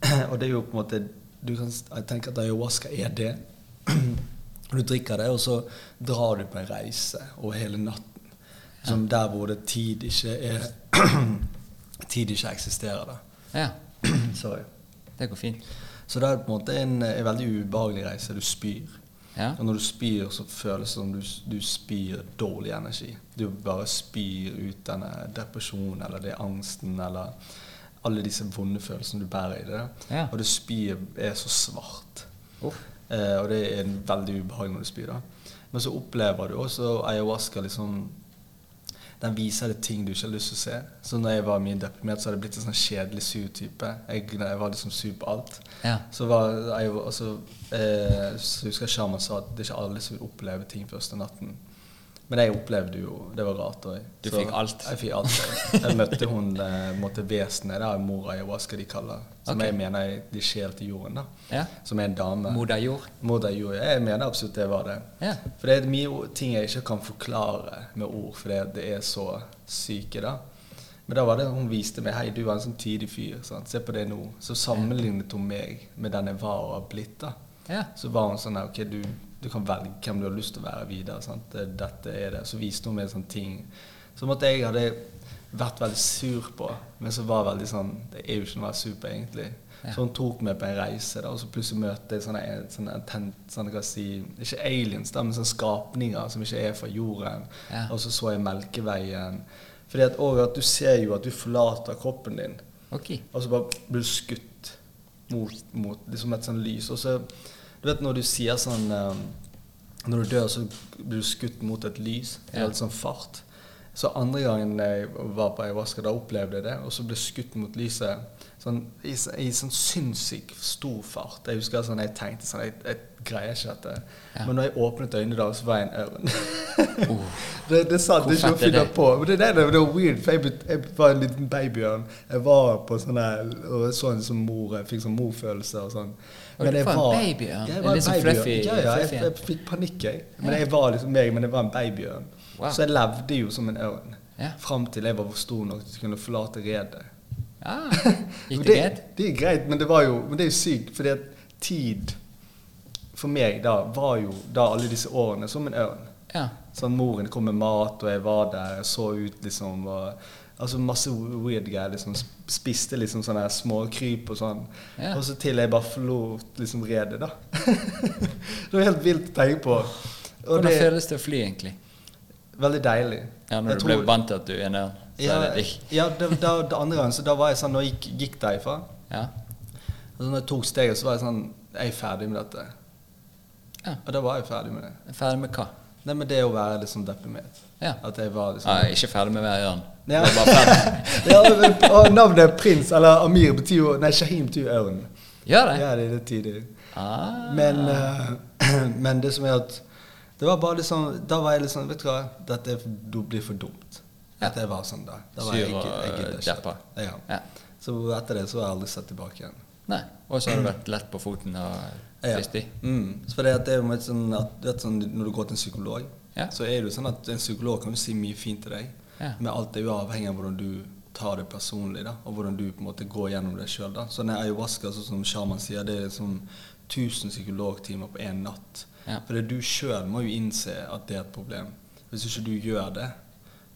S2: [CLEARS THROAT] og det er jo på en måte du kan, s- Jeg tenker at ayahuasca er det. [CLEARS THROAT] du drikker det, og så drar du på en reise over hele natten. Som der hvor det tid ikke er [CLEARS THROAT] Tid ikke eksisterer, da. [CLEARS THROAT]
S1: Ja.
S2: Sorry.
S1: Det går fint.
S2: Så det er på en måte en, en veldig ubehagelig reise. Du spyr.
S1: Ja.
S2: Og når du spyr, så føles det som du, du spyr dårlig energi. Du bare spyr ut denne depresjonen eller det angsten eller alle disse vonde følelsene du bærer i det.
S1: Ja.
S2: Og det spyet er så svart.
S1: Uff.
S2: Eh, og det er en veldig ubehagelig når du spyr. da. Men så opplever du også ayahuasca liksom den viser deg ting du ikke har lyst til å se. Så når jeg var mye deprimert, så hadde jeg blitt en sånn kjedelig sur type. Jeg, jeg var liksom sur på alt.
S1: Ja.
S2: Så var jeg var- altså, eh, så husker jeg Sharman sa at det er ikke alle som vil oppleve ting første natten. Men jeg opplevde jo Det var rart. Og,
S1: Du
S2: så-
S1: fikk alt?
S2: Jeg fikk alt. Jeg møtte hun eh, måtte vesenet, det er mor ayahuasca de kaller Som
S1: Ok.
S2: jeg mener er de sjel til jorden, da.
S1: Ja.
S2: Som er en dame.
S1: Moder jord.
S2: Moder jord. Jeg mener absolutt det var det.
S1: Ja.
S2: For det er mye o- ting jeg ikke kan forklare med ord, fordi det er så syke, da. Men da var det hun viste meg Hei, du var en sånn tidlig fyr. Sant? Se på det nå. Så sammenlignet hun meg med den jeg var og har blitt. da.
S1: Ja.
S2: Så var hun sånn her, Ok, du, du kan velge hvem du sånn har lyst til å være videre. Sant? Det- Dette er det. Så viste hun meg sånne ting. Som at jeg hadde vært veldig sur på. Men så var veldig sånn Det er jo ikke noe å være sur på, egentlig.
S1: Ja.
S2: Så hun tok meg på en reise, da, og så plutselig møtte jeg sånne, sånne, tent, sånne hva skal jeg si, Ikke aliens, da, men sånne skapninger som ikke er fra jorden.
S1: Ja.
S2: Og så så jeg Melkeveien. Fordi at, og at du ser jo at du forlater kroppen din. [LAUGHS]
S1: Ok.
S2: Og så bare blir du skutt mot, mot liksom et sånt lys. Og så Du vet når du sier sånn eh, Når du dør, så blir du skutt mot et lys. Det
S1: Ja.
S2: er litt sånn fart. Så andre gangen jeg var på ayahuasca, da opplevde jeg det. Og så ble jeg skutt mot lyset sånn, i, s- i sånn sinnssykt stor fart. Jeg husker sånn, jeg tenkte sånn Jeg, jeg greier ikke dette.
S1: Ja.
S2: Men når jeg åpnet øynene da, så var jeg en ørn. [LAUGHS]
S1: Oh.
S2: Det, det sa
S1: Hvor
S2: det ikke å
S1: fett er
S2: finne
S1: det?
S2: på. Men det, det, det, det var weird, for jeg, bet- jeg var en liten babyørn. Jeg var på sånn her og jeg så en som mor. Jeg fikk sånn morfølelse og sånn.
S1: Og du var en
S2: Ja,
S1: babyørn? En
S2: jeg var en
S1: litt sånn
S2: babyørn.
S1: fluffy-
S2: Ja, ja, jeg,
S1: fluffy en.
S2: jeg fikk panikk, jeg. Men jeg var liksom meg, men jeg var en babyørn.
S1: Wow.
S2: Så jeg levde jo som en ørn.
S1: Ja.
S2: Fram til jeg var stor nok til å kunne forlate redet.
S1: Ah,
S2: Men [LAUGHS]
S1: gikk det greit?
S2: Det er greit, men det, var jo, men det er jo sykt, fordi at tid for meg da var jo da alle disse årene som en ørn.
S1: Ja.
S2: Sånn, moren kom med mat, og jeg var der, jeg så ut liksom og, Altså masse weird greier. Liksom, sp- spiste liksom sånne her småkryp og sånn.
S1: Ja.
S2: Og så til jeg bare forlot liksom redet, da. [LAUGHS] det var helt vilt å tenke på. Og
S1: Hvordan
S2: det er
S1: føles det å fly, egentlig?
S2: veldig deilig.
S1: Ja, Når
S2: Jeg
S1: du
S2: tror-
S1: ble vant til at du er en ørn, så
S2: ja,
S1: er det digg.
S2: ja, det, da, det andre gangen, så da var jeg sånn Når jeg gikk, gikk derifra,
S1: Ja.
S2: og så når jeg tok steget, så var jeg sånn Jeg er ferdig med dette.
S1: Ja.
S2: Og da var jeg ferdig med det.
S1: Ferdig med hva?
S2: Nei, men det å være liksom deprimert.
S1: Ja.
S2: At jeg var liksom
S1: Ah, ikke ferdig med hver ørn.
S2: Ja.
S1: Det var bare ferdig.
S2: [LAUGHS] ja, men, og navnet prins, eller Amir, betyr jo Nei, Shahim betyr jo ørn.
S1: Ja, det.
S2: Ja, det er litt tidlig.
S1: Ah.
S2: Men, eh, [CLEARS THROAT] men det som er at Det var bare liksom Da var jeg litt sånn Vet du hva, dette er, du blir for dumt. At jeg var sånn da. da var jeg,
S1: Sur
S2: ikke-
S1: og
S2: jeg gidder ikke.
S1: deppa.
S2: Ja.
S1: Ja.
S2: Så etter det så har jeg aldri sett tilbake igjen.
S1: Nei. Og så har du vært lett på foten og
S2: Ja.
S1: lystig.
S2: Mm. Så for det, at det er jo litt sånn at, du vet, sånn, når du går til en psykolog,
S1: Ja.
S2: så er det jo sånn at en psykolog kan jo si mye fint til deg,
S1: Ja.
S2: men alt er jo avhengig av hvordan du tar det personlig, da, og hvordan du på en måte går gjennom det sjøl. Så den ayahuasca, sånn som sjaman sier, det er som 1000 psykologtimer på én natt.
S1: Ja.
S2: For det du sjøl må jo innse at det er et problem. Hvis ikke du gjør det,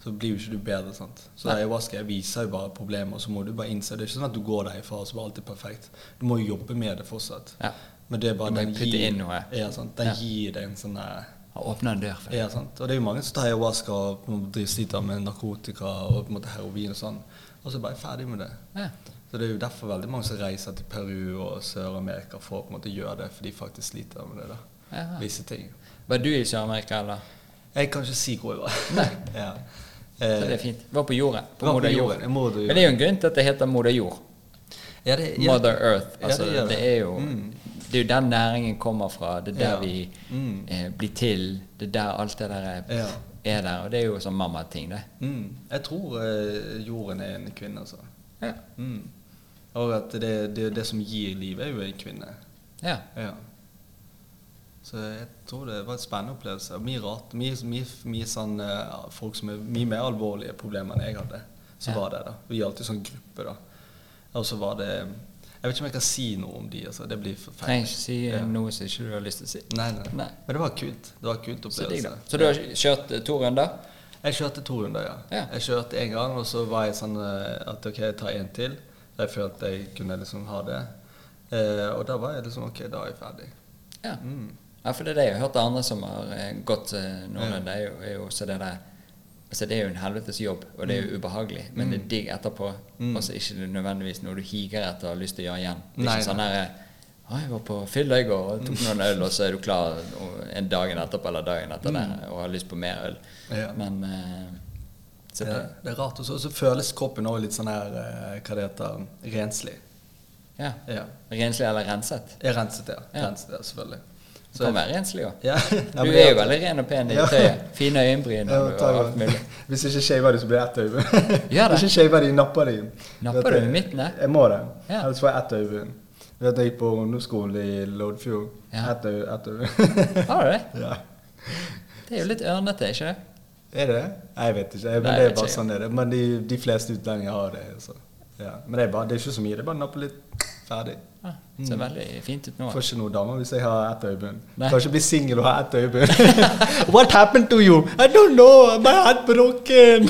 S2: så blir jo ikke du bedre. sant? Så
S1: Nei.
S2: ayahuasca jeg viser jo bare problemer, så må du bare innse det. Det er ikke sånn at du går derifra og så blir alt er perfekt. Du må jo jobbe med det fortsatt.
S1: Ja.
S2: Men det er bare
S1: Du må
S2: den
S1: putte
S2: gir,
S1: inn noe.
S2: Ja, sant? Den
S1: Ja.
S2: gir deg en sånn eh,
S1: Har åpna en dør for deg.
S2: ja, sant? Og det er jo mange som tar ayahuasca og på en måte driver sliter med narkotika og på en måte heroin og sånn, og så er bare ferdig med det.
S1: Ja.
S2: Så det er jo derfor veldig mange som reiser til Peru og Sør-Amerika for å på en måte gjøre det, for de faktisk sliter med det. da.
S1: Jaha.
S2: Visse ting.
S1: Var du i Sør-Amerika, eller?
S2: Jeg kan ikke si hvor jeg var. [LAUGHS] ja.
S1: Så det er
S2: Eh,
S1: fint. Var på jorden. På
S2: Var på
S1: moder jord.
S2: jorden, moder jord.
S1: Men det er jo en grunn til at det heter moder jord.
S2: ja, det, ja.
S1: Mother Earth.
S2: Ja,
S1: Altså,
S2: det gjør
S1: det,
S2: det. Mm.
S1: er jo Det er jo den næringen kommer fra. Det er der
S2: Ja.
S1: vi
S2: Mm.
S1: eh, blir til. Det er der alt det der er,
S2: Ja.
S1: er der. Og det er jo sånn mamma-ting, det.
S2: Mm. Jeg tror eh, jorden er en kvinne, altså.
S1: Ja.
S2: Mm. Og at det, det, det som gir liv, er jo en kvinne.
S1: ja.
S2: Ja. Så jeg tror det var en spennende opplevelse. og Mye rart. Mye, mye, mye sånn, eh, folk som er mye mer alvorlige problemer enn jeg hadde, som
S1: Ja.
S2: var der. da. Vi gjaldt jo sånn gruppe, da. Og så var det Jeg vet ikke om jeg kan si noe om de, altså. Det blir for
S1: Trenger ikke si eh,
S2: Ja.
S1: noe som ikke du har lyst til å si.
S2: Nei, nei.
S1: Nei.
S2: Men det var kult. Det var en kult
S1: Så digg, da.
S2: opplevelse.
S1: Så du har kjørt eh, to runder?
S2: Jeg kjørte to runder, ja.
S1: Ja.
S2: Jeg kjørte én gang, og så var jeg sånn eh, at OK, jeg tar en til. Da jeg følte jeg kunne liksom ha det. Eh, og da var jeg liksom OK, da er jeg ferdig.
S1: Ja.
S2: Mm.
S1: Ja, for det er det jeg har hørt av andre som har eh, gått eh, noen
S2: Ja.
S1: runder, er jo, er jo også det der Altså, det er jo en helvetes jobb, og det er jo ubehagelig, men det er digg etterpå.
S2: Mm.
S1: Og så er ikke det nødvendigvis noe du higer etter og har lyst til å gjøre igjen. Det er
S2: Nei, Mm.
S1: ikke sånn der eh, Å, jeg var på fylla i går og tok noen øl, og så er du klar og- en dagen etterpå eller dagen etter der og har lyst på mer øl.
S2: Ja.
S1: Men eh, så
S2: Ja,
S1: det-
S2: det er rart. Og så- så føles kroppen også litt sånn her eh, Hva det heter Renslig.
S1: ja.
S2: Ja.
S1: Renslig eller renset?
S2: Jeg renset det.
S1: Ja.
S2: Renset det, selvfølgelig.
S1: Du kan være renslig òg.
S2: Ja. [LAUGHS]
S1: Du er jo veldig ren og pen i
S2: Ja.
S1: tøyet. Fine øyenbryn
S2: Ja,
S1: og
S2: takk.
S1: alt mulig.
S2: Hvis ikke shaver de, så blir det ett øye.
S1: [LAUGHS] Ja, da.
S2: Hvis ikke shaver de, napper de.
S1: Napper
S2: Vet
S1: du i midten, da?
S2: Jeg må det.
S1: Ja.
S2: Ellers får jeg ett øye. Du vet jeg gikk på ungdomsskolen i Loddfjord.
S1: Ja.
S2: Ett øye, [LAUGHS] ett øye.
S1: Har du det?
S2: ja.
S1: Det er jo litt ørnete, ikke det?
S2: Er det det? Nei, Jeg vet ikke. Jeg, men
S1: Nei,
S2: det er bare
S1: jeg vet ikke.
S2: sånn er det. Men de, de fleste utlendinger har det. Så. Ja. Men det er, bare, det er ikke så mye. Det er bare napper litt. Ferdig.
S1: Ja, Ah, det
S2: Mm.
S1: ser veldig fint ut nå.
S2: Får ikke noen damer hvis jeg har ett øyebunn.
S1: Nei.
S2: Kan ikke bli singel og ha ett øyebunn. [LAUGHS]
S1: [LAUGHS]
S2: What happened to you? I don't know. My heart broken.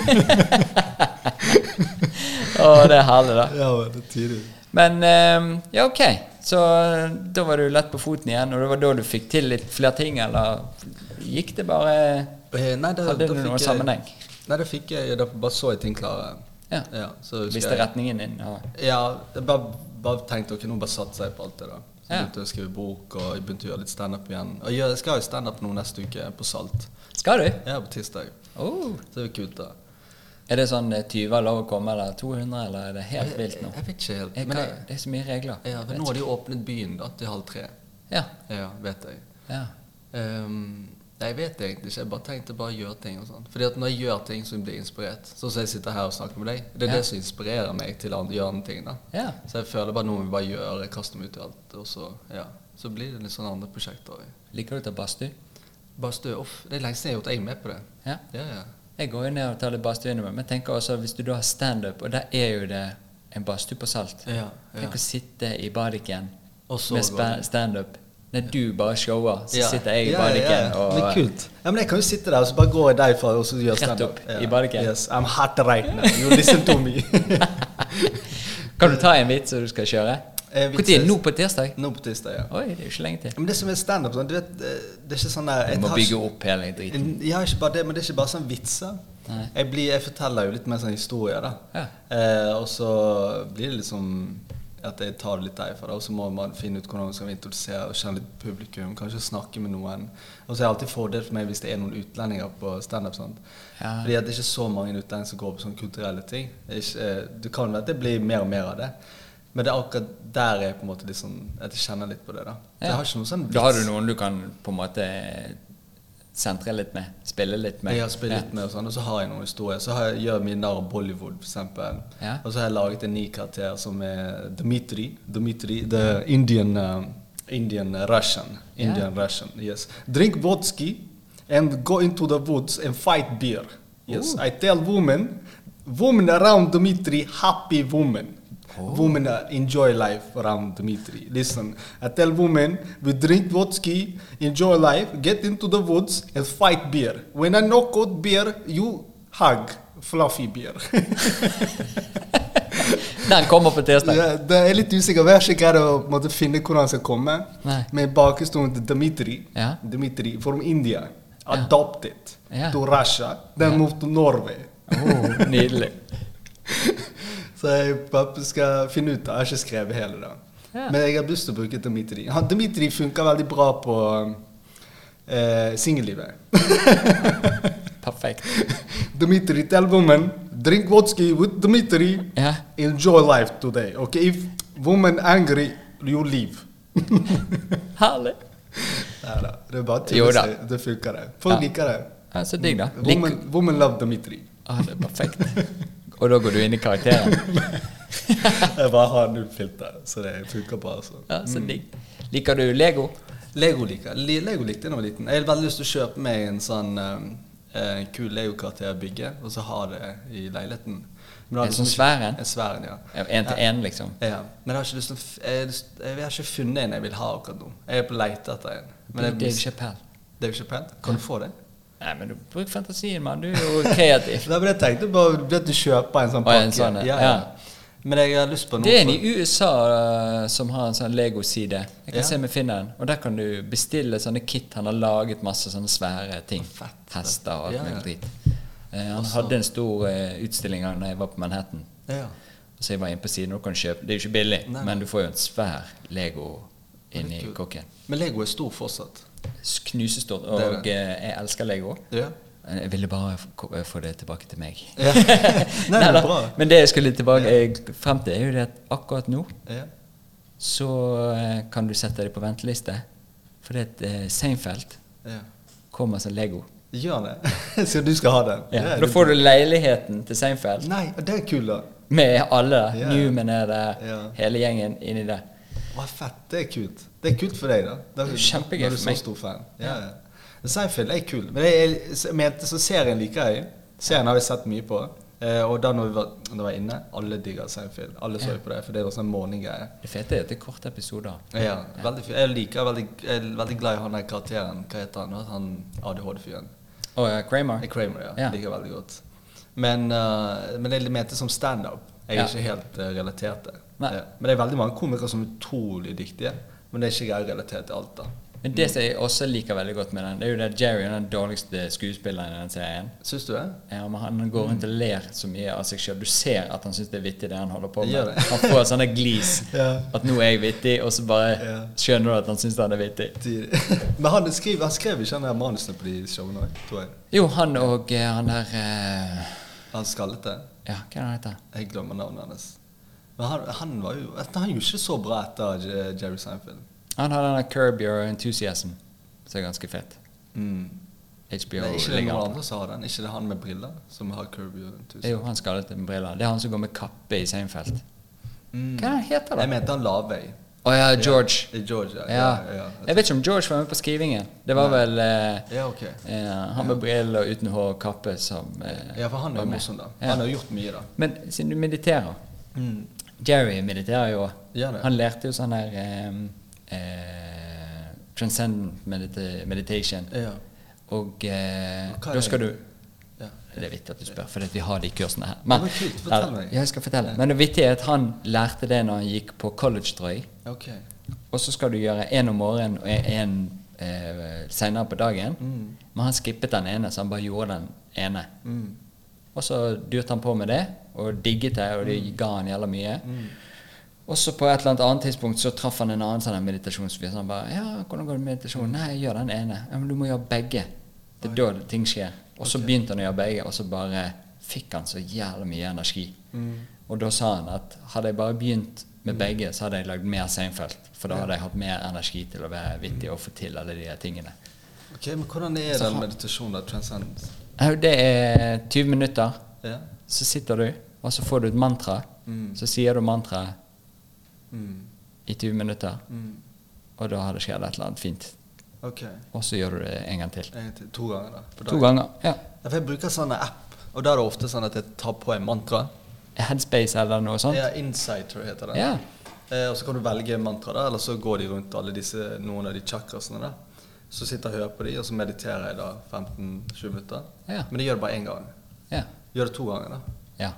S1: Og det er herlig, da.
S2: Ja, men det er tidlig.
S1: Men eh, ja, ok. Så eh, da var du lett på foten igjen, og det var da du fikk til litt flere ting, eller gikk det bare
S2: Eh, Nei, da,
S1: Hadde
S2: da
S1: du
S2: fikk
S1: noen
S2: jeg-
S1: sammenheng?
S2: Nei, det fikk jeg. Da bare så jeg ting klare.
S1: Ja.
S2: så husker
S1: Visste
S2: jeg-
S1: retningen din? Og,
S2: Ja, jeg bare, bare tenkte ok, nå bare satser jeg på alt det da. Så
S1: Ja.
S2: begynte jeg å skrive bok, og jeg begynte å gjøre litt standup igjen. Og jeg skal jo standup nå neste uke, på Salt.
S1: skal du?
S2: Ja, på tirsdag.
S1: Oh.
S2: Så det er jo kult, da.
S1: Er det sånn eh, 20 er lov å komme, eller 200, eller er det helt vilt nå?
S2: Jeg, jeg vet ikke helt.
S1: Jeg,
S2: Men
S1: kan,
S2: jeg,
S1: det er så mye regler.
S2: ja, men nå har de jo åpnet byen da, til halv tre.
S1: Ja,
S2: Ja, vet jeg.
S1: ja.
S2: Ehm, nei, jeg vet egentlig ikke. Jeg bare tenkte bare å gjøre ting. og sånn. Fordi at når jeg gjør ting, så blir jeg inspirert. Sånn som jeg sitter her og snakker med deg. Det er
S1: Ja.
S2: det som inspirerer meg til å gjøre andre ting. da.
S1: ja.
S2: Så jeg føler bare nå må vi bare gjøre, kaste meg ut i alt. Og så, ja. så blir det litt sånne andre prosjekter.
S1: Liker du å ta badstue?
S2: Bare stø off. Det er lenge siden jeg har gjort jeg er med på det.
S1: Ja.
S2: Ja, ja.
S1: Jeg går jo ned og tar litt badstue innimellom. Men jeg tenker også hvis du da har standup, og der er jo det en badstue på Salt
S2: ja,
S1: Tenk å sitte i badiken
S2: Og så
S1: med
S2: gå.
S1: spa- standup. Når du bare shower, så
S2: Ja.
S1: sitter jeg i
S2: Ja, ja,
S1: badiken
S2: ja. Men
S1: og
S2: kult. Ja, men jeg kan jo sitte der, og så bare går jeg derfra og så gjør
S1: Rett
S2: standup.
S1: opp i badeken.
S2: Yes, I'm hot right now. You listen to [LAUGHS] me.
S1: Kan du ta en vits som du skal kjøre?
S2: Eh,
S1: Når?
S2: vitser-
S1: Nå på tirsdag?
S2: Nå på tirsdag, ja.
S1: Oi, det er jo ikke lenge til.
S2: Men det som er standup, sånn, du vet, eh, det er ikke sånn der
S1: Du
S2: jeg
S1: må
S2: tar
S1: bygge
S2: ikke-
S1: opp hele driten.
S2: Ja, ikke bare det, men det er ikke bare sånn vitser.
S1: Nei.
S2: Jeg, blir, jeg forteller jo litt mer sånn historier, da.
S1: Ja.
S2: Eh, og så blir det liksom at jeg tar det litt derfra, da, og så må man finne ut hvordan man skal introdusere og kjenne litt publikum, kanskje snakke med noen. Og så er det alltid fordel for meg hvis det er noen utlendinger på standup. sant?
S1: Ja.
S2: Fordi at det er ikke så mange utlendinger som går på sånne kulturelle ting. Det, er ikke, eh, det kan være at det blir mer og mer av det. Men det er akkurat der jeg på en måte liksom, at jeg kjenner litt på det. da. Så Jeg har ikke noen sånn
S1: Da har du noen du kan på en måte sentre litt med? Spille litt med?
S2: Jeg har spilt litt med og sånn, og så har jeg noen historier. Så har jeg, gjør jeg mye narr av Bollywood, f.eks.
S1: Ja.
S2: Og så har jeg laget en ny karakter som er Dmitri. Dmitri, the Indian um, Indian Russian. Indian Russian, yes. Drink vodka and go into the woods and fight beer. Yes, I tell women, women around Dmitri, happy women. Women uh, enjoy life around Dmitri. Listen, I tell women we drink vodka, enjoy life, get into the woods and fight beer. When I knock out beer, you hug fluffy beer. [LAUGHS]
S1: Den kommer på tirsdag.
S2: ja, det er litt usikker. Jeg har ikke greid å på en måte, finne hvordan han skal komme.
S1: Nei.
S2: Med bakhistorien til Dmitri.
S1: Ja.
S2: Dmitri from India. Adopted
S1: Ja.
S2: to Russia. Then moved to Norway. [LAUGHS]
S1: Oh, nydelig.
S2: Så jeg bare skal finne ut. Jeg har ikke skrevet hele det.
S1: Ja.
S2: Men jeg har lyst til å bruke Dmitri. Han, Dmitri funker veldig bra på eh, singellivet.
S1: Perfekt.
S2: [LAUGHS] Dmitri tell women drink vodka with Dmitri.
S1: Ja.
S2: Enjoy life today. Okay, if woman angry, you
S1: [LAUGHS]
S2: leave.
S1: Herlig.
S2: Nei da, det er bare til
S1: Jo
S2: å
S1: da.
S2: si. Det funker, det. Folk
S1: Ja.
S2: liker det.
S1: Ja, så digg, da. Lik-
S2: Woman, woman love Dmitri.
S1: [LAUGHS] Ah, det er perfekt. Og da går du inn i karakteren?
S2: Jeg bare har null filter, så det funker bra. altså.
S1: Ja, så digg. Liker du Lego?
S2: Lego liker Li- Lego likte jeg da jeg var liten. Jeg hadde veldig lyst til å kjøpe meg en sånn um, en kul Lego-karakter å bygge, og så ha det i leiligheten. Men jeg har
S1: En
S2: liksom
S1: sånn
S2: ikke-
S1: svær en?
S2: En svær en, ja.
S1: Ja, En til en, liksom?
S2: ja. Men jeg har ikke lyst til å f- jeg, har lyst- jeg har ikke funnet en jeg vil ha akkurat nå. Jeg er på leite etter en. Men jeg,
S1: Dave Chappelle.
S2: det er jo ikke pent. Kan du få det?
S1: Nei, men du bruk fantasien, mann. Du er jo [LAUGHS] kreativ.
S2: Nei, men jeg tenkte bare at du kjøper en sånn
S1: Å,
S2: pakke.
S1: en sånn, ja.
S2: Men jeg har lyst på noe
S1: Det er en
S2: for-
S1: i USA eh, som har en sånn Lego-side. Jeg kan
S2: Ja.
S1: se om jeg finner den. Og der kan du bestille sånne kit. Han har laget masse sånne svære ting. Hester og alt
S2: Ja, ja.
S1: mulig drit. Eh, han hadde en stor eh, utstilling da jeg var på Manhattan.
S2: Ja.
S1: Så jeg var inne på siden og kan kjøpe. Det er jo ikke billig,
S2: Nei.
S1: men du får jo en svær Lego inni
S2: kult.
S1: kokken.
S2: Men Lego er stor fortsatt.
S1: Knusestort.
S2: Det er
S1: Og eh, jeg elsker Lego.
S2: Ja.
S1: [LAUGHS] Jeg ville bare f- ko- få det tilbake til meg.
S2: Ja. [LAUGHS] Nei, det er
S1: [LAUGHS] Neida,
S2: bra.
S1: Men det jeg skulle tilbake eh, frem til, er jo det at akkurat nå
S2: Ja.
S1: så eh, kan du sette deg på venteliste. For det at eh, Seinfeld
S2: Ja.
S1: kommer som Lego.
S2: Gjør det. [LAUGHS] Så du skal ha den?
S1: Ja, da får du leiligheten til Seinfeld
S2: Nei, det er kult, da.
S1: med alle der.
S2: Ja.
S1: Newman er der,
S2: Ja.
S1: hele gjengen inni der.
S2: Hva fett. Det er kult. Det er kult for deg, da. Da-
S1: Det er kjempegøy
S2: når du er
S1: for meg.
S2: så stor fan. Ja, ja. Seinfeld er kul. Men jeg, jeg mente, så serien liker jeg. Serien har vi sett mye på. Eh, og da når vi var, når vi var inne, alle digger Seinfeld. Alle så jo på det, for det er jo sånn morgengreie.
S1: Det fete er at det er korte episoder.
S2: Ja, veldig fint. Jeg liker veldig, jeg er veldig glad i han der karakteren. Hva heter han? Han ADHD-fyren.
S1: Og eh, Kramer.
S2: Kramer, ja.
S1: Ja.
S2: Liker veldig godt. Men, eh, men jeg mente som standup. Jeg er
S1: Ja.
S2: ikke helt eh, relatert til det.
S1: Nei.
S2: Ja. Men det er veldig mange komikere som er utrolig dyktige. Men det er ikke jeg relatert til alt, da.
S1: Men det som jeg også liker veldig godt med den, det er jo det at Jerry er den dårligste skuespilleren i den serien.
S2: Syns du det?
S1: Ja, men Han går rundt og ler så mye av seg sjøl. Du ser at han syns det er vittig, det han holder på
S2: Gjør
S1: med.
S2: det.
S1: Han får sånne glis.
S2: [LAUGHS] Ja.
S1: At 'nå er jeg vittig', og så bare
S2: Ja.
S1: skjønner du at han syns han er vittig.
S2: [LAUGHS] Men han, skriver, han skrev ikke han der manusene på de showene òg, tror jeg.
S1: Jo, han og eh, han der eh,
S2: Han skallete.
S1: Ja, hva er det han heter?
S2: Jeg glemmer navnet hans. Men han, han var jo Han er jo ikke så bra etter Je- Jerry Seinfeld.
S1: Han har den der Curb Your Enthusiasm, som er ganske fet. Mm.
S2: Det
S1: HBO
S2: er ikke det
S1: ligger
S2: noen
S1: an.
S2: andre som har den? Ikke det han med briller? Som har Curb Your
S1: Det er
S2: Enthusiasm?
S1: jo han skallet med briller. Det er han som går med kappe i Seinfeld.
S2: Mm.
S1: Hva er han heter
S2: Jeg
S1: han?
S2: mente han Lavøy.
S1: Å ja, George.
S2: Ja, George, ja.
S1: Ja.
S2: ja, ja.
S1: Jeg vet ikke om George var med på skrivingen. Det var vel eh,
S2: Ja, ok.
S1: eh, han med briller og uten hår og kappe som eh,
S2: Ja, for han er
S1: var
S2: jo
S1: med.
S2: morsom, da.
S1: Ja. Mm.
S2: Han har gjort mye, da.
S1: Men siden du mediterer Jerry mediterer jo også.
S2: Gjør det.
S1: Han lærte jo sånn her eh, eh, Transcendent medita meditation.
S2: Ja.
S1: Og eh,
S2: Og hva er
S1: da skal du
S2: det? Ja.
S1: Det er vittig at du spør, for vi har de kursene her.
S2: Ja, men kult, fortell meg.
S1: Ja, jeg skal fortelle. Men det vittige er at han lærte det når han gikk på college-drøy.
S2: Ok.
S1: Og så skal du gjøre én om morgenen og én eh, senere på dagen. Men han skippet den ene, så han bare gjorde den ene.
S2: Mm.
S1: Og så durte han på med det, og digget det, og det ga han jævla mye. Og så på et eller annet annet tidspunkt så traff han en annen sånn her meditasjonsfyr. Så han bare 'Ja, hvordan går det med meditasjon?' 'Nei, jeg gjør den ene.' Ja, 'Men du må gjøre begge.' Det er da ting skjer. Og så begynte han å gjøre begge, og så bare fikk han så jævla mye energi. Og da sa han at hadde jeg bare begynt med begge, så hadde jeg lagd mer Seinfeld. For da hadde jeg hatt mer energi til å være vittig og få til alle de her tingene.
S2: Ok, Men hvordan er
S1: Så
S2: den
S1: han-
S2: meditasjonen, da? Transcendence?
S1: Au, Det er 20 minutter.
S2: Ja.
S1: Så sitter du, og så får du et mantra.
S2: Mm.
S1: Så sier du mantraet
S2: Mm.
S1: i 20 minutter,
S2: Mm.
S1: og da har det skjedd et eller annet fint.
S2: Ok.
S1: Og så gjør du det en gang til.
S2: En til. To ganger, da. på
S1: To
S2: dagen.
S1: ganger. ja.
S2: Ja, for jeg bruker sånne app, og da er det ofte sånn at jeg tar på en mantra.
S1: Headspace eller noe sånt.
S2: Ja, Insight, tror jeg heter det.
S1: Ja.
S2: Eh, og så kan du velge mantra, da, eller så går de rundt alle disse, noen av de chakrasene. da. Så sitter jeg og hører på de, og så mediterer jeg da 15-20 minutter.
S1: Ja.
S2: Men jeg gjør det bare én gang.
S1: Ja.
S2: Gjør det to ganger, da.
S1: ja.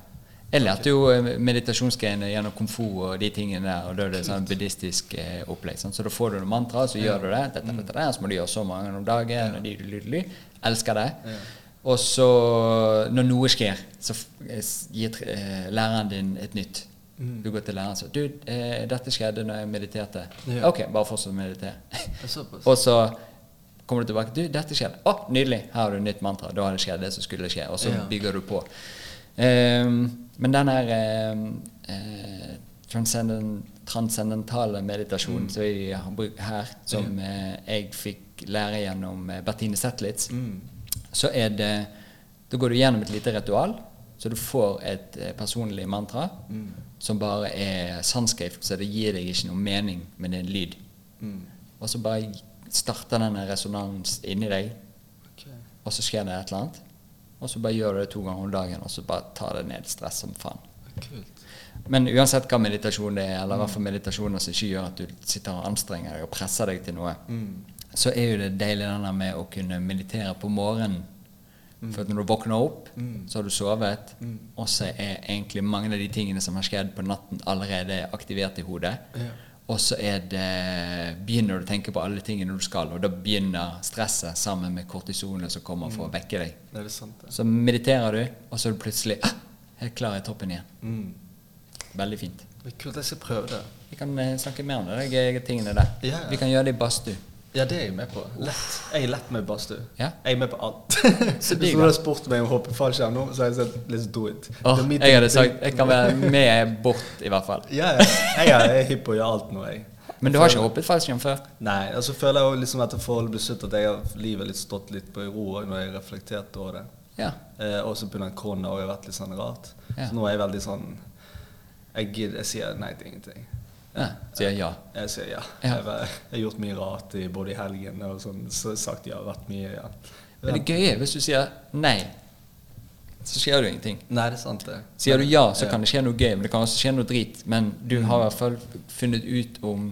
S1: Jeg lærte jo eh, meditasjonsgreiene gjennom kung fu og de tingene der, og da er det sånn buddhistisk eh, opplegg. sant? Så da får du noen mantra, så gjør du det, dette,
S2: Mm.
S1: dette, dette, så må du gjøre så mange om dagen, og de, de, de, de. Elsker det.
S2: Ja.
S1: Og så, når noe skjer, så f- eh, s- gir tr- eh, læreren din et nytt.
S2: Mm.
S1: Du går til læreren og sier Du, eh, dette skjedde når jeg mediterte.
S2: Ja.
S1: Ok, bare fortsett å meditere. [LAUGHS]
S2: Det er såpass.
S1: Og så kommer du tilbake. Du, dette skjedde. Å, nydelig. Her har du nytt mantra. Da har det skjedd det som skulle skje. Og så
S2: Ja.
S1: bygger du på. Ehm, men den her ehm, eh, transcendent, transcendentale meditasjonen som vi har brukt her, som eh, jeg fikk lære gjennom eh, Bertine Zetlitz, så er det Da går du gjennom et lite ritual, så du får et eh, personlig mantra som bare er sanskrift, så det gir deg ikke noe mening, men det er en lyd. Og så bare starter denne resonansen inni deg,
S2: Ok.
S1: og så skjer det et eller annet. Og så bare gjør du det to ganger om dagen, og så bare tar det ned stress som faen.
S2: Kult.
S1: Men uansett hva meditasjon det er, eller hva for meditasjoner som ikke gjør at du sitter og anstrenger deg og presser deg til noe, så er jo det deilig den der med å kunne meditere på morgenen. For at når du våkner opp, så har du sovet, og så er egentlig mange av de tingene som har skjedd på natten, allerede aktivert i hodet.
S2: Ja.
S1: Og så er det, begynner du å tenke på alle tingene du skal, og da begynner stresset sammen med kortisonet som kommer for å
S2: Mm.
S1: vekke deg.
S2: Det er det sant, det.
S1: Så mediterer du, og så er du plutselig ah, helt klar i toppen igjen.
S2: Mm.
S1: Veldig fint.
S2: Det er kult, jeg skal prøve det.
S1: Vi kan eh, snakke mer om de gøye tingene der.
S2: Ja, ja.
S1: Vi kan gjøre det i badstue.
S2: Ja, det er jeg med på. Lett. Jeg er lett med badstue.
S1: Ja.
S2: Jeg er med på alt.
S1: [LAUGHS] Så
S2: Hvis
S1: digg,
S2: noen hadde spurt meg om å hoppe i fallskjerm nå, så hadde jeg sagt let's do it.
S1: Åh,
S2: Det er mitt-
S1: jeg hadde sagt jeg kan være med bort, i hvert fall.
S2: Ja, ja. Jeg er- Jeg er hypp på å gjøre alt nå, jeg.
S1: Men du har ikke hoppet fallskjerm før?
S2: Nei, altså føler jeg jo liksom etter forholdet ble slutt at jeg har livet litt stått litt på i ro og når jeg reflekterte over det.
S1: Ja.
S2: Eh, og så pga. korona har jeg vært litt sånn rart.
S1: Ja.
S2: Så nå er jeg veldig sånn Jeg gidder, jeg sier nei til ingenting.
S1: ja. Sier ja.
S2: Jeg sier ja.
S1: Ja.
S2: Jeg, var- jeg har gjort mye rart i, både i helgen og sånn. Så sagt ja, vært mye ja.
S1: Men det gøye er hvis du sier nei, så skjer det jo ingenting.
S2: Nei, det er sant, det.
S1: Sier du ja, så kan det skje noe gøy, men det kan også skje noe drit. Men du har i hvert fall funnet ut om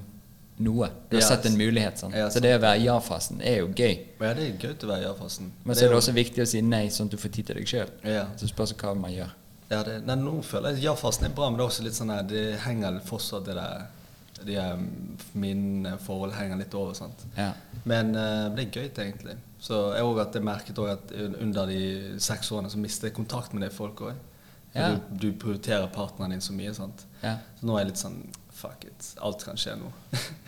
S1: noe. Du har
S2: Ja,
S1: sett en mulighet. Sant?
S2: ja,
S1: Så det å være ja-fasen er jo gøy.
S2: Men ja, det er gøy til å være ja-fasen.
S1: Men så er det også viktig å si nei, sånn at du får tid til deg sjøl.
S2: Ja.
S1: Så spørs det hva man gjør.
S2: Ja, det, nei, nå føler jeg ja-fasen er bra, men det er også litt sånn her, det henger fortsatt det der de, um, Mine forhold henger litt over. sant?
S1: Ja.
S2: Men eh, det er gøy, egentlig. Så jeg, også at jeg merket også at un- under de seks årene så mistet jeg kontakt med de folk òg.
S1: Ja.
S2: Du, du prioriterer partneren din så mye. sant?
S1: Ja.
S2: Så nå er jeg litt sånn Fuck it. Alt kan skje nå.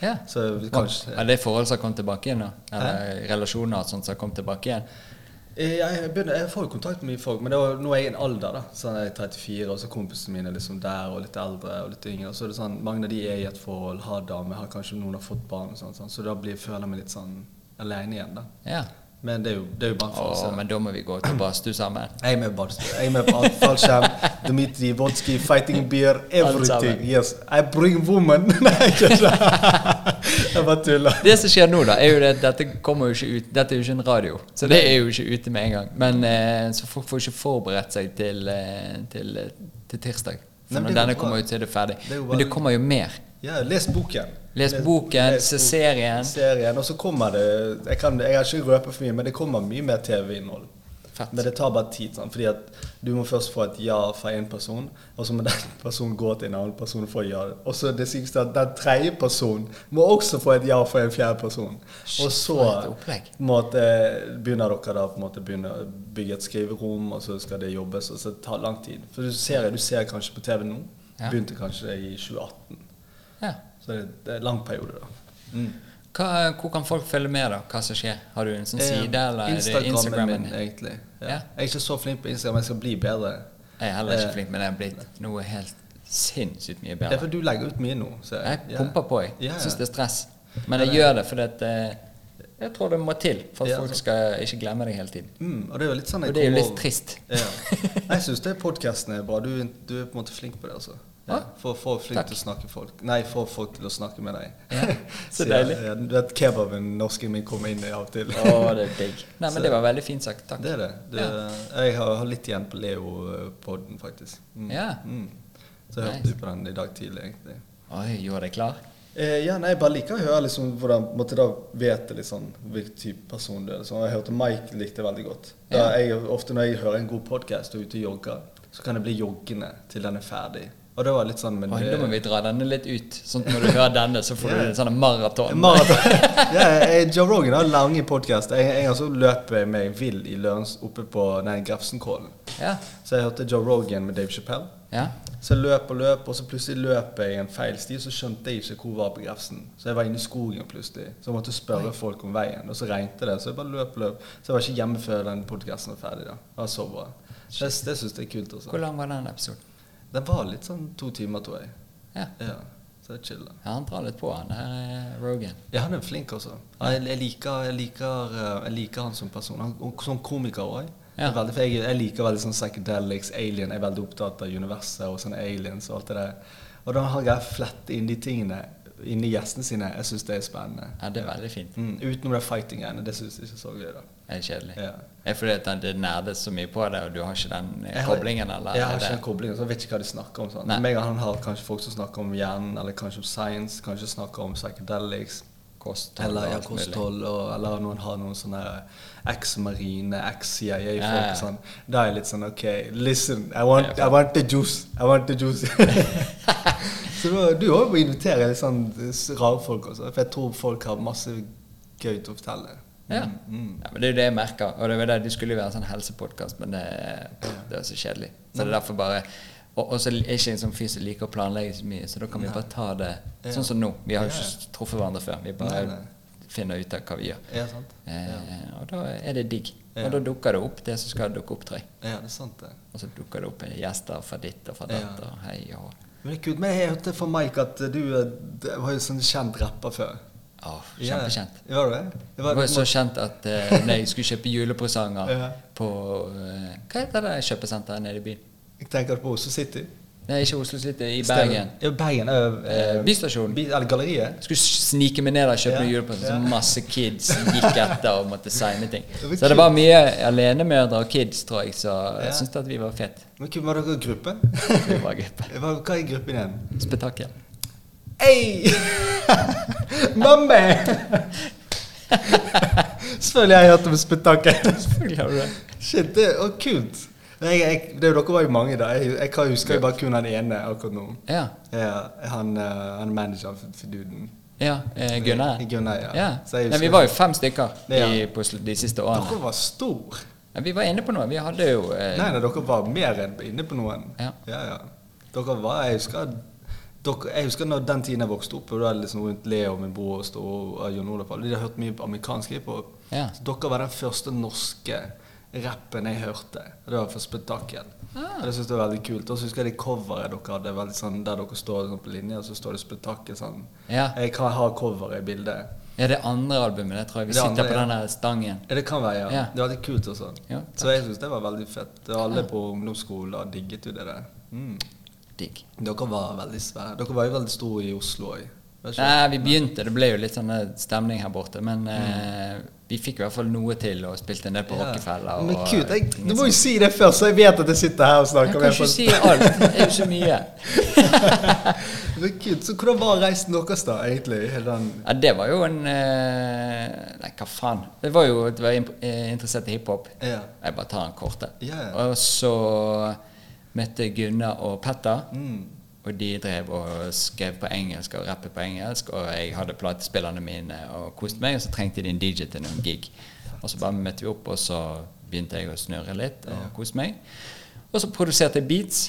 S1: Ja.
S2: [LAUGHS] så kanskje
S1: Er det forhold som har kommet tilbake igjen? da? Eller relasjoner og sånt som har kommet tilbake igjen?
S2: Eh, Jeg, begynner, jeg får jo kontakt med mye folk, men det var, nå er jeg i en alder. da Så jeg er 34, og så kompisene mine er liksom der, og litt eldre og litt yngre. Så er det sånn, Mange av de er i et forhold, har dame, har kanskje noen har fått barn, og sånn, sånn. så da blir, føler jeg meg litt sånn aleine igjen. da
S1: Ja.
S2: Men det er jo, det er jo bare en
S1: Å,
S2: følelse.
S1: men da må vi gå til badstue sammen.
S2: Jeg er med badstue. Jeg er med på alt fallskjerm. Dmitri, vodski, fighting beer, everything.
S1: sammen.
S2: Yes. I bring woman. [LAUGHS] Nei, ikke sant? Jeg bare tuller.
S1: Det som skjer nå, da, er jo det at dette kommer jo ikke ut Dette er jo ikke en radio, så det er jo ikke ute med en gang. Men eh, så folk får ikke forberedt seg til, eh, til, eh, til tirsdag.
S2: Nei,
S1: For
S2: men det
S1: når
S2: er jo
S1: denne
S2: bra.
S1: kommer ut, så er det ferdig.
S2: Det er jo bare-
S1: Men det kommer jo mer.
S2: Ja, les boken.
S1: Les boken,
S2: les
S1: se
S2: boken.
S1: serien.
S2: serien. Og så kommer det Jeg, kan, jeg har ikke røpet for mye, men det kommer mye mer TV-innhold.
S1: Fett.
S2: Men det tar bare tid, sant? fordi at du må først få et ja fra én person, og så må den [LAUGHS] personen gå til en annen person for å ja. Og så det sykeste er at den tredje personen må også få et ja fra en fjerde person.
S1: Shit,
S2: og så
S1: for et opplegg.
S2: på en måte, begynner dere da på en måte begynne å bygge et skriverom, og så skal det jobbes, og så tar det lang tid. For du ser, du ser kanskje på TV nå,
S1: Ja.
S2: begynte kanskje i 2018.
S1: Ja.
S2: Så det, det er en lang periode, da.
S1: Hva, hvor kan folk følge med, da? Hva som skjer? Har du en sånn
S2: Eh,
S1: side, eller er det
S2: Instagrammen
S1: Instagrammen?
S2: min, egentlig. Ja.
S1: Ja.
S2: Jeg er ikke så flink på Instagram, jeg skal bli bedre.
S1: Jeg er heller
S2: Eh,
S1: ikke flink med det. Jeg er blitt noe helt sinnssykt mye
S2: Det er
S1: bedre.
S2: fordi du legger ut mye nå. Så
S1: Jeg
S2: ja.
S1: pumper på, jeg.
S2: Ja, ja.
S1: Syns det er stress. Men jeg gjør det fordi at eh, jeg tror det må til for
S2: Ja,
S1: at folk
S2: sant.
S1: skal ikke glemme deg hele tiden.
S2: Mm, og det er jo litt sånn jeg
S1: Og det er jo
S2: kommer
S1: litt
S2: over-
S1: trist. [LAUGHS]
S2: Ja. Jeg syns podkasten er bra. Du, du er på en måte flink på det, altså. Ja.
S1: Ja.
S2: For, for flink
S1: Takk.
S2: til å snakke folk Nei, for folk til å snakke med deg. [LAUGHS]
S1: Ja, så
S2: Sier-
S1: deilig.
S2: Ja, du vet kebaben norsken min kommer inn i av og til.
S1: Å,
S2: [LAUGHS]
S1: det er digg. [LAUGHS] Nei, men
S2: Så-
S1: det var veldig fint sagt. Takk.
S2: Det er det. det Jeg har, har litt igjen på Leo-podden, faktisk. Mm.
S1: Ja.
S2: Mm. Så jeg
S1: Nice.
S2: hørte på den i dag tidlig, egentlig.
S1: Oi, gjorde deg klar?
S2: Eh, ja, nei, jeg bare liker å høre liksom, hvordan måtte da vet jeg litt sånn, hvilken type person du er. Liksom. Jeg hørte Mike likte det veldig godt. Da
S1: Ja.
S2: jeg, ofte når jeg hører en god podkast og er ute og jogger, så kan jeg bli joggende til den er ferdig. Og det var litt sånn men
S1: Oi,
S2: det-
S1: da må vi dra denne litt ut. Sånn at når du hører denne,
S2: [LAUGHS]
S1: så får du en sånn maraton. [LAUGHS]
S2: Maraton. [LAUGHS] ja, jeg- Joe Rogan har lange podkaster. En en gang så løp jeg meg vill i Lørens oppe på nei, Grefsenkollen.
S1: Ja.
S2: Så jeg hørte Joe Rogan med Dave Chappelle.
S1: ja.
S2: Så jeg løp og løp, og så plutselig løp jeg i en feil sti, så skjønte jeg ikke hvor jeg var på Grefsen. Så jeg var inne i skogen plutselig. Så jeg måtte spørre folk om veien, og så regnet det. Så jeg bare løp og løp. Så jeg var ikke hjemme før den podkasten var ferdig. da. Det var så bra. Det, det syns jeg er kult.
S1: Hvor
S2: også.
S1: lang var den episoden?
S2: Den var litt sånn to timer, tror jeg.
S1: Ja.
S2: Ja, så det er chill. da.
S1: Ja, Han drar litt på, han her eh, Rogan.
S2: Ja, han er flink, altså. Jeg, jeg, liker, jeg, liker, eh, jeg liker han som person. Han, og som komiker òg.
S1: Ja.
S2: Jeg, jeg liker veldig sånn psychedelics, alien. Jeg er veldig opptatt av universet og sånne aliens og alt det der. Og da har jeg flette inn de tingene inni gjestene sine. Jeg syns det er spennende.
S1: Ja, det er veldig fint.
S2: Mm, utenom det fighting-greiene. Det syns jeg ikke er så gøy, da.
S1: Det er kjedelig.
S2: Ja.
S1: Er det fordi at han- det nerdes så mye på det, og du har ikke den eh,
S2: Jeg har-
S1: koblingen? Eller?
S2: Jeg har
S1: er
S2: ikke
S1: det-
S2: den koblingen, så jeg vet ikke hva de snakker om. Sånn.
S1: Nei.
S2: Meg og han har kanskje folk som snakker om hjernen, eller kanskje om science, kanskje snakker om psychedelics.
S1: kosthold
S2: Eller
S1: og
S2: ja,
S1: alt mulig.
S2: kosthold, og, eller noen har noen sånne eks-marine, eks-CIA-folk.
S1: Ja, ja.
S2: sånn. Da er jeg litt sånn OK, listen, I want,
S1: Ja,
S2: I want the juice. I want the
S1: [LAUGHS]
S2: juice. så da, du òg må invitere litt sånn s- rare folk også, for jeg tror folk har masse gøy til å fortelle.
S1: Ja.
S2: Mm,
S1: ja, men Det er jo det jeg merker. Og det, var det, det skulle jo være en sånn helsepodkast, men det, det er så kjedelig. Så det er derfor bare Og og så er ikke jeg en sånn fyr som liker å planlegge så mye, så da kan vi bare ta det
S2: Ja.
S1: sånn som nå. Vi har jo
S2: Ja, ja.
S1: ikke truffet hverandre før. Vi bare
S2: Nei,
S1: finner ut av hva vi gjør.
S2: Ja, sant? Ja.
S1: Eh, og da er det digg.
S2: Ja.
S1: Og da dukker det opp det som skal dukke opp, tror jeg.
S2: ja, det er sant, det.
S1: Og så dukker det opp eh, gjester fra ditt og fra
S2: Ja.
S1: datt og hei og hå.
S2: Men det er kult. Men jeg hørte fra Mike at du eh, d- var jo sånn kjent rapper før.
S1: Å, Kjempekjent.
S2: Ja, var du det? det
S1: Det var jo så kjent at eh, når jeg skulle kjøpe julepresanger
S2: [LAUGHS] Ja.
S1: på eh, Hva heter det kjøpesenteret nede i byen?
S2: Jeg tenker på Oslo City.
S1: Nei, ikke Oslo City, i Bergen.
S2: Ja, Bergen. ø,
S1: Eh, Bystasjonen.
S2: Bi- eller galleriet.
S1: Skulle snike meg ned der og kjøpe
S2: Ja,
S1: noen julepresanger,
S2: ja.
S1: så masse kids gikk etter og måtte signe ting.
S2: Det var
S1: Så det var mye alenemødre og kids, tror jeg, så
S2: Ja.
S1: jeg syntes at vi var
S2: [LAUGHS]
S1: fete.
S2: Men hvem var dere i
S1: [LAUGHS]
S2: gruppe?
S1: Vi var gruppe.
S2: Hva hva er gruppen igjen?
S1: Spetakkel.
S2: Ei! [LAUGHS] Mamma! [LAUGHS] Selvfølgelig har jeg hørt om spetakkel. [LAUGHS]
S1: Selvfølgelig har du det.
S2: Shit, det var kult. Nei, jeg, det er jo dere var jo mange, da. Jeg, jeg kan- husker jo bare kun han ene akkurat nå.
S1: Ja.
S2: Ja, han, eh, han er manageren for, for duden.
S1: ja eh, Gunnar.
S2: Gunnar, ja.
S1: Ja.
S2: Så jeg
S1: Nei, vi
S2: husker-
S1: var jo fem stykker
S2: Ja.
S1: i, på sl- de siste årene.
S2: Dere var stor.
S1: Ja, vi var inne på noe. Vi hadde jo eh,
S2: Nei, nei, dere var mer enn inne på noen.
S1: Ja.
S2: ja, ja. Dere var, jeg husker, dere, jeg husker når den tiden jeg vokste opp, og da er det liksom rundt Leo, min bror og Stå og Jon Olav, alle de har hørt mye amerikansk hiphop.
S1: Ja.
S2: Så dere var den første norske rappen jeg hørte. Og Det var for spetakkel.
S1: Ah.
S2: Og Det synes jeg var veldig kult. Og så husker jeg det coveret dere hadde, veldig sånn, der dere står sånn på linje, og så står det spetakkel sånn.
S1: Ja.
S2: Jeg kan ha coveret i bildet.
S1: Ja, det andre albumet. Det tror jeg vi
S2: Det
S1: sitter
S2: andre, ja.
S1: på den der stangen.
S2: Ja, Det kan være, ja.
S1: Ja.
S2: Det var litt kult og sånn.
S1: Ja,
S2: så jeg syns det var veldig fett. Og Alle på ungdomsskolen digget jo det der. Mm.
S1: Digg.
S2: Dere var veldig svære. Dere var jo veldig store i Oslo òg.
S1: Nei, vi begynte. Det ble jo litt sånn eh, stemning her borte, men eh, vi fikk i hvert fall noe til og spilte en del på Rockefeller.
S2: Mm. Men
S1: og-
S2: kult, jeg, Du må jo si det først, så jeg vet at jeg sitter her og
S1: Jeg
S2: snakker
S1: kan ikke si alt. Det er jo så mye.
S2: Men kult, Så hvordan var reisen deres, da, egentlig? Hele den
S1: Ja, det var jo en eh, Nei, hva faen. Det var jo at jeg var imp- eh, interessert i hiphop.
S2: Ja.
S1: Jeg bare tar en korte.
S2: Ja, ja.
S1: Og så møtte jeg Gunnar og Petter.
S2: Mm.
S1: Og de drev og skrev på engelsk og rappet på engelsk. Og jeg hadde platespillerne mine og koste meg, og så trengte de en DJ til noen gig. Og så bare møtte vi opp, og så begynte jeg å snurre litt og koste meg. Og så produserte jeg beats.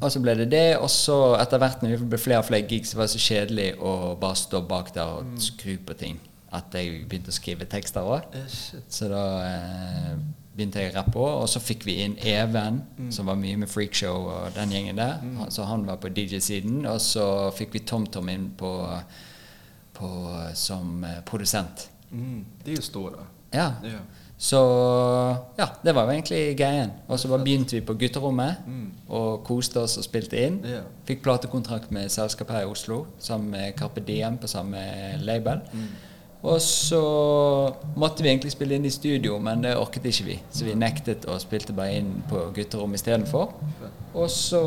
S1: Og så ble det det, og så etter hvert når vi ble flere og flere gigs, så var det så kjedelig å bare stå bak der og skru på ting at jeg begynte å skrive tekster òg.
S2: Eh, shit.
S1: Så da eh, begynte jeg å rappe òg. Og så fikk vi inn Even,
S2: Mm.
S1: som var mye med freakshow og den gjengen der. Han- Så han var på DJ-siden. Og så fikk vi TomTom inn på, på, som eh, produsent.
S2: Mm. De er jo store, da.
S1: Ja.
S2: Ja.
S1: Så ja, det var jo egentlig greien. Og så bare begynte vi på gutterommet og koste oss og spilte inn.
S2: Mm. Ja.
S1: Fikk platekontrakt med selskap her i Oslo, sammen med Carpe Diem på samme label. Og så måtte vi egentlig spille inn i studio, men det orket ikke vi. Så vi nektet og spilte bare inn på gutterommet istedenfor. Og så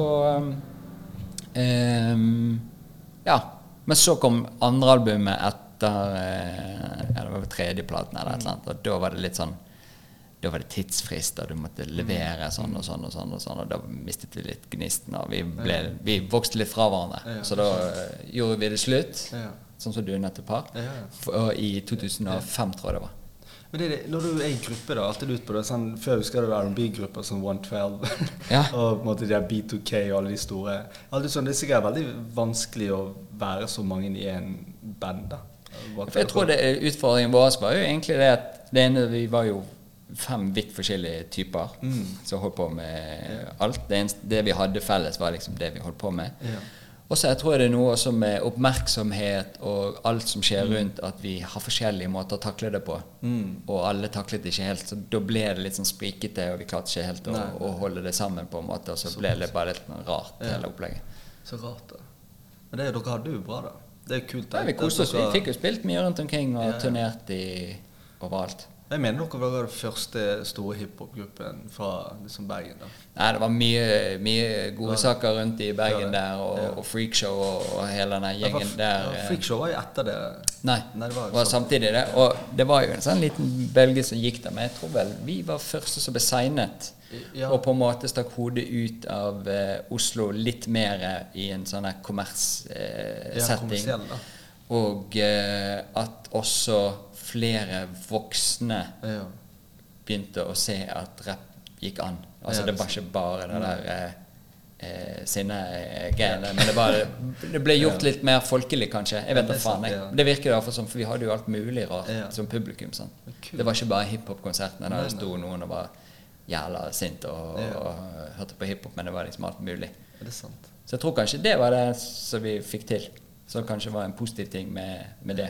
S1: Ehm, ja. Men så kom andre albumet etter eh, ja, det var vel tredje platen, eller et eller annet, og da var det litt sånn da var det tidsfrist, og du måtte levere
S2: Mm.
S1: sånn og sånn, og sånn, og sånn, og da mistet vi litt gnisten. og Vi, ble, vi vokste litt fra hverandre.
S2: Ja.
S1: Så da eh, gjorde vi det slutt,
S2: Ja.
S1: sånn som du nettopp har.
S2: Ja, ja.
S1: F- og I 2005, tror jeg det var.
S2: Men det er det, når du er i gruppe, da, alltid ut på det sånn, Før husker jeg det var R&B-grupper som 112
S1: Ja.
S2: [LAUGHS] og på en måte de der B2K og alle de store. Alltid sånn, Det er sikkert veldig vanskelig å være så mange i en band. da. Bare
S1: For jeg tror det, Utfordringen vår var jo egentlig det at det ene, vi var jo fem vidt forskjellige typer
S2: Mm.
S1: som holdt på med alt. Det, eneste, det vi hadde felles, var liksom det vi holdt på med.
S2: Ja.
S1: Og så jeg tror det er noe også med oppmerksomhet og alt som skjer
S2: Mm.
S1: rundt, at vi har forskjellige måter å takle det på. Og alle taklet det ikke helt, så da ble det litt sånn sprikete, og vi klarte ikke helt å, å holde det sammen på en måte, og så ble det bare litt sånn rart, hele opplegget.
S2: Så rart, da. Men det, dere hadde det jo bra, da. Det er jo kult.
S1: Ja,
S2: da.
S1: vi koste oss. Vi
S2: Dere-
S1: fikk jo spilt mye rundt omkring og
S2: Ja, ja.
S1: turnert i overalt.
S2: Jeg mener dere var den første store hiphop-gruppen fra liksom Bergen. da.
S1: Nei, det var mye, mye gode saker rundt i Bergen
S2: det.
S1: der, og, og freakshow og, og hele den
S2: Ja, for-
S1: gjengen der.
S2: ja,
S1: eh.
S2: Freakshow var jo etter det. sånn.
S1: Nei,
S2: Nei,
S1: det var,
S2: sant.
S1: samtidig det. Og det var jo en sånn liten bølge som gikk der, men jeg tror vel vi var første som ble signet.
S2: Ja.
S1: Og på en måte stakk hodet ut av eh, Oslo litt mer eh, i en sånn her kommerssetting.
S2: Ja,
S1: Eh, setting.
S2: kommersiell, da.
S1: og eh, at også flere voksne
S2: Ja.
S1: begynte å se at rapp gikk an. Altså
S2: Ja,
S1: Det var ikke bare
S2: Mm.
S1: det der eh, eh, sinnegreiene, men det,
S2: [LAUGHS]
S1: bare, det ble gjort litt mer folkelig, kanskje. Jeg vet
S2: det
S1: da
S2: er sant,
S1: faen. Jeg.
S2: ja.
S1: Det virker i hvert fall som, for vi hadde jo alt mulig rart
S2: Ja.
S1: som publikum. sant?
S2: Men kult.
S1: Det var ikke bare hiphop-konsertene der det sto noen og var jævla sint og, og hørte på hiphop, men det var liksom alt mulig.
S2: Er det sant?
S1: Så jeg tror kanskje det var det som vi fikk til. Som kanskje var en positiv ting med, med det.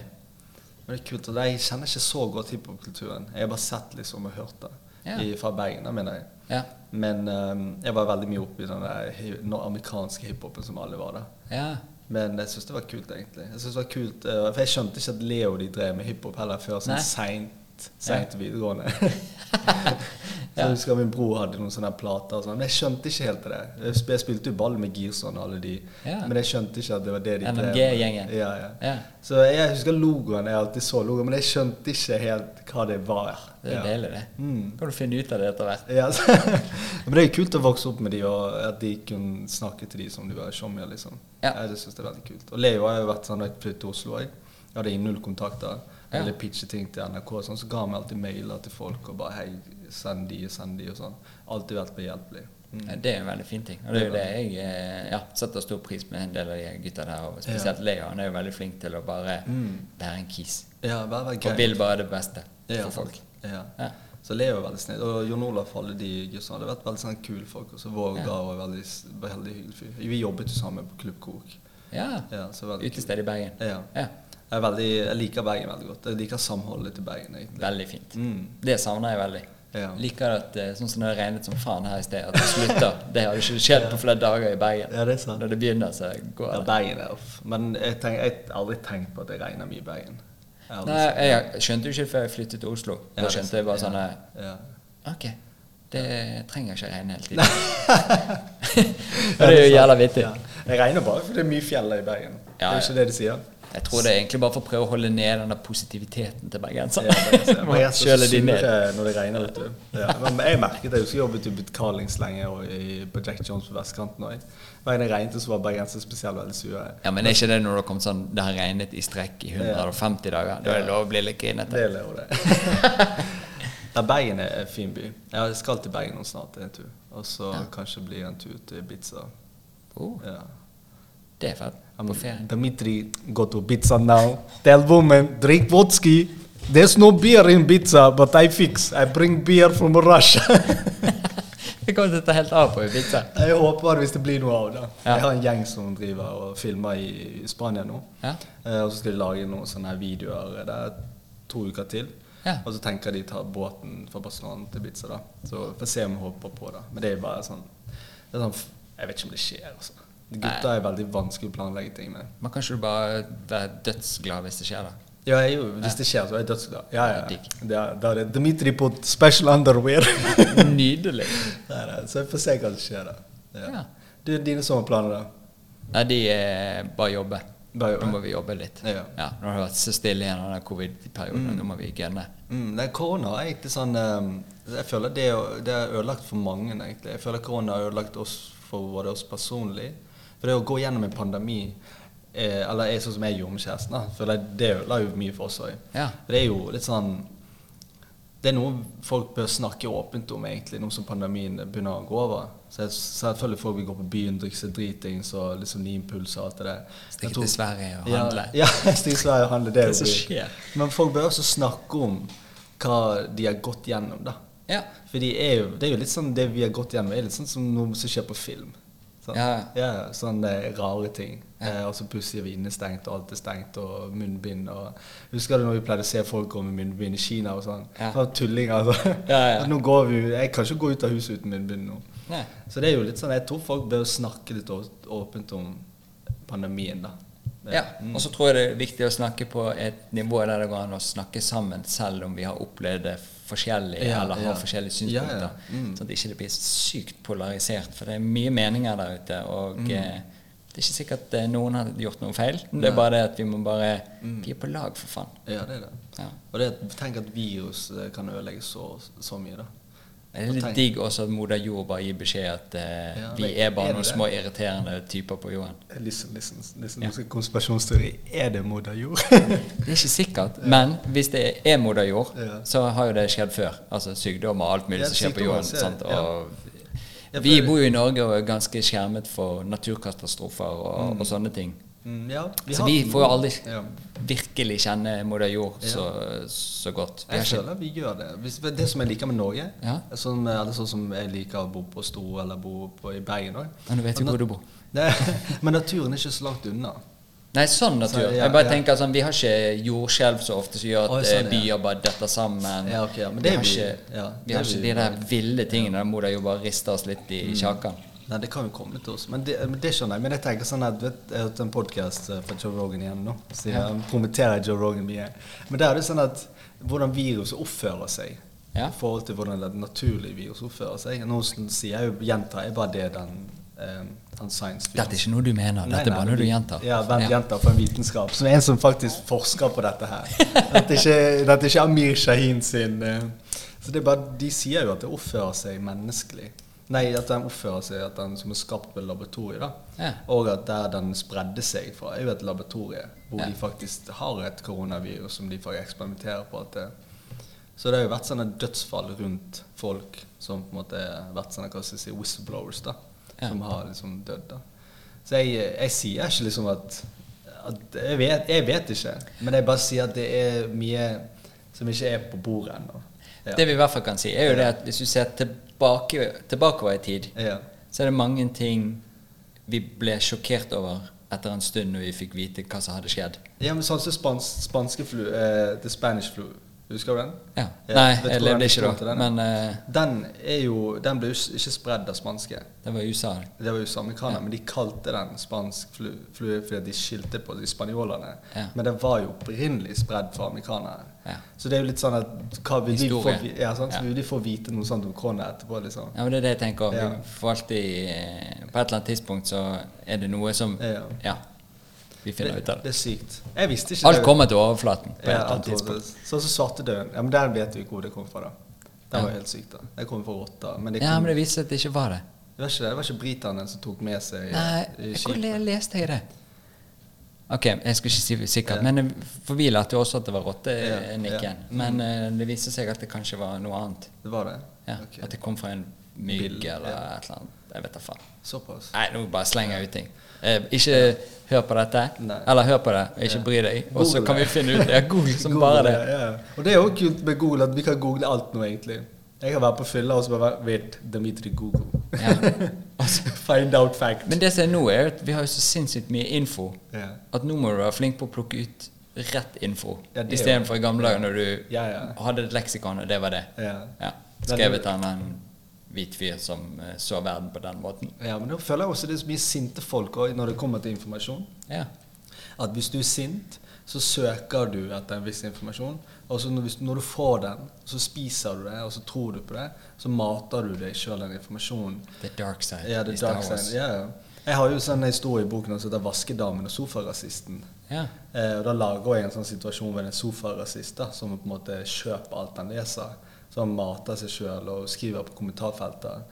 S2: Men det er kult, og det- Jeg kjenner ikke så godt hiphopkulturen. Jeg har bare sett liksom og hørt det
S1: Ja.
S2: I, fra Bergen. da, mener jeg.
S1: Ja.
S2: Men ehm, jeg var veldig mye oppe i den der hi- no- amerikanske hiphopen som alle var da.
S1: ja.
S2: Men jeg syns det var kult, egentlig. Jeg synes det var kult, eh, For jeg skjønte ikke at Leo de drev med hiphop heller før sånn
S1: Nei.
S2: seint seint. Seint
S1: [LAUGHS]
S2: videregående. Så husker jeg min bror hadde noen sånne plater og sånn. Men jeg skjønte ikke helt det. Jeg sp- Jeg spilte jo ball med Girson og alle de,
S1: Ja.
S2: men jeg skjønte ikke at det var det de drev med.
S1: NMG-gjengen.
S2: Ja, ja.
S1: Ja.
S2: Så jeg husker logoen. Jeg alltid så logoen, men jeg skjønte ikke helt hva det var.
S1: Det er
S2: Ja. Mm.
S1: deilig, det. Kan du finne ut av det etter hvert.
S2: Ja, [LAUGHS] så, men det er jo kult å vokse opp med de, og at de kunne snakke til de som de var sjommer, liksom.
S1: Ja.
S2: Jeg, det synes det er veldig kult. Og Leo har jo vært sånn, da jeg flyttet til Oslo, jeg, jeg hadde null kontakter,
S1: Ja.
S2: ville pitche ting til NRK, og sånn, så ga han meg alltid mailer til folk, og bare, hei, send de, send de, og sånn. Altid vært behjelpelig. Mm.
S1: Ja, Det er en veldig fin ting. Og det er jo det jeg eh, ja, setter stor pris med en del av de gutta der. Og spesielt Leo. Han er jo veldig flink til å bare være en kis.
S2: Ja, bare være
S1: Og vil bare det beste for folk.
S2: Mm. Ja.
S1: Ja.
S2: Så Leo er veldig snill. Og Jon Olaf og alle de guttene hadde vært veldig sånn kule folk. Og så Våga
S1: Ja.
S2: var veldig, s- veldig hyggelig fyr. Vi jobbet jo sammen på Klubb Kok.
S1: Ja.
S2: Ja, så veldig kult.
S1: Utested i Bergen.
S2: Ja.
S1: Ja.
S2: Jeg, er veldig, jeg liker Bergen veldig godt. Jeg liker samholdet til Bergen. egentlig.
S1: Veldig fint.
S2: Mm.
S1: Det savner jeg veldig.
S2: Ja.
S1: Liker at eh, sånn som det har regnet som faen her i sted, at det slutter.
S2: [LAUGHS]
S1: Det har jo ikke skjedd på flere dager i Bergen.
S2: Ja, det er sant.
S1: Når det begynner, så går
S2: Ja,
S1: det.
S2: Bergen er off. Men jeg, tenk, jeg har aldri tenkt på at det regner mye i Bergen. Jeg har aldri
S1: Nei,
S2: sett-
S1: jeg skjønte jo ikke det før jeg flyttet til Oslo.
S2: Ja,
S1: Da
S2: det er
S1: skjønte jeg bare sånn eh,
S2: ja.
S1: Ok, det trenger ikke regne hele tiden. [LAUGHS] Og det er jo jævla vittig.
S2: Ja. Jeg regner bare fordi det er mye fjell i Bergen.
S1: Ja,
S2: det er
S1: ja.
S2: jo ikke det de sier.
S1: Jeg tror det er egentlig bare for å prøve å holde ned den der positiviteten til bergenserne.
S2: Ja, det
S1: [LAUGHS]
S2: er-
S1: Må
S2: Men jeg er så
S1: Kjøle de ned.
S2: sure når det regner, vet du. Ja.
S1: [LAUGHS]
S2: Men jeg merket jeg husker jeg jobbet i Betalings lenge og i, på Jack Jones på vestkanten. Og jeg- hver gang det regnet, så var bergensere spesielt veldig sure.
S1: Ja, Men er ikke det når det har kommet sånn Det har regnet i strekk i 150 dager? Da er det lov å bli litt grinete?
S2: Det er lov, det.
S1: [LAUGHS]
S2: ja, Bergen er en fin by. Jeg skal til Bergen nå snart en tur. Og så kanskje bli en tur til Ibiza.
S1: Oh,
S2: Ja.
S1: det er fett. På ferien.
S2: Dmitri, go to Ibiza now. Tell woman, drink vodka. There's no beer in Ibiza, but I fix. I bring beer from Russia.
S1: [LAUGHS]
S2: [LAUGHS]
S1: Vi kommer til å ta helt av på Ibiza.
S2: jeg håper det hvis det blir noe av det.
S1: Ja.
S2: Jeg har en gjeng som driver og filmer i i Spania nå.
S1: Ja.
S2: Eh, Og så skal de lage noen sånne her videoer der to uker til.
S1: Ja.
S2: Og så tenker de ta båten fra Barcelona til Ibiza, da. Så får se om vi hopper på, da. Men det er bare sånn, det er sånn f- Jeg vet ikke om det skjer, altså. Gutter er veldig vanskelig å planlegge ting med.
S1: Men kan ikke du bare være dødsglad hvis det skjer, da?
S2: Ja, jeg, er jo- hvis det skjer, så er jeg dødsglad. Ja, ja.
S1: Ja, digg.
S2: Det er, da er det Dmitri på special [LAUGHS] underwear.
S1: Nydelig.
S2: Nei, nei, så jeg får se hva som skjer, da.
S1: Ja.
S2: Ja. Du, dine sommerplaner, da?
S1: Nei, de eh, bare jobber.
S2: Bare jobbe.
S1: Nå må vi jobbe litt.
S2: Ja.
S1: Nå har det vært så stille gjennom den covid-perioden. Nå må vi gønne.
S2: Mm, nei, korona er egentlig sånn eh, Jeg føler det, er jo- det er ødelagt for mange, egentlig. Jeg føler korona har ødelagt oss for både oss personlig For det å gå gjennom en pandemi, eh, eller er sånn som jeg gjorde med kjæresten, da, føler jeg det ødela jo mye for oss òg.
S1: Ja.
S2: For det er jo litt sånn Det er noe folk bør snakke åpent om, egentlig, nå som pandemien begynner å gå over. Så jeg, selvfølgelig folk vil gå på byen, drikke seg dritings og liksom gi impulser og alt det der. Jeg
S1: Stikke
S2: tror-
S1: til Sverige og
S2: ja,
S1: handle.
S2: [LAUGHS] Ja, stikke til Sverige og handle. Det er
S1: Hva
S2: jo
S1: som
S2: gøy.
S1: skjer?
S2: Men folk bør også snakke om hva de har gått gjennom, da.
S1: Ja.
S2: For de er jo, det er jo litt sånn det vi har gått gjennom, er litt sånn som noe som skjer på film. sant?
S1: Ja.
S2: ja sånn eh, rare ting. Eh, og så plutselig er vi innestengt, og alt er stengt, og munnbind og Husker du når vi pleide å se folk gå med munnbind i Kina og sånn?
S1: Ja.
S2: Sånne tullinger, altså.
S1: Ja, ja.
S2: [LAUGHS] Nå går vi Jeg kan ikke gå ut av huset uten munnbind nå.
S1: Nei.
S2: Så det er jo litt sånn Jeg tror folk bør snakke litt å- åpent om pandemien, da. Mm.
S1: Ja, og så tror jeg det er viktig å snakke på et nivå der det går an å snakke sammen, selv om vi har opplevd det forskjellig,
S2: Ja,
S1: eller har
S2: ja.
S1: forskjellige
S2: Ja, Mm. ja.
S1: synspunkter. Sånn at det ikke blir sykt polarisert, for det er mye meninger der ute, og
S2: Mm.
S1: eh, det er ikke sikkert eh, noen har gjort noe feil. Det er bare det at vi må bare
S2: Mm.
S1: Vi er på lag, for faen.
S2: Ja, det er det.
S1: Ja.
S2: Og det, at- tenk at virus eh, kan ødelegge så, så mye, da.
S1: Det er litt digg også at moder jord bare gir beskjed at eh,
S2: Ja,
S1: vi
S2: men
S1: er bare
S2: er det
S1: noen
S2: det?
S1: små irriterende typer på jorden.
S2: Eh, Listen, listen, listen. Ja. Konspirasjonsteori. Er det moder jord? [LAUGHS]
S1: Det er ikke sikkert, [LAUGHS] men hvis det er moder jord,
S2: Ja.
S1: så har jo det skjedd før. Altså sykdom og alt mulig
S2: Ja,
S1: som skjer på
S2: sykdommer
S1: jorden.
S2: skjer,
S1: Sant?
S2: ja.
S1: Og
S2: Jeg
S1: vi
S2: føler-
S1: bor jo i Norge og er ganske skjermet for naturkatastrofer og, og sånne ting.
S2: mm, ja,
S1: så
S2: har-
S1: vi får jo aldri
S2: ja.
S1: virkelig kjenne moder jord så, så godt. Vi
S2: Jeg
S1: har ikke-
S2: føler vi gjør det. Hvis, det som jeg liker med Norge,
S1: Ja.
S2: er sånn, eh, eller sånn som jeg liker å bo på Storo eller bo på, i Bergen òg
S1: Men du vet jo hvor du
S2: [LAUGHS]
S1: bor.
S2: Men naturen er ikke så langt unna.
S1: Nei, sånn natur.
S2: Så, ja,
S1: jeg bare
S2: ja.
S1: tenker sånn, Vi har ikke jordskjelv så ofte som gjør at
S2: Oi,
S1: eh,
S2: sånn, ja.
S1: byer bare detter sammen.
S2: Ja, ok, ja, men det
S1: vi
S2: er
S1: har
S2: vi-
S1: ikke,
S2: ja, Mm.
S1: vi
S2: det
S1: har
S2: er vi-
S1: ikke de der ville tingene der moder jord bare rister oss litt i kjakan.
S2: Nei, det kan jo komme til oss. Men det, men det skjønner jeg. Men jeg tenker sånn at, vet, jeg hørte en podkast fra Joe Rogan igjen nå. Så jeg promoterer Joe Rogan mye. Men der er det sånn at hvordan virus oppfører seg
S1: Ja.
S2: i forhold til hvordan det naturlige virus oppfører seg. Nå sier jeg jo, gjentar jeg bare det den, eh, han science
S1: Dette er ikke noe du mener,
S2: Nei,
S1: dette er
S2: nei,
S1: bare noe du gjentar.
S2: Ja, hvem gjentar for en vitenskap? Som er en som faktisk forsker på dette her. Dette er ikke, dette er ikke Amir Shahin sin eh, Så det er bare, De sier jo at det oppfører seg menneskelig. Nei, at den oppfører seg at den som er skapt ved laboratoriet. da.
S1: Ja.
S2: Og at der den spredde seg fra, er jo et laboratorie hvor
S1: Ja.
S2: de faktisk har et koronavirus som de får eksperimentere på. at det så det har jo vært sånne dødsfall rundt folk som på en måte har vært sånne hva skal jeg si, whistleblowers, da.
S1: Ja.
S2: Som har liksom dødd, da. Så jeg, jeg sier ikke liksom at, at jeg, vet, jeg vet ikke. Men jeg bare sier at det er mye som ikke er på bordet ennå. Ja.
S1: Det vi i hvert fall kan si, er jo det at hvis du ser tilbake, tilbakeover i tid,
S2: ja.
S1: så er det mange ting vi ble sjokkert over etter en stund når vi fikk vite hva som hadde skjedd.
S2: ja, men sånn som spans, spanske flu, eh, the Spanish flu, husker du den?
S1: Ja.
S2: Ja,
S1: Nei,
S2: vet du
S1: jeg
S2: hvordan
S1: levde
S2: det
S1: ikke
S2: kom til
S1: da,
S2: den?
S1: men eh,
S2: Den, er jo, den ble jo s- ikke spredd av spanske.
S1: det var i USA.
S2: Det var jo amerikanere, men de kalte den spansk flu, flue fordi de skilte på de spanjolene.
S1: Ja.
S2: Men den var jo opprinnelig spredd for amerikanere.
S1: Ja.
S2: Så det er jo litt sånn at hva vil de, få,
S1: Historie.
S2: vi- ja, sant? Så
S1: Ja.
S2: vil de få vite noe sånt om korona etterpå? liksom.
S1: Ja, men det er det jeg tenker.
S2: Ja.
S1: Vi får alltid, eh, på et eller annet tidspunkt så er det noe som
S2: Ja.
S1: Ja. Vi
S2: Det,
S1: finner ut av det.
S2: det er sykt. Jeg visste ikke
S1: Alt
S2: det.
S1: kommer til overflaten på et
S2: Ja,
S1: eller annet
S2: alt
S1: tidspunkt.
S2: var- Sånn som svartedauden. Ja, men der vet vi ikke hvor det kom fra. da. Den
S1: Ja.
S2: var jo helt sykt. da. Det kom fra rotter. Men det, kom,
S1: Ja, men
S2: det...
S1: det viste seg at det ikke var det.
S2: var ikke det. Det var ikke britene som tok med seg
S1: Nei,
S2: eh, skip.
S1: hvor le- leste jeg det? Ok, jeg skal ikke si sikkert,
S2: Ja.
S1: men jeg- for vi lærte jo også at det var
S2: Ja,
S1: rottenikken.
S2: ja.
S1: Men eh, det viste seg at det kanskje var noe annet.
S2: Det var det?
S1: Ja,
S2: Ok.
S1: At det kom fra en mygg
S2: Bill, ja.
S1: eller et eller annet. Jeg vet da faen.
S2: Såpass.
S1: Nei, nå bare slenger jeg ut ting. Eh, ikke hør på dette,
S2: Nei.
S1: eller hør på det, og ikke bry deg. Og så
S2: Google
S1: kan vi
S2: det.
S1: finne ut ja, Google som
S2: Google
S1: bare det.
S2: Ja. Og det er jo kult med Google, at vi kan google alt nå, egentlig. Jeg kan være på fylla og så bare være, Wait, Dimitri Google. [LAUGHS]
S1: Ja.
S2: Find out fact.
S1: Men det som er nå, er at vi har jo så sinnssykt mye info
S2: ja.
S1: at nå må du være flink på å plukke ut rett info,
S2: Ja, det er
S1: istedenfor i gamle dager når du
S2: Ja, ja.
S1: hadde et leksikon, og det var det.
S2: Ja.
S1: Ja.
S2: Men
S1: Skrevet
S2: det-
S1: av en eller annen hvit fyr som eh, så verden på den måten.
S2: ja, men da føler jeg også det er så mye sinte folk også, når det kommer til informasjon.
S1: Ja.
S2: At hvis du er sint, så søker du etter en viss informasjon. Og så når, hvis, når du får den, så spiser du det, og så tror du på det. Så mater du deg sjøl den informasjonen.
S1: The dark side.
S2: Ja,
S1: i
S2: det
S1: Star
S2: dark
S1: Wars.
S2: side. Ja, ja. Jeg har jo sånn historie i boken som heter 'Vaskedamen og sofarasisten'.
S1: Ja.
S2: Eh, og da lager jeg en sånn situasjon med en sofarasist da, som på en måte kjøper alt han leser. Så han mater seg sjøl og skriver på kommentarfeltet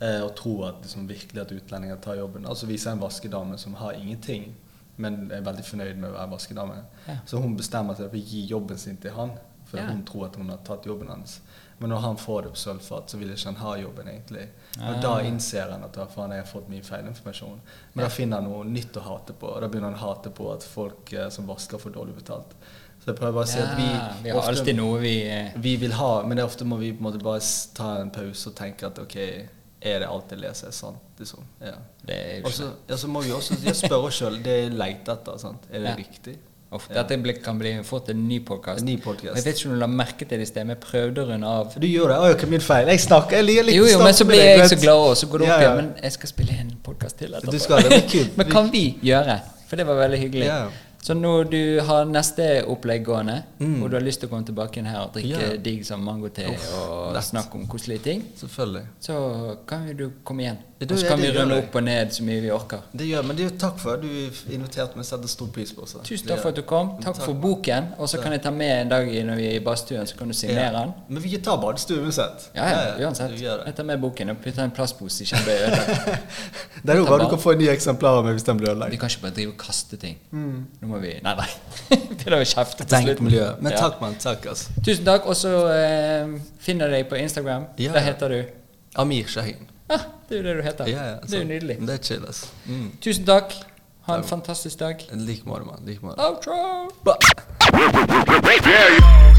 S2: eh, og tror at, liksom, virkelig at utlendinger tar jobben. Og så viser jeg en vaskedame som har ingenting, men er veldig fornøyd med å være vaskedame.
S1: Ja.
S2: Så hun bestemmer seg for å gi jobben sin til han, for
S1: Ja.
S2: hun tror at hun har tatt jobben hans. Men når han får det på sølvfat, så vil ikke han ha jobben, egentlig. Og
S1: Ah.
S2: da innser han at «Å, faen, jeg har fått mye feilinformasjon. Men da finner han noe nytt å hate på, og da begynner han å hate på at folk eh, som vasker, får dårlig betalt. Så jeg prøver bare å si
S1: ja.
S2: at
S1: Vi,
S2: vi,
S1: har
S2: ofte-
S1: alltid noe vi eh,
S2: vi vil ha, men det er ofte må vi på en måte bare s- ta en pause og tenke at ok, er det alt jeg leser, er sant? Liksom. Ja.
S1: Det er jo
S2: Og
S1: ikke
S2: så ja, så må vi også ja, spørre oss sjøl. Det jeg leter etter, sant? er det
S1: Ja.
S2: riktig?
S1: Uff, Dette blir- kan bli fort en ny podkast.
S2: En ny podcast.
S1: Jeg vet ikke om du la merke til det i sted, men jeg prøvde å runde av.
S2: Du gjør det. Å, okay, min feil. Jeg snakker. Jeg liker litt
S1: Jo, jo, men så blir jeg så glad, og så går det
S2: Ja,
S1: opp
S2: ja.
S1: igjen. Men jeg skal spille en podkast til etterpå.
S2: Du skal det, det er kult.
S1: [LAUGHS] men kan vi gjøre? For det var veldig hyggelig.
S2: Ja.
S1: Så når du har neste opplegg gående, og du har lyst til å komme tilbake inn her og drikke
S2: Mm. Ja.
S1: digg som mangote og
S2: lett.
S1: snakke om koselige ting,
S2: Selvfølgelig.
S1: så kan jo du komme igjen.
S2: Ja, du,
S1: Og så
S2: ja,
S1: kan vi
S2: det gjør
S1: rulle
S2: jeg.
S1: opp og ned så mye vi orker.
S2: Det gjør men det er jo takk for at du inviterte meg. Setter stor pris på det.
S1: Tusen takk for at du kom. Takk for boken. Og så kan jeg ta med en dag i- når vi er i badstuen, så kan du signere
S2: Ja.
S1: den.
S2: Men vi tar badstue uansett.
S1: Ja, ja, uansett.
S2: Du gjør
S1: Jeg
S2: det.
S1: tar med boken og putter en plastpose i kjempeøyet.
S2: [LAUGHS] Det er jo
S1: tar
S2: bare du
S1: bad.
S2: kan få en ny eksemplar av meg hvis den blir
S1: Vi
S2: ødelagt.
S1: kan ikke bare drive og kaste ting. Nå må vi Nei, [LAUGHS] nei. Begynner å kjefte til
S2: Tenk
S1: slutt.
S2: på miljøet. Men
S1: Ja.
S2: takk, mann. Takk, altså.
S1: Tusen takk. Og så eh, finner jeg deg på Instagram.
S2: Ja.
S1: Der heter du
S2: Amir Shahin.
S1: ah, Det er jo det du heter.
S2: Ja, sånn. ja,
S1: det er jo
S2: sant.
S1: nydelig.
S2: Det er chill, ass. Mm.
S1: Tusen takk. Ha en fantastisk dag.
S2: Like måte, mann. Like måte.
S1: Outro!
S3: Yeah.